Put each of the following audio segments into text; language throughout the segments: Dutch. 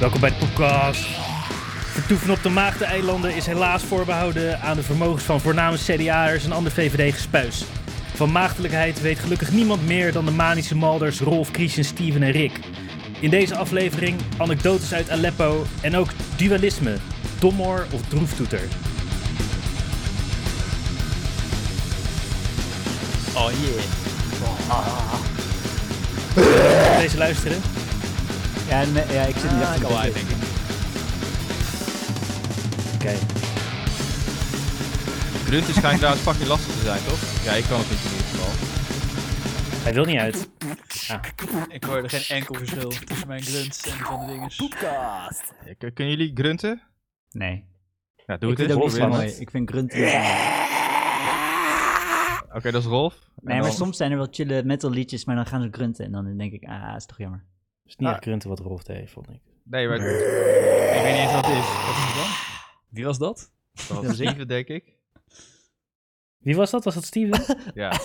Welkom bij de podcast. Vertoeven op de Maagdeneilanden is helaas voorbehouden aan de vermogens van voornamelijk CDA'ers en ander VVD-gespuis. Van maagdelijkheid weet gelukkig niemand meer dan de manische malders Rolf, Christian, Steven en Rick. In deze aflevering anekdotes uit Aleppo en ook dualisme, domhoor of droeftoeter. Oh yeah. Deze luisteren. Ja, nee, ja ik zit niet Ah, achter de tv. denk ik. Oké. Grunten schijnt trouwens fucking lastig te zijn, toch? Ja, ik kan het niet in ieder geval. Hij wil niet uit. Ik hoorde geen enkel verschil tussen mijn grunts en die van de dinges. K- Kunnen jullie grunten? Nee. Ja, doe ik het vind eens. ook Rolf niet probeer zo van het. mooi. Ik vind grunt niet zo mooi. Oké, dat is Rolf. En Nee, maar dan- soms zijn er wel chille metal liedjes, maar dan gaan ze grunten. En dan denk ik, ah, is toch jammer. Het is Dus niet Ah. echt grunten wat Rolf deed, vond ik. Nee, maar... Ik weet niet eens wat het is. Wat is het dan? Wie was dat? Dat was Steven, denk ik. Wie was dat? Was dat Steven? Ja.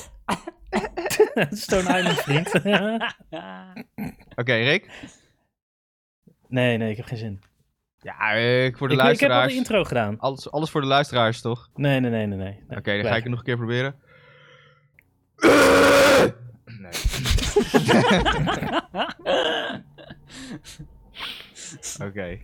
Oké, Stone Island vriend. Rick? nee, nee, ik heb geen zin. Ja, eh, voor de Ik, ik heb al luisteraars. de intro gedaan. alles, alles voor de luisteraars, toch? Oké, Nee, nee, nee, nee. nee. Oké, dan ga ik het nog een keer proberen. Nee. Oké.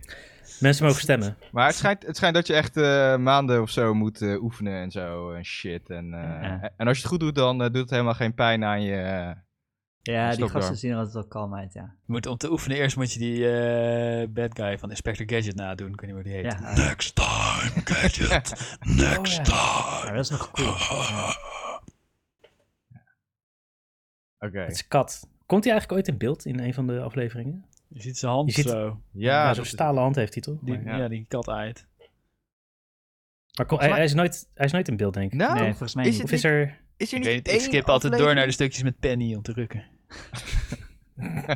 Mensen mogen stemmen. Maar het schijnt, het schijnt dat je echt eh, maanden of zo moet eh, oefenen en zo en shit. En, eh, Ja. en als je het goed doet, dan eh, doet het helemaal geen pijn aan je. eh, Ja, die Stop gasten daar. zien er altijd wel kalm uit, ja. Je moet, om te oefenen eerst moet je die eh, bad guy van Inspector Gadget nadoen. Ik weet niet hoe die heet. Ja. Next time, Gadget. Next Oh, Maar time. dat is nog cool. Oké. Het is kat. Komt hij eigenlijk ooit in beeld in een van de afleveringen? Je ziet zijn hand Je ziet- Oh, zo. Ja, ja, dat zo'n is- stalen hand heeft hij toch? Die, maar ja. die kat uit. maar kom- hij, hij is nooit, hij is nooit in beeld, denk ik. Nou, Nee, volgens mij is niet. het- Of is er... is er Ik, niet weet, één ik skip altijd door aflevering? naar de stukjes met Penny om te rukken.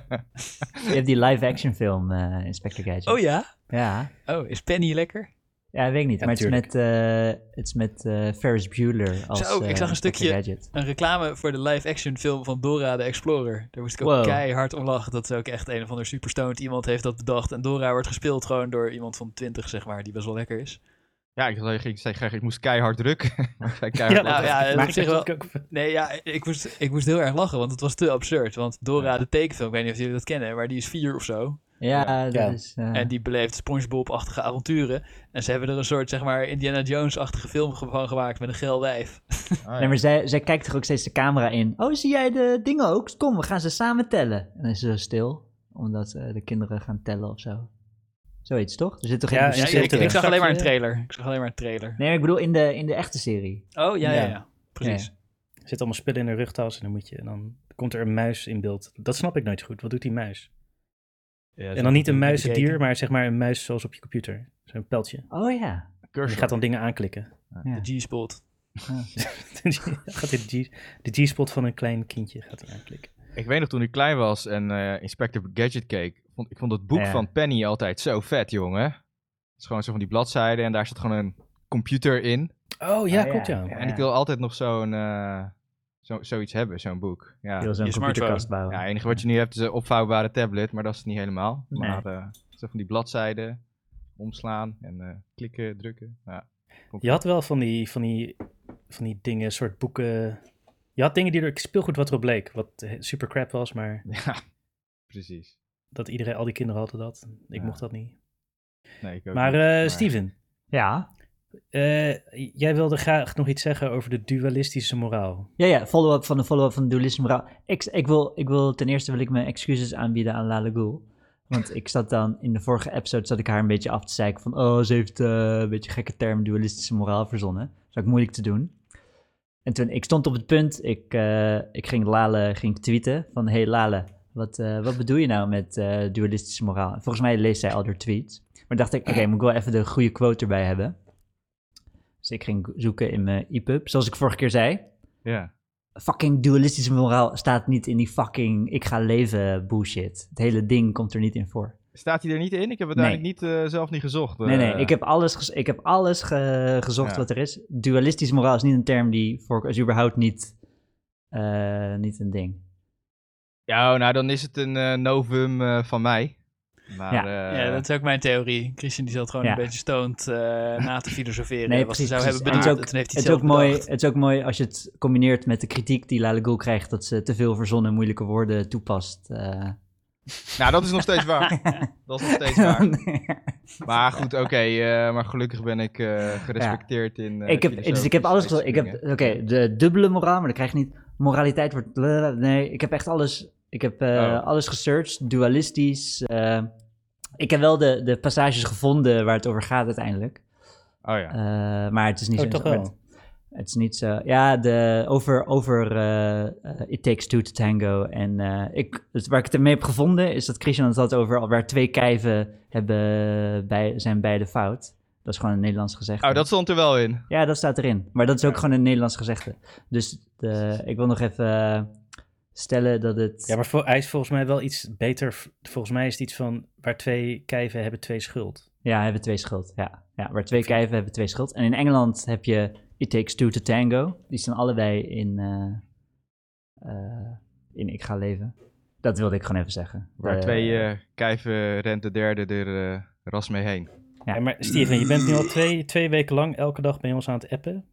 Je hebt die live-action film, eh, Inspector Gadget. Oh ja? Ja. Oh, is Penny lekker? Ja, weet ik niet. Ja, maar het is tuurlijk. met, eh, het is met eh, Ferris Bueller als Zo, eh, ik zag een Inspector stukje- Gadget. Een reclame voor de live-action film van Dora de Explorer. Daar moest ik ook Wow. keihard om lachen. Dat is ook echt een of ander superstoned iemand heeft dat bedacht. En Dora wordt gespeeld gewoon door iemand van 20, zeg maar, die best wel lekker is. Ja, ik zei, ik, zei graag, ik moest keihard drukken. maar ik zei keihard nou drukken. ja, dat Maar op zich ik- wel- ik- ik- Nee, ja, ik moest, ik moest heel erg lachen, want het was te absurd. Want Dora de tekenfilm, ik weet niet of jullie dat kennen, maar die is vier of zo. Ja, dat Ja. is... eh, En die beleeft Spongebob-achtige avonturen. En ze hebben er een soort, zeg maar, Indiana Jones-achtige film ge- van gemaakt met een geil wijf. Ah, ja. Nee, maar zij, zij kijkt toch ook steeds de camera in. Oh, zie jij de dingen ook? Kom, we gaan ze samen tellen. En dan is ze zo stil, omdat eh, de kinderen gaan tellen of zo. Zoiets, toch? Er zit toch geen Ja, muziek Ja, zit ik, er ik een zag alleen maar een zakje- trailer. Ik zag alleen maar een trailer. Nee, maar ik bedoel in de, in de echte serie. Oh, ja, ja, Ja. ja. Precies. Er zitten allemaal spullen in de rugtas en dan moet je... En dan komt er een muis in beeld. Dat snap ik nooit zo goed. Wat doet die muis? En dan niet een muizendier, maar zeg maar een muis zoals op je computer. Zo'n pijltje. En Oh ja. die gaat dan dingen aanklikken. ja. De G-spot. Die gaat in de G- de G-spot van een klein kindje gaat hij aanklikken. Ik weet nog toen ik klein was en eh, Inspector Gadget keek. Vond, ik vond het boek Ja. van Penny altijd zo vet, jongen. Het is gewoon zo van die bladzijden en daar zit gewoon een computer in. Oh ja, Ah, ja. klopt ja. Ja. En ik wil altijd nog zo'n... eh, zo, zoiets hebben, zo'n boek. Ja. Je wil zo'n Je computerkast bouwen. Ja, het enige wat je nu hebt is een opvouwbare tablet, maar dat is het niet helemaal. Nee. Maar eh, zo van die bladzijden omslaan en eh, klikken, drukken. Ja. Je had wel van die, van die, van die dingen, soort boeken. Je had dingen die er speelgoed wat erop leek. Wat eh, super crap was, maar Ja, precies. dat iedereen, al die kinderen hadden dat. Ik Ja. mocht dat niet. Nee, ik ook Maar niet, eh, Steven, Ja. eh, jij wilde graag nog iets zeggen over de dualistische moraal. Ja, ja, follow-up van de follow-up van de dualisme. verhaal. Ik, ik wil, ik wil, ten eerste wil ik mijn excuses aanbieden aan Lale Ghoul. Want ik zat dan, in de vorige episode zat ik haar een beetje af te zeiken van... Oh, ze heeft eh, een beetje gekke term dualistische moraal verzonnen. Dat is ook moeilijk te doen. En toen, ik stond op het punt, ik, eh, ik ging Lale ging tweeten van... Hey Lale, wat, eh, wat bedoel je nou met eh, dualistische moraal? En Volgens mij leest zij al door tweets. Maar dacht ik, oké, moet ik wel even de goede quote erbij hebben. Dus ik ging zoeken in mijn EPUB, zoals ik vorige keer zei Ja. fucking dualistische moraal staat niet in die fucking ik ga leven bullshit. Het hele ding komt er niet in voor. Staat hij er niet in? Ik heb het Nee. uiteindelijk niet, eh, zelf niet gezocht. Nee, nee, eh. ik heb alles, ges- ik heb alles ge- gezocht Ja. wat er is. Dualistisch moraal is niet een term die voor is überhaupt niet, eh, niet een ding. Ja, oh, nou dan is het een eh, novum eh, van mij. Maar, Ja. eh, ja, dat is ook mijn theorie. Christian die zat gewoon Ja. een beetje stoned eh, na te filosoferen. Nee, wat ze precies, zou precies. hebben En het bedacht. is ook- en toen heeft hij Het het is, ook zelf mooi, bedacht. het is ook mooi als je het combineert met de kritiek die Lale Gul krijgt dat ze te veel verzonnen moeilijke woorden toepast. eh. Nou, dat is nog steeds waar. dat is nog steeds waar. Maar goed, oké. eh, maar gelukkig ben ik eh, gerespecteerd in. eh, ik heb, dus ik heb alles gezegd. Ik heb, filosofische oké, de dubbele moraal, maar dat krijg je niet. Moraliteit wordt. Nee, ik heb echt alles. Ik heb eh, Oh. alles gesearched, dualistisch. eh. ik heb wel de, de passages gevonden waar het over gaat uiteindelijk. dingen. Oh ja. Eh, maar het is niet Oh, zo. toch interessant. Het is niet zo. Ja, de, over, over eh, eh, It Takes Two to Tango. En eh, ik, het, waar ik het mee heb gevonden is dat Christian het had over waar twee kijven hebben bij, zijn beide fout. Dat is gewoon een Nederlands gezegd. Oh, dat stond er wel in. Ja, dat staat erin. Maar dat is ook gewoon een Nederlands gezegde. Dus eh, ik wil nog even eh, stellen dat het... Ja, maar vo- hij is volgens mij wel iets beter. Volgens mij is het iets van waar twee kijven hebben twee schuld. Ja, hebben twee schuld. Ja. ja, waar twee kijven hebben twee schuld. En in Engeland heb je It Takes Two to Tango. Die staan allebei in, eh, eh, in Ik Ga Leven. Dat wilde ik gewoon even zeggen. Waar Eh, twee eh, kijven rent de derde er eh, ras mee heen. Ja. Ja, maar Steven, je bent nu al twee, twee weken lang elke dag bij ons aan het appen.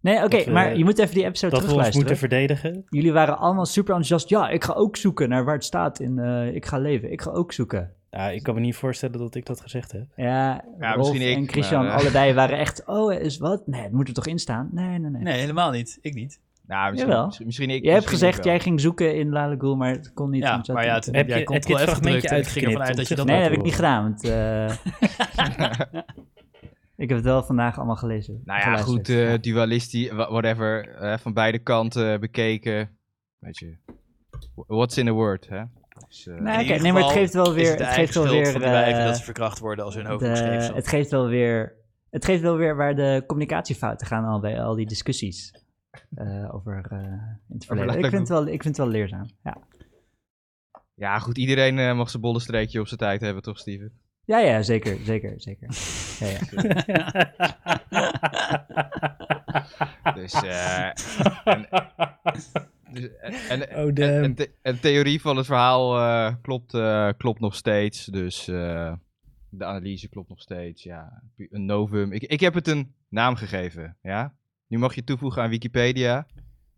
Nee, oké, dat we- maar je moet even die episode Dat we ons terugluisteren. moeten verdedigen. Jullie waren allemaal super enthousiast. Ja, ik ga ook zoeken naar waar het staat in eh, Ik Ga Leven. Ik ga ook zoeken. Nou, ik kan me niet voorstellen dat ik dat gezegd heb. Ja, Ja, Rolf misschien ik, en Christian, maar, eh. allebei waren echt... Oh, is wat? Nee, het moet er toch in staan? Nee, nee, nee. Nee, helemaal niet. Ik niet. Nou, Jawel. misschien, misschien, misschien ik. Jij hebt misschien ik gezegd, wel. jij ging zoeken in Lalagool, maar het kon niet. Ja, omdat je maar had- ja, toen Heb heb je- jij heb je Ctrl het F fragmentje gedrukt en ik ging ervan uit dat je dat uitgeknipt Nee, om had. dat heb ik niet horen. gedaan, want eh, ik heb het wel vandaag allemaal gelezen. Nou ja, geluisterd. goed, eh dualistisch, wha- whatever. eh, van beide kanten bekeken. Weet je, wh- what's in a word, hè? Dus, eh, Nee, In oké, ieder nee, maar het geval geeft wel is weer, de het eigen geeft wel schuld weer, van de wijven eh, dat ze verkracht worden als hun hoofd de- geschreven zat. het geeft wel weer, het geeft wel weer waar de communicatiefouten gaan al bij al die discussies eh, over eh, in het verleden. Ik Lalagool. vind het wel, ik vind het wel leerzaam. Ja, Ja, goed, iedereen eh, mag zijn bolle streekje op zijn tijd hebben, toch, Steven? ja, ja zeker, zeker, zeker. Ja, ja. Dus, eh, en, dus, en, en- Oh, damn. en- en the- en theorie van het verhaal eh, klopt, eh, klopt nog steeds. Dus eh, de analyse klopt nog steeds. Ja, een novum. Ik, ik heb het een naam gegeven, ja? Nu mag je toevoegen aan Wikipedia.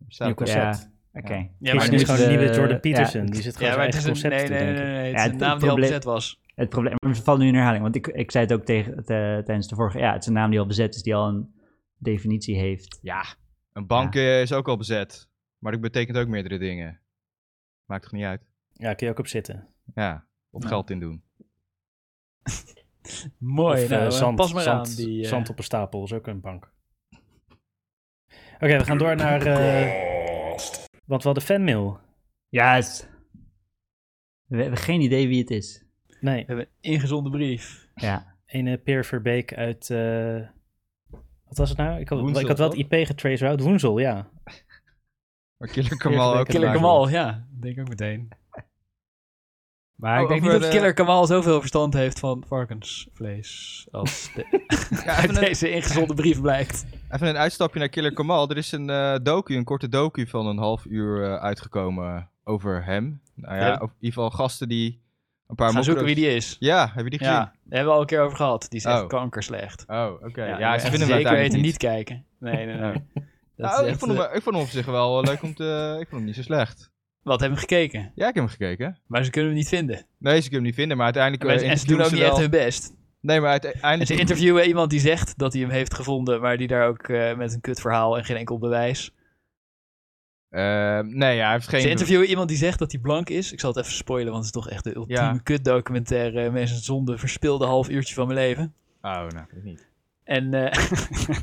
Staat Nieuw ook- concept. Ja, Oké. Ja, maar maar het nu is is eh, gewoon de- een nieuwe Jordan ja, Peterson. die zit gewoon Ja, maar zijn het is eigen een, concept nee, te nee, nee, denken. nee, het Ja, is het een naam die al probleem- bezet was. Het probleem, we vallen nu in herhaling, want ik, ik zei het ook tegen, te- tijdens de vorige, ja, het is een naam die al bezet is, die al een definitie heeft. Ja, een bank eh, is ook al bezet. Maar dat betekent ook meerdere dingen. Maakt toch niet uit? Ja, kun je ook op zitten. Ja, op Ja. geld in doen. Mooi, of, eh, nou, eh, zand, pas maar zand, aan. Die, eh, zand op een stapel is ook een bank. Oké, we gaan door naar. eh want we hadden fanmail. Yes! We hebben geen idee wie het is. Nee, We hebben een ingezonden brief. Ja, ene Peer Verbeek uit. eh, wat was het nou? Ik had, Woensel, ik had wel het toch? IP getraced uit Woensel, ja. Maar Killer Kamal ook. Killer gemaakt Kamal, wordt. ja. Denk ik ook meteen. Maar Oh, ik denk niet over dat de- Killer Kamal zoveel verstand heeft van varkensvlees als de- Ja, uit even, een, deze ingezonde brief blijkt. even een uitstapje naar Killer Kamal. Er is een eh, docu, een korte docu van een half uur eh, uitgekomen over hem. Nou ja, Ja. of in ieder geval gasten die een paar Gaan zoeken mokro's- wie die is. Ja, heb je die gezien? Ja, daar hebben we al een keer over gehad. Die is echt Oh. kankerslecht. Oh, oké. Ja, die ze vinden hem echt zeker uiteindelijk weten niet. niet kijken. Nee, nee, nee. Dat Nou, is ik, echt, vond hem, eh, ik vond hem op zich wel eh, leuk om te... Ik vond hem niet zo slecht. Wat hebben we gekeken? Ja, ik heb hem gekeken. Maar ze kunnen hem niet vinden. Nee, ze kunnen hem niet vinden, maar uiteindelijk... eh, en ze doen interviewen ook ze niet echt wel- hun best. Nee, maar En ze uiteindelijk... interviewen iemand die zegt dat hij hem heeft gevonden, maar die daar ook eh, met een kut verhaal en geen enkel bewijs. Ehm, nee, ja, hij heeft geen... Ze interviewen iemand die zegt dat hij blank is. Ik zal het even spoilen, want het is toch echt de ultieme Ja. kutdocumentaire. eh, Mensen zonde, verspilde half uurtje van mijn leven. Oh, nou, ik niet. En, eh,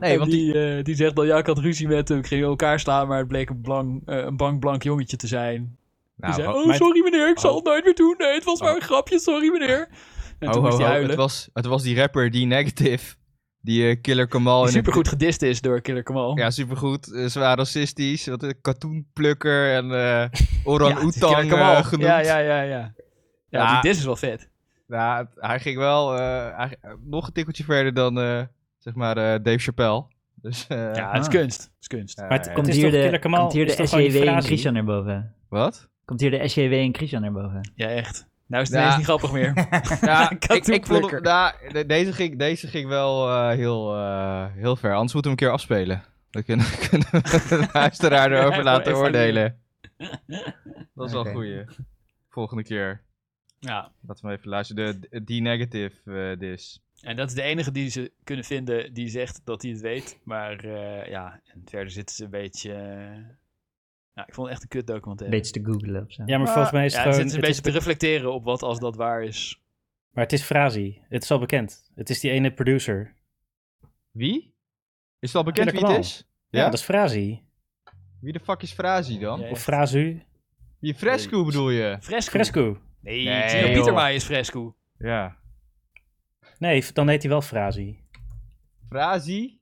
Nee, en want die, eh, die zegt dan, ja, ik had ruzie met hem, ik ging in elkaar slaan, maar het bleek een, blank, eh, een bankblank jongetje te zijn. Nou, die zei, ho- oh, maar- sorry meneer, ik zal Oh. het nooit meer doen. Nee, het was Oh. maar een grapje, sorry meneer. En ho, toen moest Oh, ho, hij ho, huilen. het, was, het was die rapper, die negative, die eh, Killer Kamal... Die in een- supergoed gedist is door Killer Kamal. Ja, supergoed. Eh, zwaar racistisch. Wat een katoenplukker en eh orang Ja, oetang eh, Killer Kamal. genoemd. Ja, ja, ja, ja. Ja, Ja. die dis is wel vet. Nou, het- hij ging wel eh, hij ging- eh, nog een tikkeltje verder dan, eh, zeg maar, eh, Dave Chappelle. Dus, eh, Ja, het is ah. kunst. Het is kunst. eh, maar het- komt is hier toch de, Killer Kamal, komt hier is de toch gewoon die SJW en frasie? Christian naar boven. Wat? Komt hier de SJW en Christian naar boven. Ja, echt. Nou is het Ja. ineens niet grappig meer. Ja, ik, Katoenplukker. ik vond hem- nou, de- deze, ging, deze ging wel eh, heel, eh, heel ver. Anders moeten we hem een keer afspelen. Dan kunnen, kunnen we de luisteraar Ja, erover gewoon laten evalueren. oordelen. Dat is wel Oké. een goeie. Volgende keer. Ja, Laten we hem even luisteren. De D-negative eh dis. en dat is de enige die ze kunnen vinden die zegt dat hij het weet. Maar eh, ja, en verder zitten ze een beetje... eh, Nou, ik vond het echt een kut Een documentaire. beetje te googlen of zo. Ja, maar volgens mij is het Ah, ja, gewoon... zitten ze een het is beetje te reflecteren op wat als dat waar is. be- maar het is Frazi. Het is al bekend. Het is die ene producer. Wie? Is het al bekend wie het Kinderkanaal. is? Ja, Ja? dat is Frazi. Wie de fuck is Frazi dan? Ja. Of Frazu. Wie Fresco bedoel je? Fresco. Fresco. Nee, Nee, Tino joh. Pieterma is Fresco. Ja. Nee, f- dan heet hij wel Frazi. Frazi?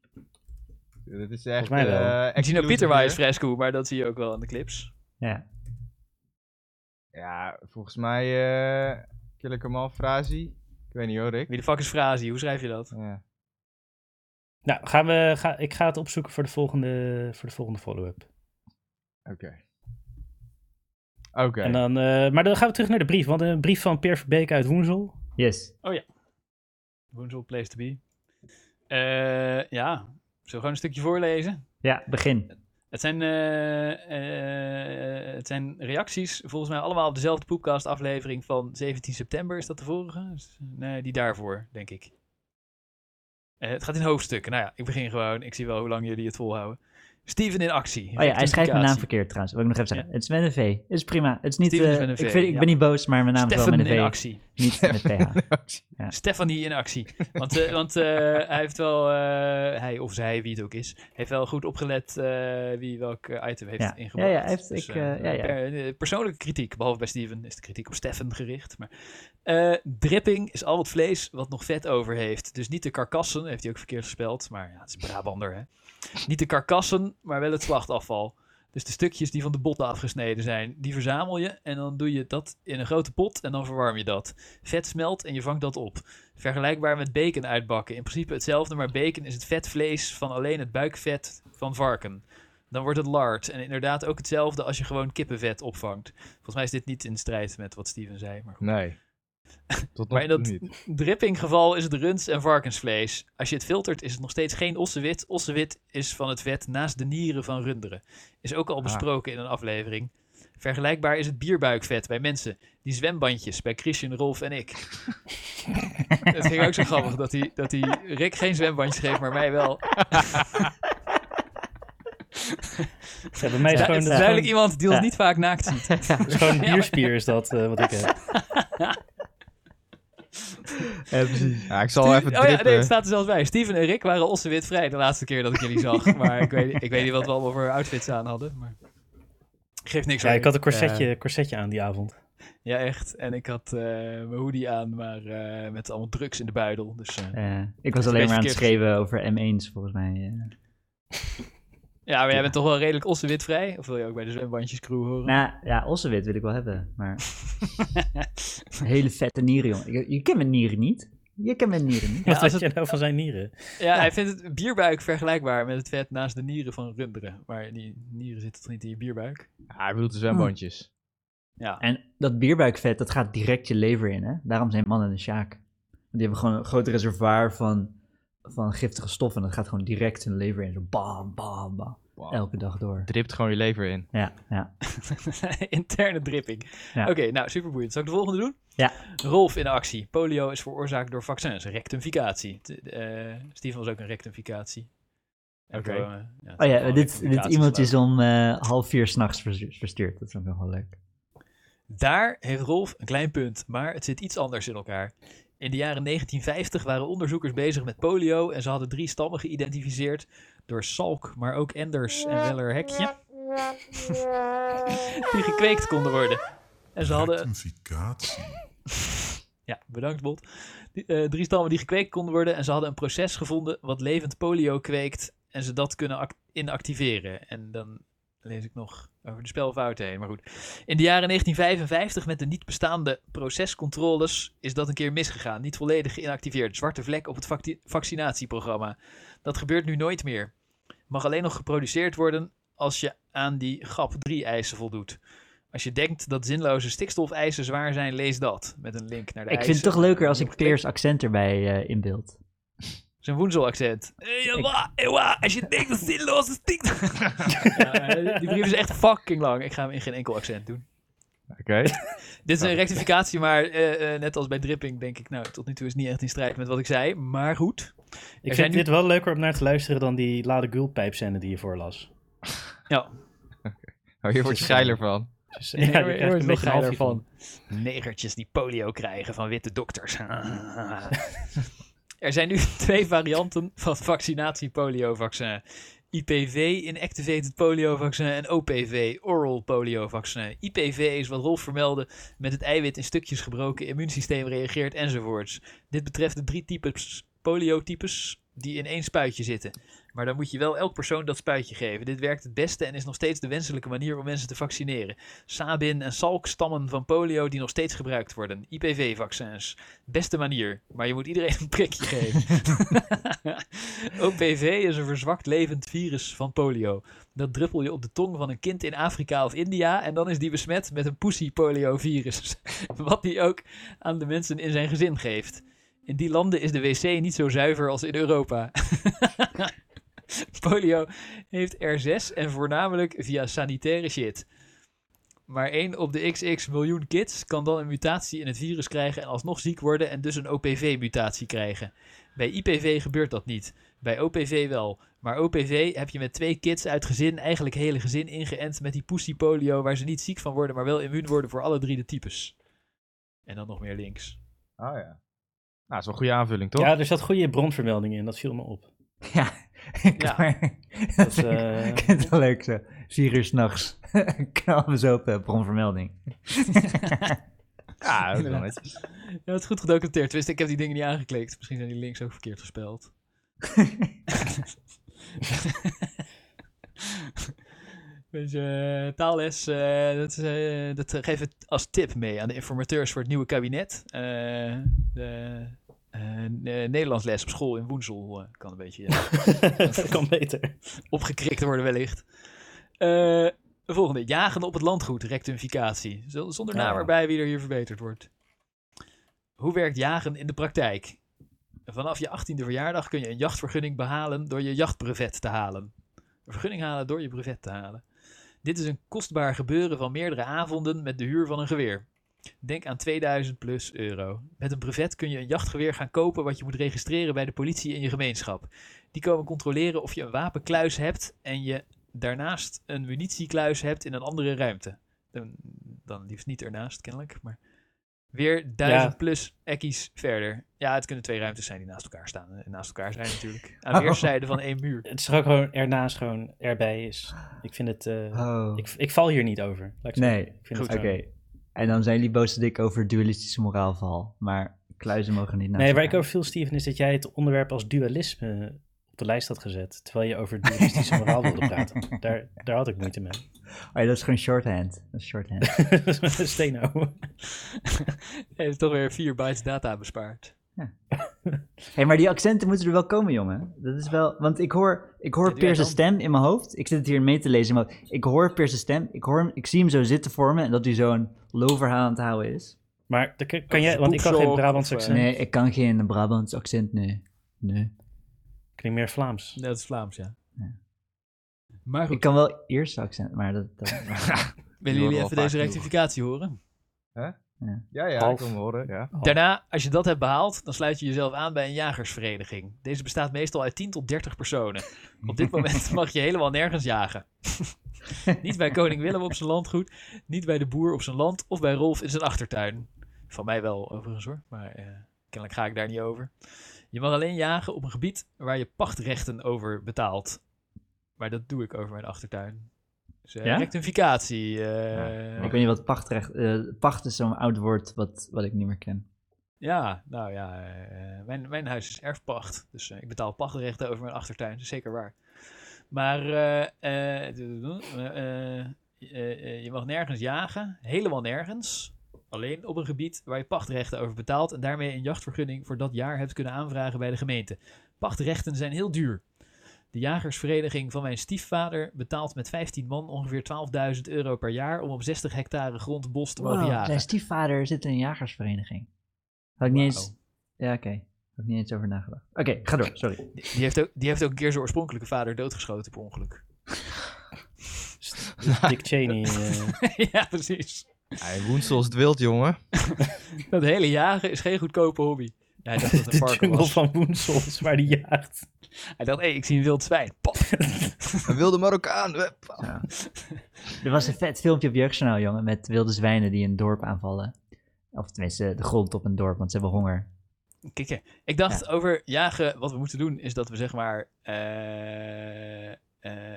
Dat is echt... Volgens mij wel. eh, En Tino exclusive Pieterma hier. is Fresco, maar dat zie je ook wel in de clips. Ja. Ja, volgens mij eh Killer Kamal Frazi. Ik weet niet hoor, Rick. Wie de fuck is Frazi? Hoe schrijf je dat? Ja. Nou, gaan we, ga, ik ga het opzoeken voor de volgende, voor de volgende follow-up. Oké. Oké. En dan, eh, maar dan gaan we terug naar de brief. Want een brief van Peer Verbeek uit Woensel. Yes. Woensel, place to be. Eh, ja, zullen we gewoon een stukje voorlezen? Ja, begin. Het zijn, eh, eh, het zijn reacties, volgens mij allemaal op dezelfde podcast aflevering van 17 september. Is dat de vorige? Is- Nee, die daarvoor, denk ik. Eh, het gaat in hoofdstukken. Nou ja, ik begin gewoon. Ik zie wel hoe lang jullie het volhouden. Steven in actie. Oh ja, hij schrijft mijn naam Rectificatie. verkeerd trouwens. Wil ik nog even zeggen. Ja. Het is met een V. Het is prima. Het is niet, Steven is eh, met een ik, V, vind, ik ja. ben niet boos, maar mijn naam is wel Steffen met in een V. actie. Niet met een PH. Ja. Stefanie in actie. Want, eh, want eh, hij heeft wel, eh, hij of zij, wie het ook is, heeft wel goed opgelet eh, wie welk eh, item heeft Ja. ingebracht. Ja, ja, hij heeft- ik, eh, eh, ja, ja. per- eh, persoonlijke kritiek, behalve bij Steven, is de kritiek op Steffen gericht. Maar, eh, dripping is al het vlees wat nog vet over heeft. Dus niet de karkassen, heeft hij ook verkeerd gespeld, maar ja, het is Brabander, hè. Niet de karkassen, maar wel het slachtafval. Dus de stukjes die van de botten afgesneden zijn, die verzamel je en dan doe je dat in een grote pot en dan verwarm je dat. Vet smelt en je vangt dat op. Vergelijkbaar met bacon uitbakken. In principe hetzelfde, maar bacon is het vetvlees van alleen het buikvet van varken. Dan wordt het lard. En inderdaad ook hetzelfde als je gewoon kippenvet opvangt. Volgens mij is dit niet in strijd met wat Steven zei. Maar goed. Nee. Tot Maar nog in dat- niet. Dripping geval is het runds- en varkensvlees. Als je het filtert is het nog steeds geen ossewit. Ossewit is van het vet naast de nieren van runderen. Is ook Ah. al besproken in een aflevering. Vergelijkbaar is het bierbuikvet bij mensen. Die zwembandjes bij Christian, Rolf en ik. Het ging ook zo grappig dat hij, dat hij Rick geen zwembandjes geeft, maar mij wel. Ze hebben mij Ja, gewoon... het is dat is duidelijk gewoon, iemand die ons Ja. niet vaak naakt ziet. het is gewoon bierspier is dat, eh, wat ik heb. Ja, precies. Ja, ik zal even oh ja, drippen. nee, het staat er zelfs bij. Steven en Rick waren ossewit vrij de laatste keer dat ik jullie zag. Maar ik weet, ik weet niet wat we allemaal voor outfits aan hadden. Maar... Geeft niks Ja, hoor. ik had een corsetje, corsetje aan die avond. Eh. Ja, echt. En ik had eh, mijn hoodie aan, maar eh, met allemaal drugs in de buidel. Dus, eh. Eh, ik was alleen beetje maar aan het verkeerd. schreeuwen over M1's volgens mij. eh. Ja, maar jij bent toch wel redelijk ossewitvrij? Of wil je ook bij de zwembandjescrew horen? Nou ja, ossewit wil ik wel hebben, maar hele vette nieren, jongen. Je, je kent mijn nieren niet. Je kent mijn nieren niet. Wat als weet je nou van zijn nieren? ja, hij vindt het bierbuik vergelijkbaar met het vet naast de nieren van runderen. Maar die nieren zitten toch niet in je bierbuik? Ah, hij bedoelt de zwembandjes. Ja. En dat bierbuikvet, dat gaat direct je lever in, hè? Daarom zijn mannen de sjaak. Want die hebben gewoon een groot reservoir van, van giftige stoffen. En dat gaat gewoon direct hun lever in. Zo bam, bam, bam. Wow. Elke dag door. Dript gewoon je lever in. Ja, ja. Interne dripping. Ja. Oké, nou superboeiend. Zal ik de volgende doen? Ja. Rolf in actie. Polio is veroorzaakt door vaccins. Rectificatie. T- eh, Steven was ook een rectificatie. En Oké. gewoon, eh, ja, Oh ja, gewoon dit, dit rectificaties iemand laten. is om eh, half vier s'nachts verstuurd. Dat is ook nog wel leuk. Daar heeft Rolf een klein punt, maar het zit iets anders in elkaar. In de jaren 1950 waren onderzoekers bezig met polio en ze hadden drie stammen geïdentificeerd door Salk, maar ook Enders en Weller Hekje, die gekweekt konden worden. En ze hadden Rectificatie. Ja, bedankt Bot. Die, eh, drie stammen die gekweekt konden worden en ze hadden een proces gevonden wat levend polio kweekt en ze dat kunnen ac- inactiveren. En dan lees ik nog over de spelfouten heen, maar goed. In de jaren 1955 met de niet bestaande procescontroles is dat een keer misgegaan. Niet volledig geïnactiveerd. Zwarte vlek op het vac- vaccinatieprogramma. Dat gebeurt nu nooit meer. Mag alleen nog geproduceerd worden als je aan die GAP3 eisen voldoet. Als je denkt dat zinloze stikstofeisen zwaar zijn, lees dat. Met een link naar de ik vind eisen. het toch leuker als Dan ik moet je Peers accent erbij eh, inbeeld. Zijn woenselaccent. Ewa, ewa, als je denkt dat zinloze stikstof... ja, eh, die brief is echt fucking lang. Ik ga hem in geen enkel accent doen. Oké. Dit is een rectificatie, maar eh, eh, net als bij Dripping denk ik... Nou, tot nu toe is het niet echt in strijd met wat ik zei. Maar goed. Ik zijn vind nu- dit wel leuker om naar te luisteren dan die Lade Gulpijpzender die je voorlas. Ja, Oh, hier word je geiler van. Dus, Ja, je krijgt een beetje een halfje van. Negertjes die polio krijgen van witte dokters. er zijn nu twee varianten van vaccinatie poliovaccin. IPV, inactivated poliovaccin, en OPV, oral poliovaccin. IPV is wat Rolf vermeldde, met het eiwit in stukjes gebroken, immuunsysteem reageert enzovoorts. Dit betreft de drie types poliotypes die in één spuitje zitten. Maar dan moet je wel elk persoon dat spuitje geven. Dit werkt het beste en is nog steeds de wenselijke manier om mensen te vaccineren. Sabin en Salk stammen van polio die nog steeds gebruikt worden. IPV-vaccins. Beste manier, maar je moet iedereen een prikje geven. OPV is een verzwakt levend virus van polio. Dat druppel je op de tong van een kind in Afrika of India en dan is die besmet met een pussy poliovirus. Wat die ook aan de mensen in zijn gezin geeft. In die landen is de wc niet zo zuiver als in Europa. Polio heeft R6 en voornamelijk via sanitaire shit. Maar één op de xx miljoen kids kan dan een mutatie in het virus krijgen en alsnog ziek worden en dus een OPV-mutatie krijgen. Bij IPV gebeurt dat niet. Bij OPV wel. Maar OPV heb je met twee kids uit gezin, eigenlijk hele gezin, ingeënt met die pussy polio waar ze niet ziek van worden, maar wel immuun worden voor alle drie de types. En dan nog meer links. Oh ja. Nou, dat is wel een goede aanvulling, toch? Ja, er zat goede bronvermelding in, dat viel me op. Ja, Ja. maar Dat, dat eh, ik vind het wel leuk zo. Vier uur s'nachts. Knal we zo op, eh, bronvermelding. Ja, dat is wel netjes. Ja, het is goed gedocumenteerd. Tenminste, ik heb die dingen niet aangeklikt. Misschien zijn die links ook verkeerd gespeld. Beetje eh, taales, eh, dat, eh, dat eh, geven we als tip mee aan de informateurs voor het nieuwe kabinet. Eh, de, eh, N- eh, Nederlands les op school in Woensel eh, kan een beetje eh, dat kan beter. opgekrikt worden wellicht. Eh, de volgende. Jagen op het landgoed, rectificatie. Z- Zonder Ja. naam erbij wie er hier verbeterd wordt. Hoe werkt jagen in de praktijk? Vanaf je 18e verjaardag kun je een jachtvergunning behalen door je jachtbrevet te halen. Een vergunning halen door je brevet te halen. Dit is een kostbaar gebeuren van meerdere avonden met de huur van een geweer. Denk aan 2000 plus euro. Met een brevet kun je een jachtgeweer gaan kopen wat je moet registreren bij de politie in je gemeenschap. Die komen controleren of je een wapenkluis hebt en je daarnaast een munitiekluis hebt in een andere ruimte. Dan, dan liefst niet ernaast, kennelijk, maar weer duizend Ja. plus ekkies verder. Ja, het kunnen twee ruimtes zijn die naast elkaar staan. en Naast elkaar zijn natuurlijk. Aan weerszijden van één muur. Het is er ook gewoon ernaast gewoon erbij is. Ik vind het... eh, Oh. ik, ik val hier niet over. laat ik zo Nee, zeggen. Ik vind goed. het, Oké. eh, En dan zijn jullie boos dat ik over dualistische moraalval. Maar kluizen mogen niet naar Nee, waar ik over viel, Steven, is dat jij het onderwerp als dualisme op de lijst had gezet. Terwijl je over dualistische moraal wilde praten. Daar, daar had ik moeite mee. Oh, ja, dat is gewoon shorthand. Dat is shorthand. Steno. Heeft toch weer vier bytes data bespaard. Hé, maar die accenten moeten er wel komen, jongen. Dat is wel... Want ik hoor, ik hoor Ja, doe jij Peers' dan. stem in mijn hoofd. Ik zit het hier mee te lezen. Maar ik hoor Peers' stem. Ik, hoor hem, ik zie hem zo zitten voor me. En dat hij zo'n low verhaal aan het houden is. Maar dan kan, kan jij, want ik kan Boekzorg geen Brabants of, eh, accent. Nee, ik kan geen Brabants accent, nee. Nee. Ik klink meer Vlaams. Dat is Vlaams, ja. Maar Ik goed, kan wel Ierse accent, maar dat... dat... willen Die jullie horen even wel deze vaak rectificatie horen? Ja, ja, ik Half. kan hem horen, ja. Oh. Daarna, als je dat hebt behaald, dan sluit je jezelf aan bij een jagersvereniging. Deze bestaat meestal uit 10 tot 30 personen. Op dit moment mag je helemaal nergens jagen. niet bij koning Willem op zijn landgoed, niet bij de boer op zijn land of bij Rolf in zijn achtertuin. Van mij wel, overigens hoor, maar eh, kennelijk ga ik daar niet over. Je mag alleen jagen op een gebied waar je pachtrechten over betaalt. Maar dat doe ik over mijn achtertuin. Dus eh, Ja? rectificatie. eh, Ik weet niet wat pachtrecht... eh, pacht is zo'n oud woord wat, wat ik niet meer ken. Ja, nou ja, eh, mijn, mijn huis is erfpacht. Dus eh, ik betaal pachtrechten over mijn achtertuin, dat is zeker waar. Maar eh, eh, eh, eh, eh, je mag nergens jagen, helemaal nergens. Alleen op een gebied waar je pachtrechten over betaalt en daarmee een jachtvergunning voor dat jaar hebt kunnen aanvragen bij de gemeente. Pachtrechten zijn heel duur. De jagersvereniging van mijn stiefvader betaalt met 15 man ongeveer 12.000 euro per jaar om op 60 hectare grond bos te mogen Wow, jagen. Mijn stiefvader zit in een jagersvereniging. Had ik niet Wauw. eens... Ja, oké. Had ik niet eens over nagedacht. Oké, ga door. Sorry. Die die heeft, ook, die heeft ook een keer zijn oorspronkelijke vader doodgeschoten per ongeluk. Dick Cheney. eh. ja, precies. Hij woent zoals het wild, jongen. Dat hele jagen is geen goedkope hobby. Ja, Hij dacht dat het een de varken jungle was. van Woensels, waar die jaagt. Hij dacht, hé, ik zie een wild zwijn. Pap. Een wilde Marokkaan. Wep. Er was een vet filmpje op Jeugdjournaal, jongen, met wilde zwijnen die een dorp aanvallen. Of tenminste, de grond op een dorp, want ze hebben honger. Kikken. Ik dacht over jagen, wat we moeten doen, is dat we zeg maar... eh, eh,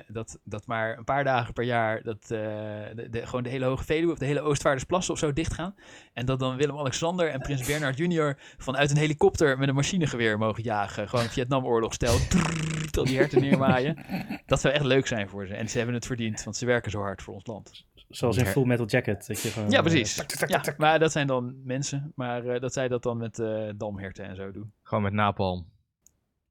dat, dat maar een paar dagen per jaar dat, eh, de, de- gewoon de hele Hoge Veluwe of de hele Oostvaardersplassen of zo dichtgaan. En dat dan Willem-Alexander en prins Bernhard junior vanuit een helikopter met een machinegeweer mogen jagen. Gewoon Vietnamoorlogstijl. Trrrr, Tot die herten neermaaien. Dat zou echt leuk zijn voor ze. En ze hebben het verdiend, want ze werken zo hard voor ons land. Zoals in Full Metal Jacket. Dat je gewoon, Ja, eh, precies. tak, tak, tak, Ja, tak. maar dat zijn dan mensen. Maar eh, dat zij dat dan met eh, damherten en zo doen. Gewoon met napalm.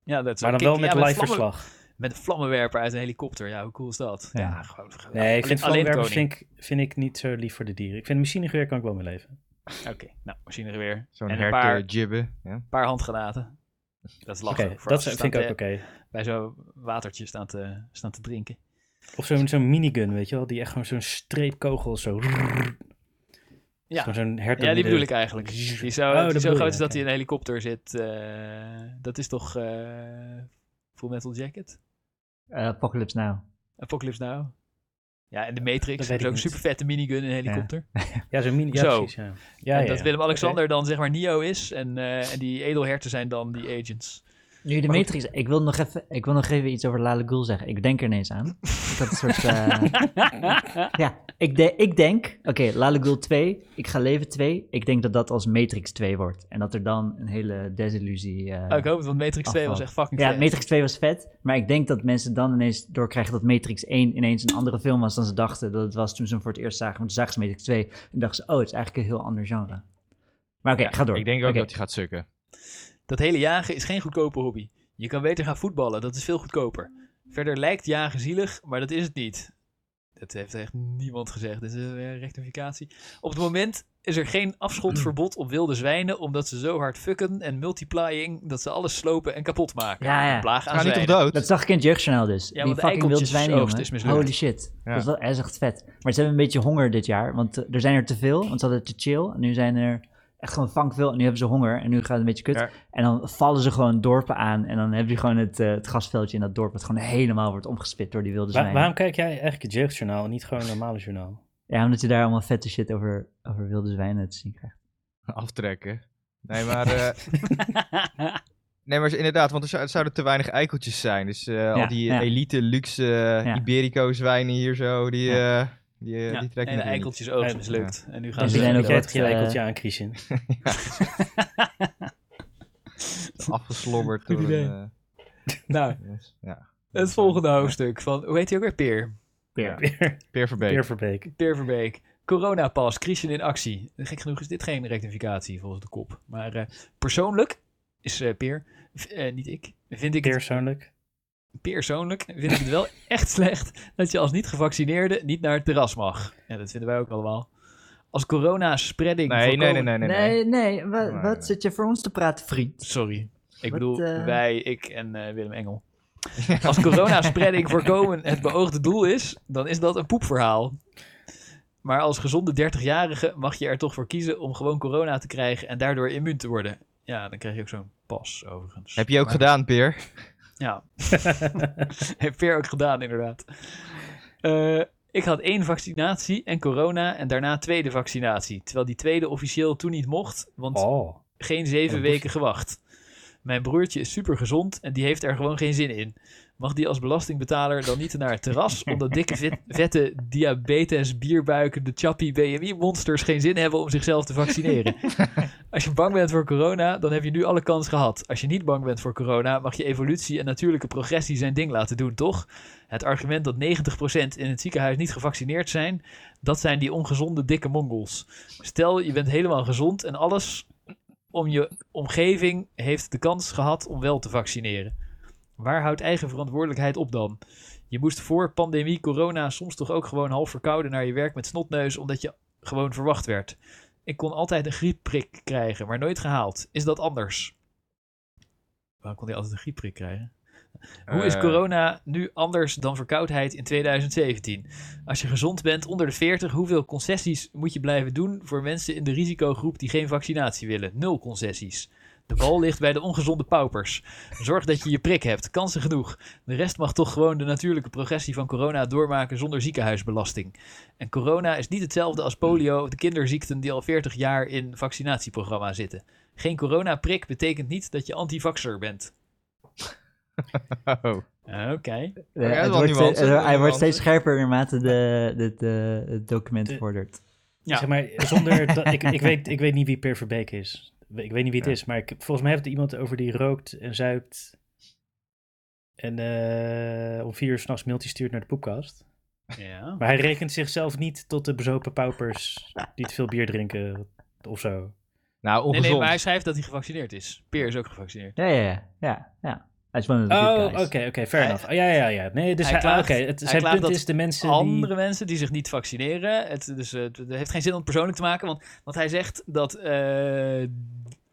Ja, dat is Maar dan kijk, wel met ja, live vlammen- verslag. Met een vlammenwerper uit een helikopter. Ja, hoe cool is dat? Ja, Ja. gewoon. gewoon- Nee, ik vind Eh, alleen vlammenwerpers koning. vind ik, vind ik niet zo lief voor de dieren. Ik vind machinegeweer kan ik wel mee leven. Oké, nou, machinegeweer. Zo'n En een hert paar- eh, jibben. Ja. Een paar handgranaten. Dat is Oké, lachen. voor dat als ze vind ik staan ook oké. te- Bij zo'n watertje staan te, staan te drinken. Of zo'n zo'n minigun, weet je wel? Die echt gewoon zo'n streepkogel zo... Ja. Gewoon zo'n hert Ja, die bedoel ik eigenlijk. Die zo, Oh, die dat zo bedoel groot je, is dat oké. hij in een helikopter zit. eh, dat is toch eh, Full Metal Jacket? Eh, Apocalypse Now. Apocalypse Now? Ja, en de Matrix. Dat Dat weet is ook ik niet. een super vette minigun in een helikopter. Ja, zo'n mini... Ja, Zo. precies, ja. Ja, en ja, dat ja. Willem-Alexander dan zeg maar Neo is. En, eh, en die edelherten zijn dan die agents. Nu de Maar goed. Matrix, ik wil, nog even, ik wil nog even iets over Lale Ghoul zeggen. Ik denk er ineens aan. Ik had een soort... eh, ja, ik, de- ik denk... Oké, Lale Ghoul 2, Ik ga leven 2. Ik denk dat dat als Matrix 2 wordt. En dat er dan een hele desillusie... eh, Oh, ik hoop het, want Matrix 2 was Afval. echt fucking ja, vet. Matrix 2 was vet. Maar ik denk dat mensen dan ineens doorkrijgen dat Matrix 1 ineens een andere film was dan ze dachten dat het was toen ze hem voor het eerst zagen. Want toen zagen ze Matrix 2 en dachten ze, oh, het is eigenlijk een heel ander genre. Maar oké, Ja, ga door. Ik denk ook Oké. dat hij gaat sukken. Dat hele jagen is geen goedkope hobby. Je kan beter gaan voetballen, dat is veel goedkoper. Verder lijkt jagen zielig, maar dat is het niet. Dat heeft echt niemand gezegd. Dit is eh, weer een rectificatie. Op het moment is er geen afschotverbod op wilde zwijnen, omdat ze zo hard fucken en multiplying dat ze alles slopen en kapot maken. Ja, ja. Een Plaag aan Ga niet toch zwijnen. dood? Dat zag ik in het jeugdjournaal dus. Ja, Die want de fucking wilde eikeltjes zwijnen, oogst jongen. is mislukt. Holy shit. Ja. Dat is, wel, hij is echt vet. Maar ze hebben een beetje honger dit jaar, want eh, er zijn er te veel. Want ze hadden te chill en nu zijn er echt gewoon vank veel. En nu hebben ze honger en nu gaat het een beetje kut. Ja. En dan vallen ze gewoon dorpen aan en dan heb je gewoon het, eh, het gasveldje in dat dorp... wat gewoon helemaal wordt omgespit door die wilde Wa- zwijnen. waarom kijk jij eigenlijk het jeugdjournaal en niet gewoon een normale journaal? Ja, omdat je daar allemaal vette shit over, over wilde zwijnen te zien krijgt. Aftrekken. Nee, maar... eh, nee, maar inderdaad, want er, zou- er zouden te weinig eikeltjes zijn. Dus eh, Ja, al die ja. elite, luxe eh, Ja. Iberico-zwijnen hier zo, die, eh die, eh, Ja, die trekken en natuurlijk de niet. eikeltjes oogst Ja. mislukt. En nu Dan gaan ze zit ze... zijn je ook met je wat, het eikeltje eh, aan, Christian. afgeslobberd Goed door idee. een, Nou, eh, yes. ja. het volgende hoofdstuk van... Hoe heet hij ook weer? Peer. Ja. Peer Verbeek. Peer Verbeek. Peer Verbeek. Coronapas, Christian in actie. Gek genoeg is dit geen rectificatie volgens de kop. Maar eh, persoonlijk is eh Peer, v- eh, niet ik, vind ik het, Persoonlijk. persoonlijk vind ik het wel echt slecht dat je als niet-gevaccineerde niet naar het terras mag. Ja, dat vinden wij ook allemaal. Als corona-spreading Nee, nee, nee, nee, nee, Nee, nee. nee, wa- Nee, wat nee. zit je voor ons te praten, vriend? Sorry. Ik Wat, bedoel, eh? wij, ik en eh, Willem Engel. Als coronaspreading voorkomen het beoogde doel is, dan is dat een poepverhaal. Maar als gezonde 30-jarige mag je er toch voor kiezen om gewoon corona te krijgen en daardoor immuun te worden. Ja, dan krijg je ook zo'n pas, overigens. Heb je ook Maar- gedaan, Peer? Ja. Heb Peer ook gedaan, inderdaad. Eh, ik had één vaccinatie en corona en daarna tweede vaccinatie. Terwijl die tweede officieel toen niet mocht, want Oh. geen zeven Een weken gewacht. Mijn broertje is super gezond en die heeft er gewoon geen zin in. Mag die als belastingbetaler dan niet naar het terras, omdat dikke vet- vette diabetes, bierbuiken, de chappie, BMI-monsters geen zin hebben om zichzelf te vaccineren? Als je bang bent voor corona, dan heb je nu alle kans gehad. Als je niet bang bent voor corona, mag je evolutie en natuurlijke progressie zijn ding laten doen, toch? Het argument dat 90% in het ziekenhuis niet gevaccineerd zijn, dat zijn die ongezonde dikke mongols. Stel, je bent helemaal gezond en alles om je omgeving heeft de kans gehad om wel te vaccineren. Waar houdt eigen verantwoordelijkheid op dan? Je moest voor pandemie corona soms toch ook gewoon half verkouden naar je werk met snotneus, omdat je gewoon verwacht werd. Ik kon altijd een griepprik krijgen, maar nooit gehaald. Is dat anders? Waarom kon hij altijd een griepprik krijgen? Hoe is Eh, corona nu anders dan verkoudheid in 2017? Als je gezond bent onder de 40, hoeveel concessies moet je blijven doen voor mensen in de risicogroep die geen vaccinatie willen? Nul concessies. De bal ligt bij de ongezonde paupers. Zorg dat je je prik hebt, kansen genoeg. De rest mag toch gewoon de natuurlijke progressie van corona doormaken zonder ziekenhuisbelasting. En corona is niet hetzelfde als polio of de kinderziekten die al 40 jaar in vaccinatieprogramma zitten. Geen coronaprik betekent niet dat je antivaxer bent. oh. Oké. Eh, Ja, het wordt wel nuance, steeds- eh, wel hij wordt nuance. steeds scherper naarmate de, de, de- het document De- vordert. Ja. Zeg maar, zonder dat, ik, ik, weet, ik weet niet wie Per Verbeek is. Ik weet niet wie het Ja. is, maar ik, volgens mij heeft het iemand over die rookt en zuipt. En eh, om vier uur s'nachts mailtjes stuurt naar de poepkast. Ja. Maar hij rekent zichzelf niet tot de bezopen paupers die te veel bier drinken of zo. Nou, Nee, ongezond. nee, maar hij schrijft dat hij gevaccineerd is. Peer is ook gevaccineerd. Ja, ja, ja. ja, ja. Hij is wel een Oh, oké, oké, fair Hij- enough. Oh, ja, ja, ja. Nee, dus hij hij, klaagt- oké, het, hij zijn klaagt punt dat is de mensen Andere mensen die zich niet vaccineren. Het, dus, eh, het het heeft geen zin om het persoonlijk te maken. Want, want hij zegt dat eh,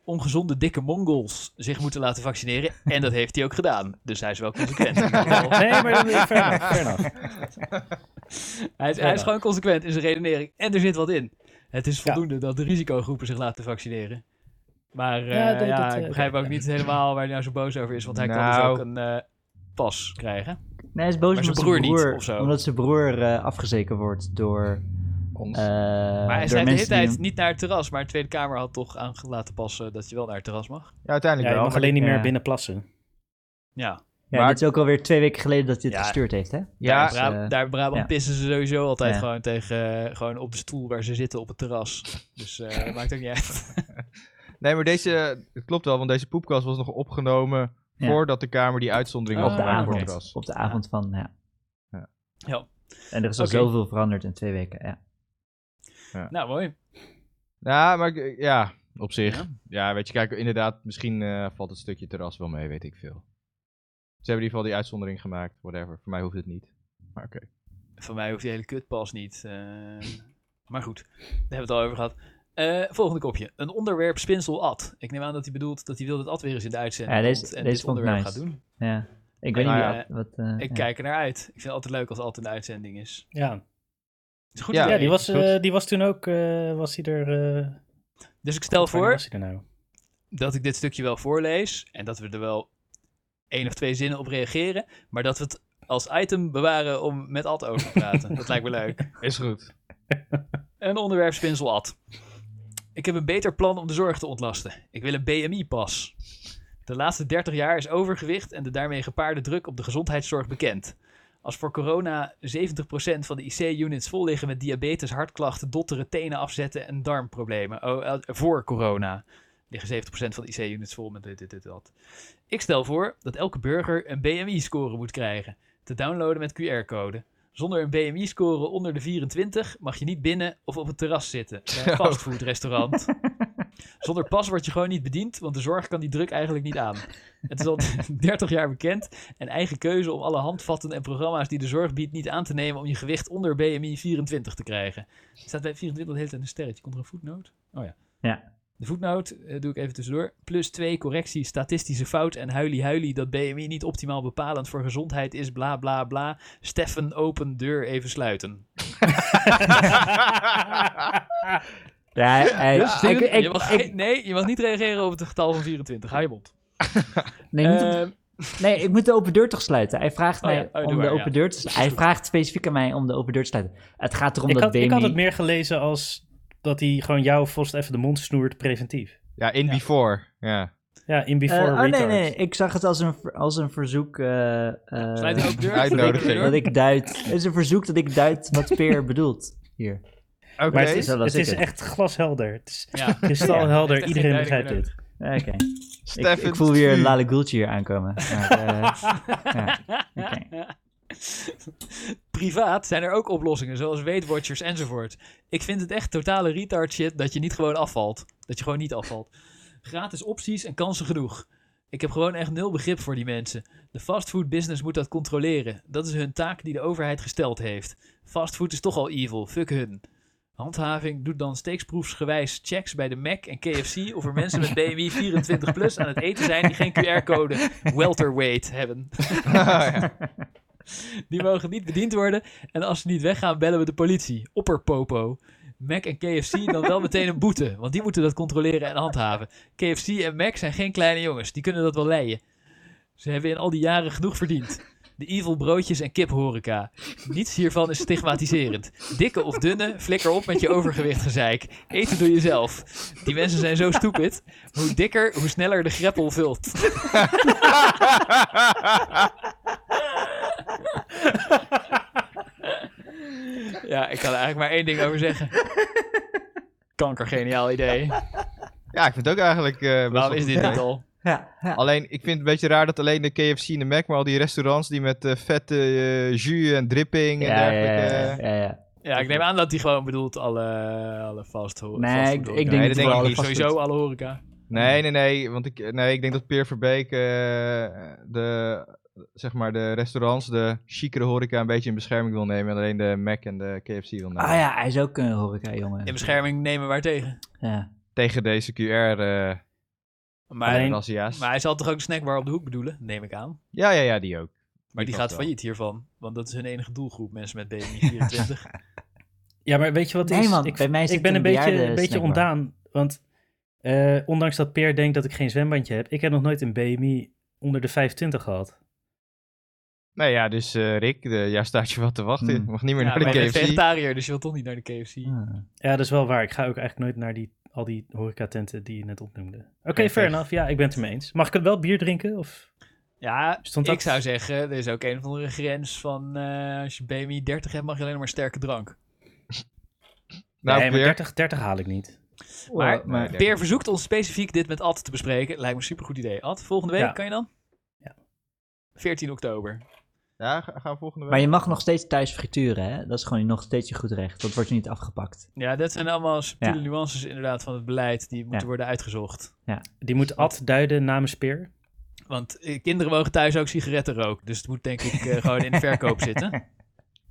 ongezonde dikke mongols zich moeten laten vaccineren. En dat heeft hij ook gedaan. Dus hij is wel consequent. In ieder geval. die... Nee, maar dan- fair enough, fair enough. hij, is, hij is gewoon consequent in zijn redenering. En er zit wat in. Het is voldoende dat de risicogroepen zich laten vaccineren. Maar eh, Ja, ja, dat- dat, eh, ik begrijp ook niet helemaal waar hij nou zo boos over is. Want hij kan Nou. dus ook een eh, pas krijgen. Nee, hij is boos Maar omdat zijn zijn broer broer, niet, of zo. omdat zijn broer eh, afgezeken wordt door, Ons. eh Maar hij door zei de hele mensen die tijd hem- niet naar het terras. Maar de Tweede Kamer had toch aan laten passen dat je wel naar het terras mag. ja, Ja, uiteindelijk je wel. mag maar- alleen niet meer ja. binnen plassen. Ja, Ja, Maar- dit is ook alweer twee weken geleden dat hij het Ja. gestuurd heeft, hè? daar, Ja, in Bra- eh, daar in Brabant ja. pissen ze sowieso altijd Ja. gewoon tegen, eh, gewoon op de stoel waar ze zitten op het terras. Dus eh, dat maakt ook niet uit. nee, maar deze, het klopt wel, want deze poepkast was nog opgenomen Ja. voordat de Kamer die uitzondering Oh, Op de opgemaakt oké. voor avond. was. Op de avond van, ja. Ja. En er is al Oké. zoveel veranderd in twee weken, ja. Nou, mooi. Ja, maar ik- ja, op zich. Ja. Ja, weet je, kijk, inderdaad, misschien eh, valt het stukje terras wel mee, weet ik veel. Ze hebben in ieder geval die uitzondering gemaakt, whatever. Voor mij hoeft het niet. Maar oké. Van mij hoeft die hele kutpas niet. eh. maar goed, daar hebben we het al over gehad. Eh, volgende kopje. Een onderwerp spinsel ad. Ik neem aan dat hij bedoelt dat hij wil dat ad weer eens in de uitzending Ja, deze- komt en deze dit vond ik onderwerp nice. gaat doen. ja. Ik Ja, weet niet ja. wat... wat eh, Ik ja. kijk er naar uit. Ik vind het altijd leuk als ad in de uitzending is. Ja, Het is een goed Ja, idee. ja die, was, goed. eh, die was toen ook, eh, was hij er... eh, Dus ik stel wanneer voor was hij er nou? dat ik dit stukje wel voorlees en dat we er wel één of twee zinnen op reageren, maar dat we het als item bewaren om met Ad over te praten. dat lijkt me leuk. Is goed. Een onderwerpspinsel Ad. Ik heb een beter plan om de zorg te ontlasten. Ik wil een BMI-pas. De laatste 30 jaar is overgewicht en de daarmee gepaarde druk op de gezondheidszorg bekend. Als voor corona 70% van de IC-units vol liggen met diabetes, hartklachten, dotteren, tenen afzetten en darmproblemen. Oh, eh, voor corona liggen 70% van de IC-units vol met dit, dit, dit, dat. Ik stel voor dat elke burger een BMI-score moet krijgen. Te downloaden met QR-code. Zonder een BMI-score onder de 24 mag je niet binnen of op het terras zitten. Bij een fastfoodrestaurant. Zonder pas word je gewoon niet bediend, want de zorg kan die druk eigenlijk niet aan. Het is al 30 jaar bekend en eigen keuze om alle handvatten en programma's die de zorg biedt niet aan te nemen om je gewicht onder BMI 24 te krijgen. Er staat bij 24 de hele tijd een sterretje. Komt er een voetnoot? Oh ja. Ja. De voetnoot eh, doe ik even tussendoor. Plus 2 correctie, statistische fout en huilie-huilie dat BMI niet optimaal bepalend voor gezondheid is, bla bla bla. Steffen, open deur even sluiten. Ja, hij- hij- Dus Steven, ik- ik- je mag ik- geen- nee, je mag niet reageren op het getal van 24. Hou je mond. nee, niet op- Eh, nee, ik moet de open deur toch sluiten. Hij vraagt Oh ja, mij oh, doe om de maar, ja. open deur te sluiten. Hij vraagt specifiek aan mij om de open deur te sluiten. Het gaat erom Ik dat had, ik had BMI het meer gelezen als dat hij gewoon jou vast even de mond snoert preventief. ja, in before. Ja. Ja, in Eh, before oh retard. nee, nee, ik zag het als een, ver- als een verzoek. eh, eh, sluit de open deur. Uitnodiging. Open dat deur. ik duid. Het is een verzoek dat ik duid wat Peer bedoelt hier. Oké. Maar het Oké. is, Zo las het ik is het. echt glashelder. Het is Ja. kristalhelder. Ja, echt Iedereen geen begrijpt dit. duiding Oké. Ik- Ik, Stefan voel weer een Stuur. Lale Gultje hier aankomen. Maar, eh, ja. Oké. Privaat zijn er ook oplossingen, zoals Weight Watchers enzovoort. Ik vind het echt totale retard shit dat je niet gewoon afvalt. Dat je gewoon niet afvalt. Gratis opties en kansen genoeg. Ik heb gewoon echt nul begrip voor die mensen. De fastfood business moet dat controleren. Dat is hun taak die de overheid gesteld heeft. Fastfood is toch al evil, fuck hun. Handhaving doet dan steeksproefsgewijs checks bij de Mac en KFC of er mensen met BMI 24 plus aan het eten zijn die geen QR-code welterweight hebben. Ja. Die mogen niet bediend worden. En als ze niet weggaan, bellen we de politie. Opperpopo. Mac en KFC dan wel meteen een boete. Want die moeten dat controleren en handhaven. KFC en Mac zijn geen kleine jongens. Die kunnen dat wel leien. Ze hebben in al die jaren genoeg verdiend. De evil broodjes en kiphoreca. Niets hiervan is stigmatiserend. Dikke of dunne, flikker op met je overgewicht gezeik. Eten doe je zelf. Die mensen zijn zo stupid. Hoe dikker, hoe sneller de greppel vult. Ja, ik kan er eigenlijk maar één ding over zeggen. Kankergeniaal idee. ja, ik vind het ook eigenlijk... eh, best Waarom wel is goed dit idee. niet al? Ja, ja. Alleen, ik vind het een beetje raar dat alleen de KFC en de Mac, maar al die restaurants die met eh, vette eh, jus en dripping en Ja, ja, dergelijke... ja, ja, ja. Ja, ik neem aan dat hij gewoon bedoelt alle, alle fast ho- Nee, fastfood ik- ik horeca. denk dat het wel alle sowieso fastfood. alle horeca. Nee, nee, nee, want ik, nee, ik denk dat Peer Verbeek eh, de, zeg maar de restaurants, de chicere horeca een beetje in bescherming wil nemen en alleen de Mac en de KFC wil nemen. Ah ja, hij is ook een horeca jongen. In Nou. bescherming nemen waar tegen. Ja. Tegen deze QR eh Maar, Alleen- razzia's. maar hij zal toch ook een snackbar op de hoek bedoelen, neem ik aan. Ja, ja, ja, die ook. Maar die, vast gaat wel. failliet hiervan, want dat is hun enige doelgroep, mensen met BMI 24. Ja, maar weet je wat het Nee, is? man, ik, bij mij is ik het ben een beetje, een bejaarden beetje snackbar. ontdaan. Want eh, ondanks dat Peer denkt dat ik geen zwembandje heb, ik heb nog nooit een BMI onder de 25 gehad. Nou ja, dus eh, Rick, de, ja, staat je wat te wachten. Je Hmm. mag niet meer ja, maar naar je de bent KFC. vegetariër, dus je wil toch niet naar de KFC. Ah. Ja, dat is wel waar. Ik ga ook eigenlijk nooit naar die, al die horecatenten die je net opnoemde. Oké, Nee, fair echt. enough. Ja, ik ben het ermee eens. Mag ik het wel bier drinken? Of Ja, stond dat... ik zou zeggen, er is ook een of andere grens van eh, als je BMI 30 hebt, mag je alleen maar sterke drank. Nou, nee, maar Peer. 30, 30 haal ik niet. Maar- Oh, maar- Nee, Peer verzoekt ons specifiek dit met Ad te bespreken. Lijkt me een supergoed idee. Ad, volgende week Ja. kan je dan? Ja. 14 oktober. Ja, ga- gaan we volgende Maar week. je mag nog steeds thuis frituren, hè? Dat is gewoon nog steeds je goed recht. Dat wordt je niet afgepakt. Ja, dat zijn allemaal subtiele Ja. nuances inderdaad van het beleid die moeten Ja. worden uitgezocht. Die moet Ad duiden namens Peer. Want eh, kinderen mogen thuis ook sigaretten roken. Dus het moet denk ik eh, gewoon in de verkoop zitten.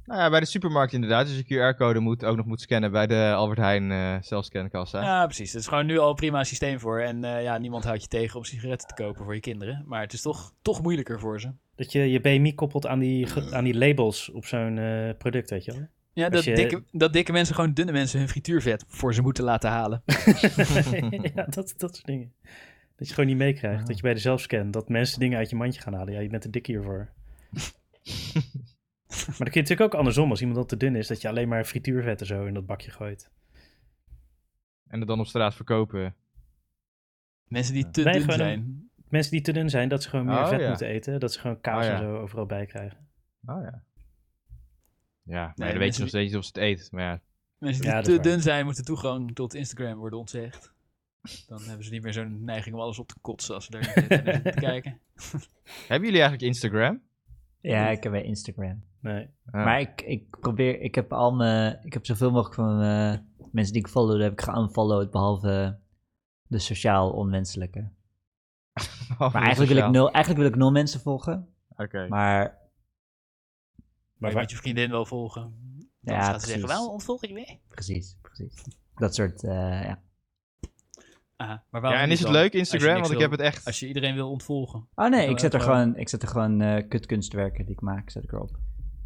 Nou ja, bij de supermarkt inderdaad. Dus je QR-code moet ook nog moet scannen bij de Albert Heijn eh zelfscankassa. Ja, precies. Dat is gewoon nu al een prima systeem voor. En eh, ja, niemand houdt je tegen om sigaretten te kopen voor je kinderen. Maar het is toch, toch moeilijker voor ze. Dat je je BMI koppelt aan die, Eh. ge- aan die labels op zo'n eh, product, weet je wel. Ja, Als dat, je- dikke, dat dikke mensen gewoon dunne mensen hun frituurvet voor ze moeten laten halen. ja, dat, dat soort dingen. Dat je gewoon niet meekrijgt. Ah. Dat je bij de zelfscan, dat mensen dingen uit je mandje gaan halen. Ja, je bent te dik hiervoor. maar dan kun je natuurlijk ook andersom. Als iemand dat te dun is, dat je alleen maar frituurvet en zo in dat bakje gooit. En het dan op straat verkopen. Mensen die te Nee, dun gewoon een- zijn. Mensen die te dun zijn, dat ze gewoon meer Oh, vet ja. moeten eten. Dat ze gewoon kaas Oh, ja. en zo overal bij krijgen. Oh ja. Ja, maar dan Nee, weet mensen je nog steeds niet of ze het eet. Maar ja, Mensen die Ja, dat is te waar. dun zijn, moeten toegang tot Instagram worden ontzegd. Dan hebben ze niet meer zo'n neiging om alles op te kotsen als ze daar niet naar zitten te kijken. hebben jullie eigenlijk Instagram? Ja, ik heb bij Instagram. Nee. Ah. Maar ik, ik probeer, ik heb al mijn, ik heb zoveel mogelijk van mijn eh, mensen die ik follow, heb ik geunfollowed, behalve de sociaal onwenselijke. Maar eigenlijk wil, ik nul, eigenlijk wil ik nul mensen volgen, Oké. maar Maar Maar je waar- moet je vriendin wel volgen. Dan Ja, gaat ze zeggen, precies. wel ontvolg ik weer. precies, precies. Dat soort, eh, ja. Aha, maar waarom Ja, en niet is het dan? leuk Als je Instagram? niks Want ik wil- heb het echt... Als je iedereen wil ontvolgen. Oh Ja, nee, ik zet er gewoon- gewoon, ik zet er gewoon eh, kutkunstwerken die ik maak, zet ik erop.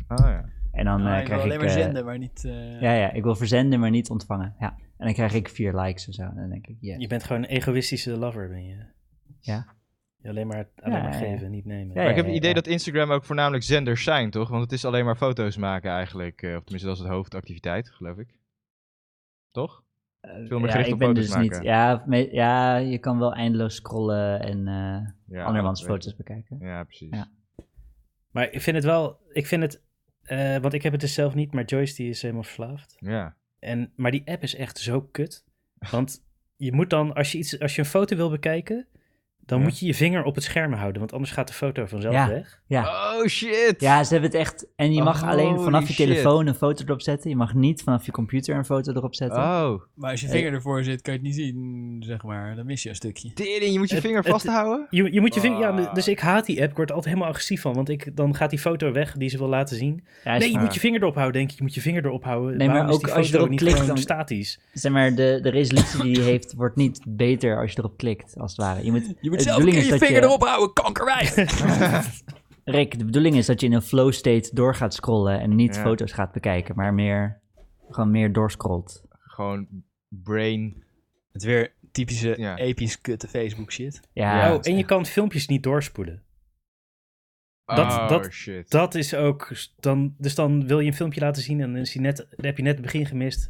Oh ja. En dan Ah, eh, je wil krijg ik... alleen maar eh, zenden, maar niet... eh, Ja, ja, ik wil verzenden, maar niet ontvangen, ja. En dan krijg ik vier likes en zo, en dan denk ik, yeah. Je bent gewoon een egoïstische lover, ben je. Ja. Je alleen maar, alleen Ja, maar ja, ja. geven, niet nemen. Ja, Maar ja. ik heb het idee dat Instagram ook voornamelijk zenders zijn, toch? Want het is alleen maar foto's maken eigenlijk. eh, Of tenminste, dat is het hoofdactiviteit, geloof ik. Toch? Veel meer Eh, ja, gericht ik op ben foto's dus maken. niet. Ja, me- ja, je kan wel eindeloos scrollen en eh Ja, andermans weet ik. foto's bekijken. Ja, precies. Ja. Maar ik vind het wel, ik vind het, eh, want ik heb het dus zelf niet, maar Joyce die is helemaal verslaafd. Ja. En, maar die app is echt zo kut. Want je moet dan, als je, iets, als je een foto wil bekijken, dan Ja. moet je je vinger op het scherm houden, want anders gaat de foto vanzelf Ja. weg. Ja. Oh shit! Ja, ze hebben het echt. En je mag Oh, alleen holy vanaf je shit. telefoon een foto erop zetten. Je mag niet vanaf je computer een foto erop zetten. Oh, Maar Eh, als je vinger ervoor zit, kan je het niet zien, zeg maar. Dan mis je een stukje. tering, je moet je Het- vinger het- vasthouden? Je, je moet je vinger, ja, Ah. dus ik haat die app, ik word er altijd helemaal agressief van, want ik, dan gaat die foto weg die ze wil laten zien. Ja, is Nee, je waar. moet je vinger erop houden, denk ik. Je moet je vinger erop houden. Nee, maar Waarom is ook die als je foto erop niet klikt, gewoon dan- statisch. Zeg maar, de, de resolutie die je heeft wordt niet beter als je erop klikt, als het ware. Je moet, Je moet de zelf een bedoeling keer is je dat vinger erop houden, kankerwijs. Rick, de bedoeling is dat je in een flow state door gaat scrollen en niet Ja. foto's gaat bekijken, maar meer, gewoon meer doorscrollt. Gewoon brain. Het is weer typische Ja. episch kutte Facebook shit. Ja, Ja. oh, en je kan filmpjes niet doorspoelen. Dat- oh dat- shit. Dat is ook, s- dan, dus dan wil je een filmpje laten zien en dan, is die net, dan heb je net het begin gemist.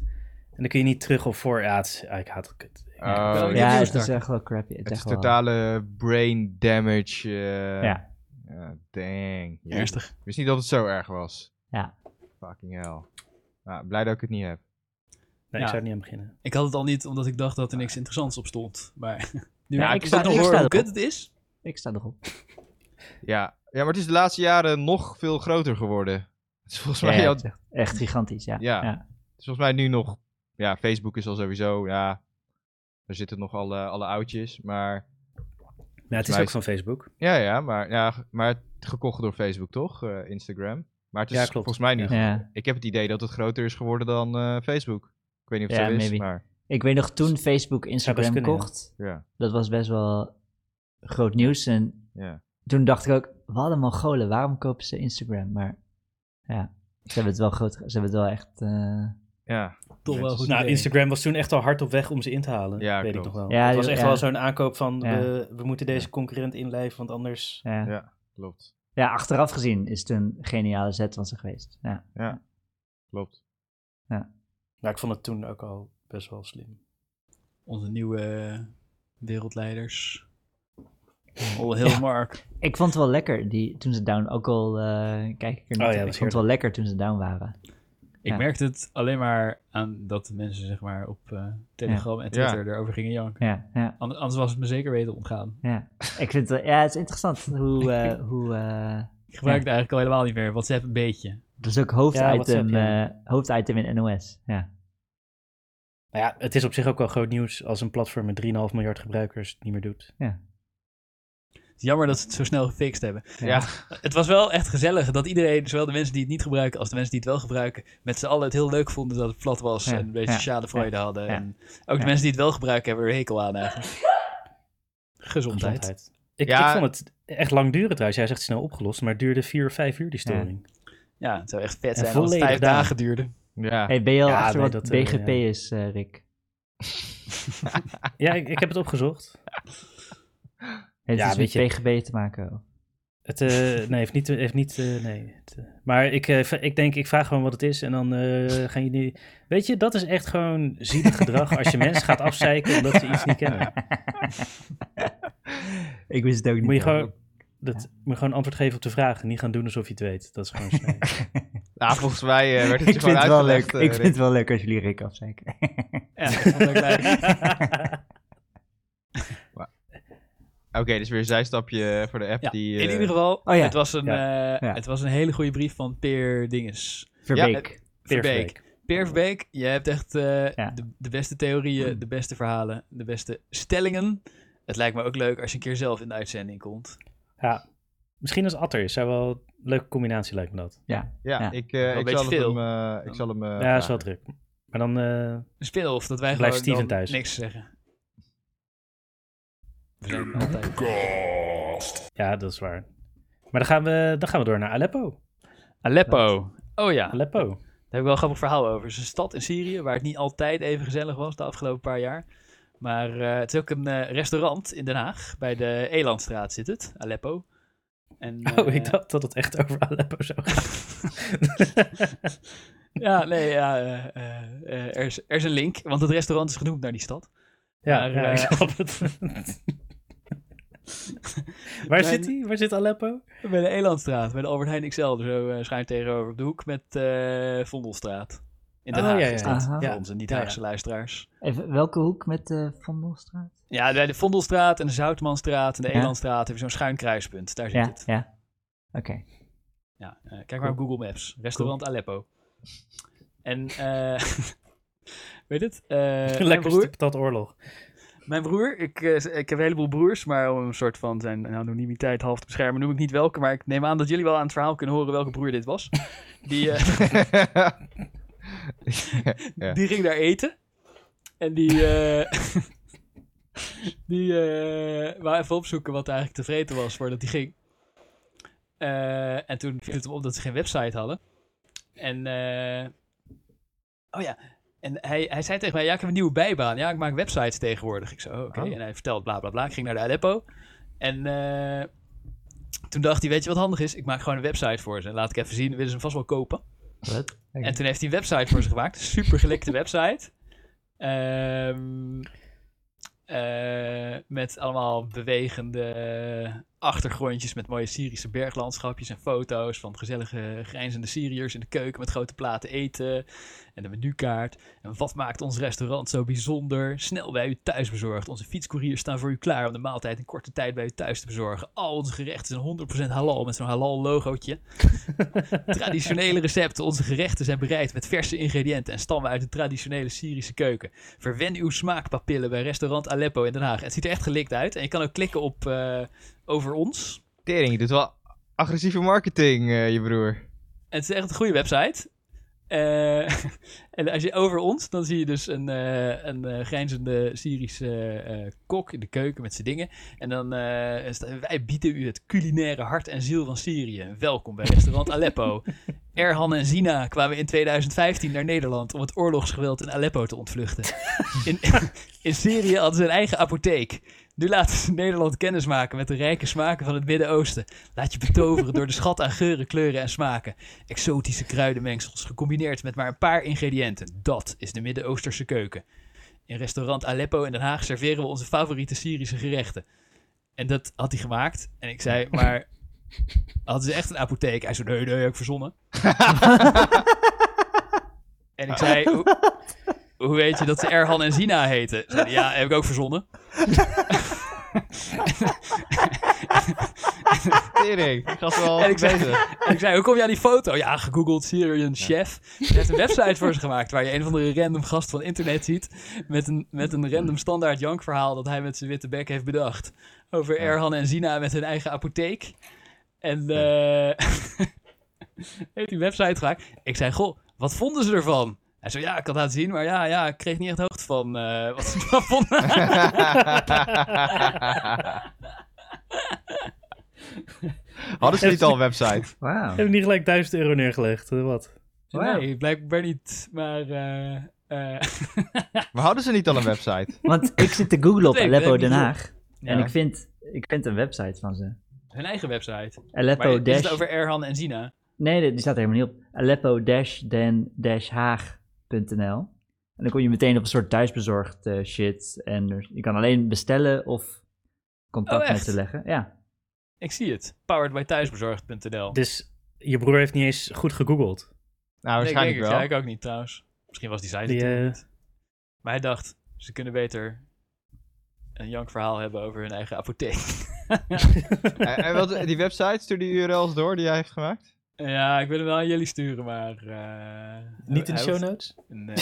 En dan kun je niet terug of voor. Ja, het is- ah, ik haat het kut. oh, Ja, ja nieuws het is daar. echt wel crappy. Het Het is is echt wel- totale brain damage. eh, Ja. eh, dang. Jeetje. Ernstig. Ik wist niet dat het zo erg was. Ja. Fucking hell. Nou, blij dat ik het niet heb. Nee, Ja. ik zou er niet aan beginnen. Ik had het al niet, omdat ik dacht dat er niks interessants op stond. Maar nu Ja, ik ik het sta- nog ik hoor sta hoe erop. kut het is. Ik sta erop. Ja. ja, maar het is de laatste jaren nog veel groter geworden. Het is volgens mij, Ja, al- het is echt, echt gigantisch, ja. Ja. het is volgens mij nu nog... Ja, Facebook is al sowieso, ja... Daar zitten nog alle, alle oudjes, maar... Maar het is mij ook is- van Facebook. Ja, ja, maar, ja, ge- maar gekocht door Facebook toch, eh, Instagram? Maar het is Ja, klopt. volgens mij nu... Ja. Ja. Ik heb het idee dat het groter is geworden dan eh, Facebook. Ik weet niet of het Ja, zo is, maybe. maar... Ik weet nog toen Facebook Instagram kunnen, ja. kocht, Ja, dat was best wel groot nieuws. En ja. toen dacht ik ook, wat een Mongolen, waarom kopen ze Instagram? Maar ja, ze hebben het wel groot, ze hebben het wel echt... eh, ja. Toch wel Mensen- goed. Nou, idee. Instagram was toen echt al hard op weg om ze in te halen. Ja, weet ik klopt. nog wel. Ja, het was die- echt ja. wel zo'n aankoop van Ja. we, we moeten deze concurrent inlijven, want anders. ja. Ja. Klopt, Ja, achteraf gezien is het een geniale zet van ze geweest. Ja. klopt. Maar Nou, ik vond het toen ook al best wel slim. Onze nieuwe eh, wereldleiders. Oh, heel Mark. Ik vond het wel lekker die, toen ze down, ook al eh, kijk ik er niet ja, op, dat is ik vond het wel heerlijk. lekker toen ze down waren. Ik Ja. merkte het alleen maar aan dat de mensen zeg maar, op eh, Telegram en Ja. Twitter erover gingen janken. Ja, ja, Ander- Anders was het me zeker weten ontgaan. ja. Ik vind het, wel- ja, het is interessant hoe, eh, hoe eh, Ik gebruikte eigenlijk al helemaal niet meer. WhatsApp een beetje. dat is ook hoofditem, WhatsApp, ja. eh, hoofditem in NOS. Ja. Nou ja, het is op zich ook wel groot nieuws als een platform met 3,5 miljard gebruikers het niet meer doet. Het is Jammer dat ze het zo snel gefixt hebben. Ja. Het was wel echt gezellig dat iedereen, zowel de mensen die het niet gebruiken als de mensen die het wel gebruiken, met z'n allen het heel leuk vonden dat het plat was Ja, en een beetje ja, sociale vreugde hadden. ja. En ook de Ja. mensen die het wel gebruiken hebben er hekel aan eigenlijk. Gezondheid. Gezondheid. Ik, Ja. ik vond het echt lang duren trouwens. Jij zegt snel opgelost, maar het duurde vier of vijf uur die storing. Ja, het zou echt En vet zijn als het volledig vijf daar. dagen duurde. Ja. Hey, ben je al Ja, achter nee, wat dat, eh, BGP ja. is, eh, Rick? Ja, ik, ik heb het opgezocht. Heeft Ja, het iets weet met PGB te maken? Het, eh, nee, heeft niet. Heeft niet eh, nee. Het, eh, maar ik, eh, v- ik denk, ik vraag gewoon wat het is. En dan eh, gaan jullie. Weet je, dat is echt gewoon zielig gedrag als je mensen gaat afzeiken omdat ze iets niet kennen. ik wist het ook niet. Moet je hoor. gewoon. Dat, Moet je gewoon antwoord geven op de vraag en niet gaan doen alsof je het weet. Dat is gewoon sneu. Nou, volgens mij eh, werd het ik je vind gewoon het wel leuk. uitgelegd. Ik eh, vind Rick. het wel leuk als jullie Rick afzeiken. Ja, ik vond het ook leuk. Oké, dus weer een zijstapje voor de app Ja, die... eh, in ieder geval, Oh ja. het, was een, eh, Ja. het was een hele goede brief van Peer Dinges. Verbeek. Peer Verbeek. Verbeek. Peer Verbeek, je hebt echt eh, Ja. Mm. de, de beste theorieën, de beste verhalen, de beste stellingen. Het lijkt me ook leuk als je een keer zelf in de uitzending komt. Ja. Misschien als Atter is. Zou wel een leuke combinatie lijkt me dat. Ja, Ja. ik, eh, een ik, beetje zal het veel. hem, eh, ik zal hem... eh, ja, is wel vragen. druk. Maar dan. eh, speel of dat wij Blijft gewoon Steven dan thuis. niks zeggen. We zijn altijd... ja, dat is waar. Maar dan gaan, we, dan gaan we door naar Aleppo. Aleppo. Oh ja, daar Aleppo. heb ik wel een grappig verhaal over. Het is een stad in Syrië waar het niet altijd even gezellig was de afgelopen paar jaar. Maar eh, het is ook een eh, restaurant in Den Haag. Bij de Elandstraat zit het, Aleppo. En, Oh, eh, ik dacht dat het echt over Aleppo zou gaan. Ja, nee, ja, eh, eh, eh, er, is, er is een link, want het restaurant is genoemd naar die stad. Ja, Maar, ja, eh, ik snap het. Waar Zijn- zit hij? Waar zit Aleppo? Bij de dus Elandstraat, bij de Albert Heijn XL, zo eh, schuin tegenover op de hoek met eh Vondelstraat. In Den Oh, Haag ja, is ja, dat, ja. voor Ja. onze Ja, niet-Haagse luisteraars. Even, welke hoek met eh, de Vondelstraat? Ja, bij de Vondelstraat en de Zoutmanstraat en de Ja. Elandstraat hebben we zo'n schuin kruispunt. Daar zit Ja, het. ja. Oké. Ja, eh, kijk maar op Google Maps. Restaurant Aleppo. En, eh, weet het? Eh, mijn, Lekker broer, stuk dat oorlog. mijn broer, ik, eh, ik heb een heleboel broers, maar om een soort van zijn anonimiteit half te beschermen, noem ik niet welke, maar ik neem aan dat jullie wel aan het verhaal kunnen horen welke broer dit was. Die, eh, Ja. Die ging daar eten. En die. eh, die. eh wou even opzoeken wat er eigenlijk te vreten was voordat die ging. Eh, en toen viel het hem op dat ze geen website hadden. En. eh, oh ja. En hij, hij zei tegen mij: Ja, ik heb een nieuwe bijbaan. Ja, ik maak websites tegenwoordig. Ik zo, oh, oké. Oh. En hij vertelt bla bla bla. Ik ging naar de Aleppo. En. eh, toen dacht hij: Weet je wat handig is? Ik maak gewoon een website voor ze. En laat ik even zien. Willen ze hem vast wel kopen? Wat? En toen heeft hij een website voor ze gemaakt. Super gelekte website. Ehm, eh, met allemaal bewegende achtergrondjes met mooie Syrische berglandschapjes en foto's van gezellige grijnzende Syriërs in de keuken met grote platen eten en de menukaart. En wat maakt ons restaurant zo bijzonder? Snel bij u thuis bezorgd. Onze fietscouriers staan voor u klaar om de maaltijd in korte tijd bij u thuis te bezorgen. Al onze gerechten zijn 100% halal met zo'n halal logootje. Traditionele recepten. Onze gerechten zijn bereid met verse ingrediënten en stammen uit de traditionele Syrische keuken. Verwen uw smaakpapillen bij restaurant Aleppo in Den Haag. Het ziet er echt gelikt uit. En je kan ook klikken op eh, over ons. Tering, je doet wel agressieve marketing, eh, je broer. En het is echt een goede website. Eh, en als je over ons, dan zie je dus een, eh, een eh, grijnzende Syrische eh, kok in de keuken met zijn dingen. En dan eh, is het, wij bieden u het culinaire hart en ziel van Syrië. Welkom bij restaurant Aleppo. Erhan en Zina kwamen in 2015 naar Nederland om het oorlogsgeweld in Aleppo te ontvluchten. In, in Syrië hadden ze een eigen apotheek. Nu laten ze Nederland kennis maken met de rijke smaken van het Midden-Oosten. Laat je betoveren door de schat aan geuren, kleuren en smaken. Exotische kruidenmengsels, gecombineerd met maar een paar ingrediënten. Dat is de Midden-Oosterse keuken. In restaurant Aleppo in Den Haag serveren we onze favoriete Syrische gerechten. En dat had hij gemaakt. En ik zei, maar hadden ze echt een apotheek? Hij zei, nee, nee, heb ik verzonnen. en ik zei, hoe, hoe weet je dat ze Erhan en Zina heten? Zei hij, ja, heb ik ook verzonnen. Tering, ik was wel En ik zei- bezig. En ik zei, hoe kom je aan die foto? Ja, gegoogeld Syrian chef. Er heeft een website voor ze gemaakt waar je een van de random gast van internet ziet. Met een, met een random standaard jankverhaal dat hij met zijn witte bek heeft bedacht. Over Erhan en Zina met hun eigen apotheek. En eh heeft die website gemaakt. Ik zei, goh, wat vonden ze ervan? Hij zei, ja, ik had laten zien, maar ja, ja ik kreeg niet echt hoogte van eh, wat ze ervan vonden. Hadden ze niet al een website? Wauw. Hebben we niet gelijk 1000 euro neergelegd? eh, Wat? Wauw. Nee, blijkbaar niet, maar... eh, eh, Maar hadden ze niet al een website? Nou, Want ik zit te googlen op Nee, ik Aleppo ben Den niet Haag. Ja. En ik vind, ik vind een website van ze. hun eigen website. Maar Aleppo is het dash... over Erhan en Zina? Nee, die die staat er helemaal niet op. Aleppo dash den dash haag.nl. En dan kom je meteen op een soort thuisbezorgd eh, shit. En er- je kan alleen bestellen of Oh, contact echt? met ze leggen. Ja. Ik zie het. Powered by thuisbezorgd.nl. Dus je broer heeft niet eens goed gegoogeld. Nou, Nee, ik denk waarschijnlijk het. wel. Ja, ik ook niet trouwens. Misschien was die site het Die, toen eh, niet. Maar hij dacht, ze kunnen beter een jank verhaal hebben over hun eigen apotheek. Eh, En, en wat, die website, stuur die URL's door die jij heeft gemaakt? ja, ik wil hem wel aan jullie sturen, maar... eh, Niet in de hij show hoeft- notes? Nee.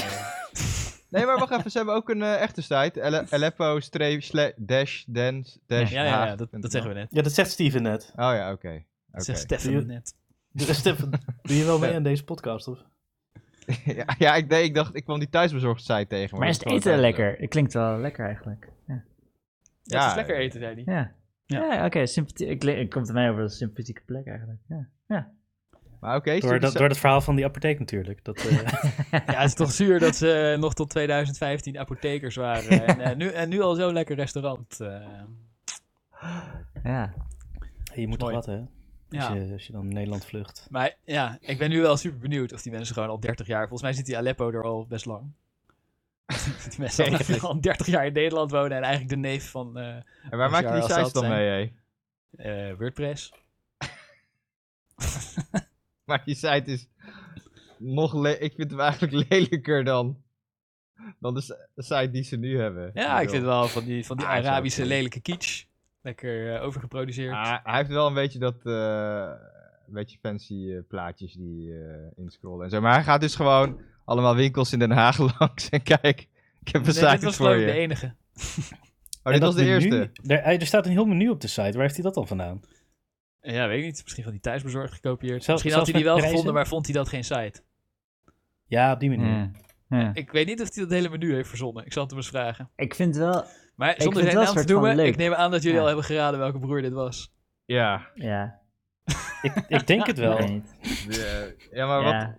Nee, maar wacht even, ze hebben ook een eh, echte site. Ale- Aleppo streep sla- dash dance dash ja, ja, ja dat, dat zeggen we net. Ja, dat zegt Steven net. Oh ja, oké. Dat Oké. zegt Stefan Doe je- net. Steven, doe je wel mee aan deze podcast? Of? ja, ja, ik, nee, ik dacht, ik kwam die thuisbezorgd site tegen. Maar dat is het gewoon eten thuis- lekker? Het klinkt wel lekker eigenlijk. Ja. Ja, het is Ja, lekker eten, zei hij. Ja, Ja. ja. oké. sympathie- ik le- Het komt er mij over als een sympathieke plek eigenlijk. Ja. Maar oké, Door, stuur die dat, si- door dat verhaal van die apotheek natuurlijk. Dat, eh, Ja, het is toch zuur dat ze eh, nog tot 2015 apothekers waren. En, eh, nu, en nu al zo'n lekker restaurant. eh. Ja. je moet toch Mooi. wat, hè? ja. Als, je, als je dan Nederland vlucht. Maar ja, ik ben nu wel super benieuwd of die mensen gewoon al 30 jaar. Volgens mij zit die Aleppo er al best lang. die mensen al- Zeker. al 30 jaar in Nederland wonen en eigenlijk de neef van eh, En waar maak je Ja, die als dat sites dan zijn. mee, hé? eh, WordPress. Maar die site is nog le- ik vind hem eigenlijk lelijker dan, dan de s- site die ze nu hebben. Ja, ik vind wel van die, van die Ah, is wel Arabische oké. lelijke kitsch. Lekker eh, overgeproduceerd. Ah, hij heeft wel een beetje dat. eh, een beetje fancy eh, plaatjes die eh, inscrollen en zo. Maar hij gaat dus gewoon allemaal winkels in Den Haag langs. En kijk, ik heb een Nee, site dit was voor geloof ik je. de enige. Oh, dit En was dat de menu, eerste. Er, er staat een heel menu op de site. Waar heeft hij dat dan vandaan? Ja, weet ik niet. Misschien van die thuisbezorgd gekopieerd. Zelfs- Misschien had zelfs hij met die wel prijzen? gevonden, maar vond hij dat geen site. Ja, op die manier. Ja. Ja. Ik weet niet of hij dat hele menu heeft verzonnen. Ik zal het hem eens vragen. Ik vind wel, Maar vind zonder het wel zijn naam te soort van noemen, leuk. ik neem aan dat jullie Ja. al hebben geraden welke broer dit was. Ja. ja, Ik, ik denk het wel. ik weet niet. de- ja, maar wat, Ja.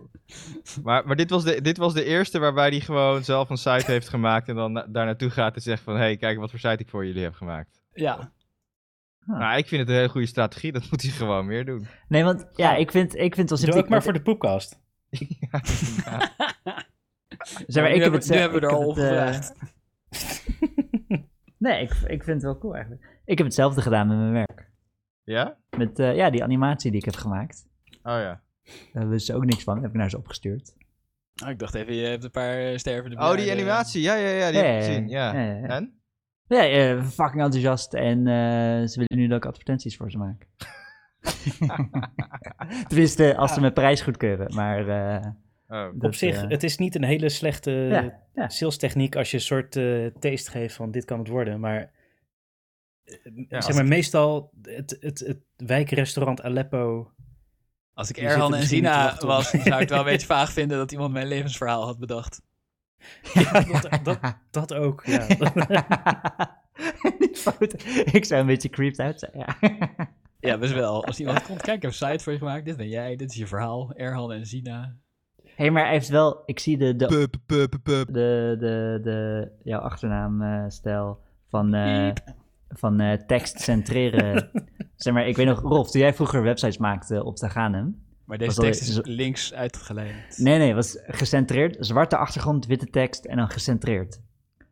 Maar, maar dit, was de, dit was de eerste waarbij hij gewoon zelf een site heeft gemaakt en dan na- daar naartoe gaat en zegt van, hé, hey, kijk wat voor site ik voor jullie heb gemaakt. Ja, Nou, ik vind het een hele goede strategie, dat moet hij gewoon meer doen. Nee, want ja, ik vind, ik vind het Doe wel sympathiek. ook maar want- voor de poepkast. zeg maar, nu, ik heb hebben, het, nu eh, hebben we ik er al heb om het, eh, gevraagd. Nee, ik, ik vind het wel cool eigenlijk. Ik heb hetzelfde gedaan met mijn werk. Ja? Met eh, ja, die animatie die ik heb gemaakt. Oh ja. Daar wisten ze ook niks van. Dat heb ik naar ze opgestuurd. Oh, ik dacht even, je hebt een paar eh, stervende Oh, die bejaarden. animatie, ja, ja, ja, die Ja, heb ik ja, gezien, ja. ja, ja, ja. En? Ja, eh, fucking enthousiast. En eh, ze willen nu dat ik advertenties voor ze maak. Tenminste, als ze mijn prijs goedkeuren. Maar eh, Oh. dat, Op zich, eh, het eh, is niet een hele slechte ja, ja. sales techniek als je een soort eh, taste geeft van dit kan het worden. Maar, eh, als zeg maar meestal het, het, het wijkrestaurant Aleppo. Als ik Die zitten Erhan en misschien niet te Zina wachten op- was, zou ik het wel een beetje vaag vinden dat iemand mijn levensverhaal had bedacht. Ja, dat, dat, dat ook. Ja. Die foto. Ik zou een beetje creeped uit zijn. Ja. Ja, best wel. Als iemand komt, kijk, ik heb een site voor je gemaakt. Dit ben jij, dit is je verhaal. Erhan en Zina. hey, maar hij heeft wel. Ik zie de, de, Pup, pup, pup. de, de, de jouw achternaamstijl van, eh, van eh, tekst centreren. zeg maar, ik weet nog, Rolf, toen jij vroeger websites maakte op Taganum. Maar deze Was dat- tekst is is- links uitgeleid. Nee, nee, was gecentreerd. Zwarte achtergrond, witte tekst en dan gecentreerd.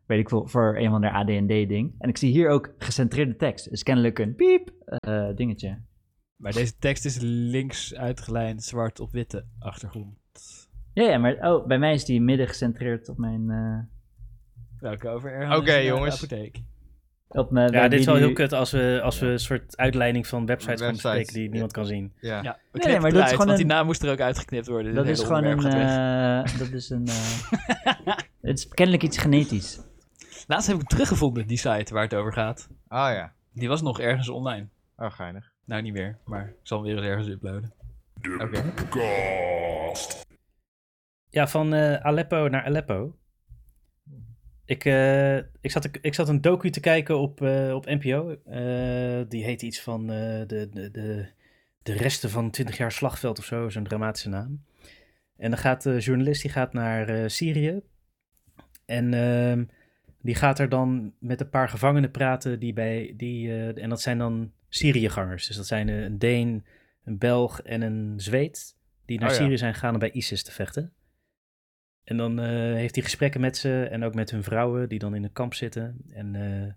Weet ik veel, voor een van de AD&D-ding. En ik zie hier ook gecentreerde tekst. Is kennelijk een piep eh, dingetje. Maar deze tekst is links uitgelijnd, zwart op witte achtergrond. Ja, ja, maar oh, bij mij is die midden gecentreerd op mijn... eh, Welke over Erhan? Oké, en Zina, de jongens. Apotheek. op mijn ja, bij dit is die wel heel nu- kut als we, als we een soort uitleiding van websites gaan Websites. bespreken die niemand kan zien. Ja. Ja, we nee, knippen maar het dat is eruit, gewoon want die een- naam moest er ook uitgeknipt worden. Dat is gewoon een... eh, dat is een... eh, het is kennelijk iets genetisch. Laatst heb ik hem teruggevonden, die site waar het over gaat. Oh ja. Die was nog ergens online. Oh, geinig. Nou, niet meer, maar ik zal hem weer eens ergens uploaden. Oké. Ja, van eh, Aleppo naar Aleppo. Ik, eh, ik, zat, ik zat een docu te kijken op, eh, op NPO. Eh, die heet iets van eh, de, de, de, de resten van 20 jaar slagveld of zo, zo'n dramatische naam. En dan gaat de journalist die gaat naar eh, Syrië. En ehm, die gaat er dan met een paar gevangenen praten. Die bij, die, eh, en dat zijn dan Syriëgangers. Dus dat zijn eh, een Deen, een Belg en een Zweed. Die naar Oh ja. Syrië zijn gegaan om bij ISIS te vechten. En dan eh, heeft hij gesprekken met ze en ook met hun vrouwen die dan in een kamp zitten. En eh,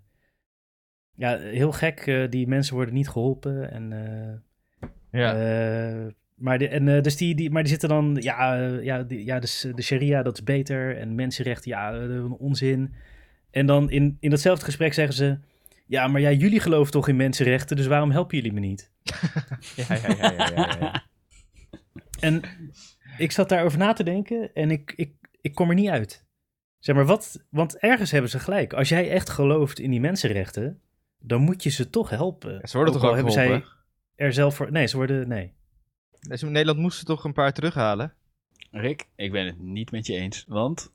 ja, heel gek. eh, die mensen worden niet geholpen. En eh, Ja. eh, maar, de, en, eh, dus die, die, maar die zitten dan, ja, eh, ja, die, ja dus, eh, de sharia dat is beter en mensenrechten, ja, eh, een onzin. En dan in, in datzelfde gesprek zeggen ze, ja, maar ja, jullie geloven toch in mensenrechten, dus waarom helpen jullie me niet? Ja, ja, ja, ja, ja, ja. En ik zat daarover na te denken en ik, ik, ik kom er niet uit. Zeg maar, wat, want ergens hebben ze gelijk. Als jij echt gelooft in die mensenrechten, dan moet je ze toch helpen. Ze worden Ook toch al ook hebben zij geholpen? er zelf voor... Nee, ze worden... Nee. Dus in Nederland moest ze toch een paar terughalen? Rick, ik ben het niet met je eens, want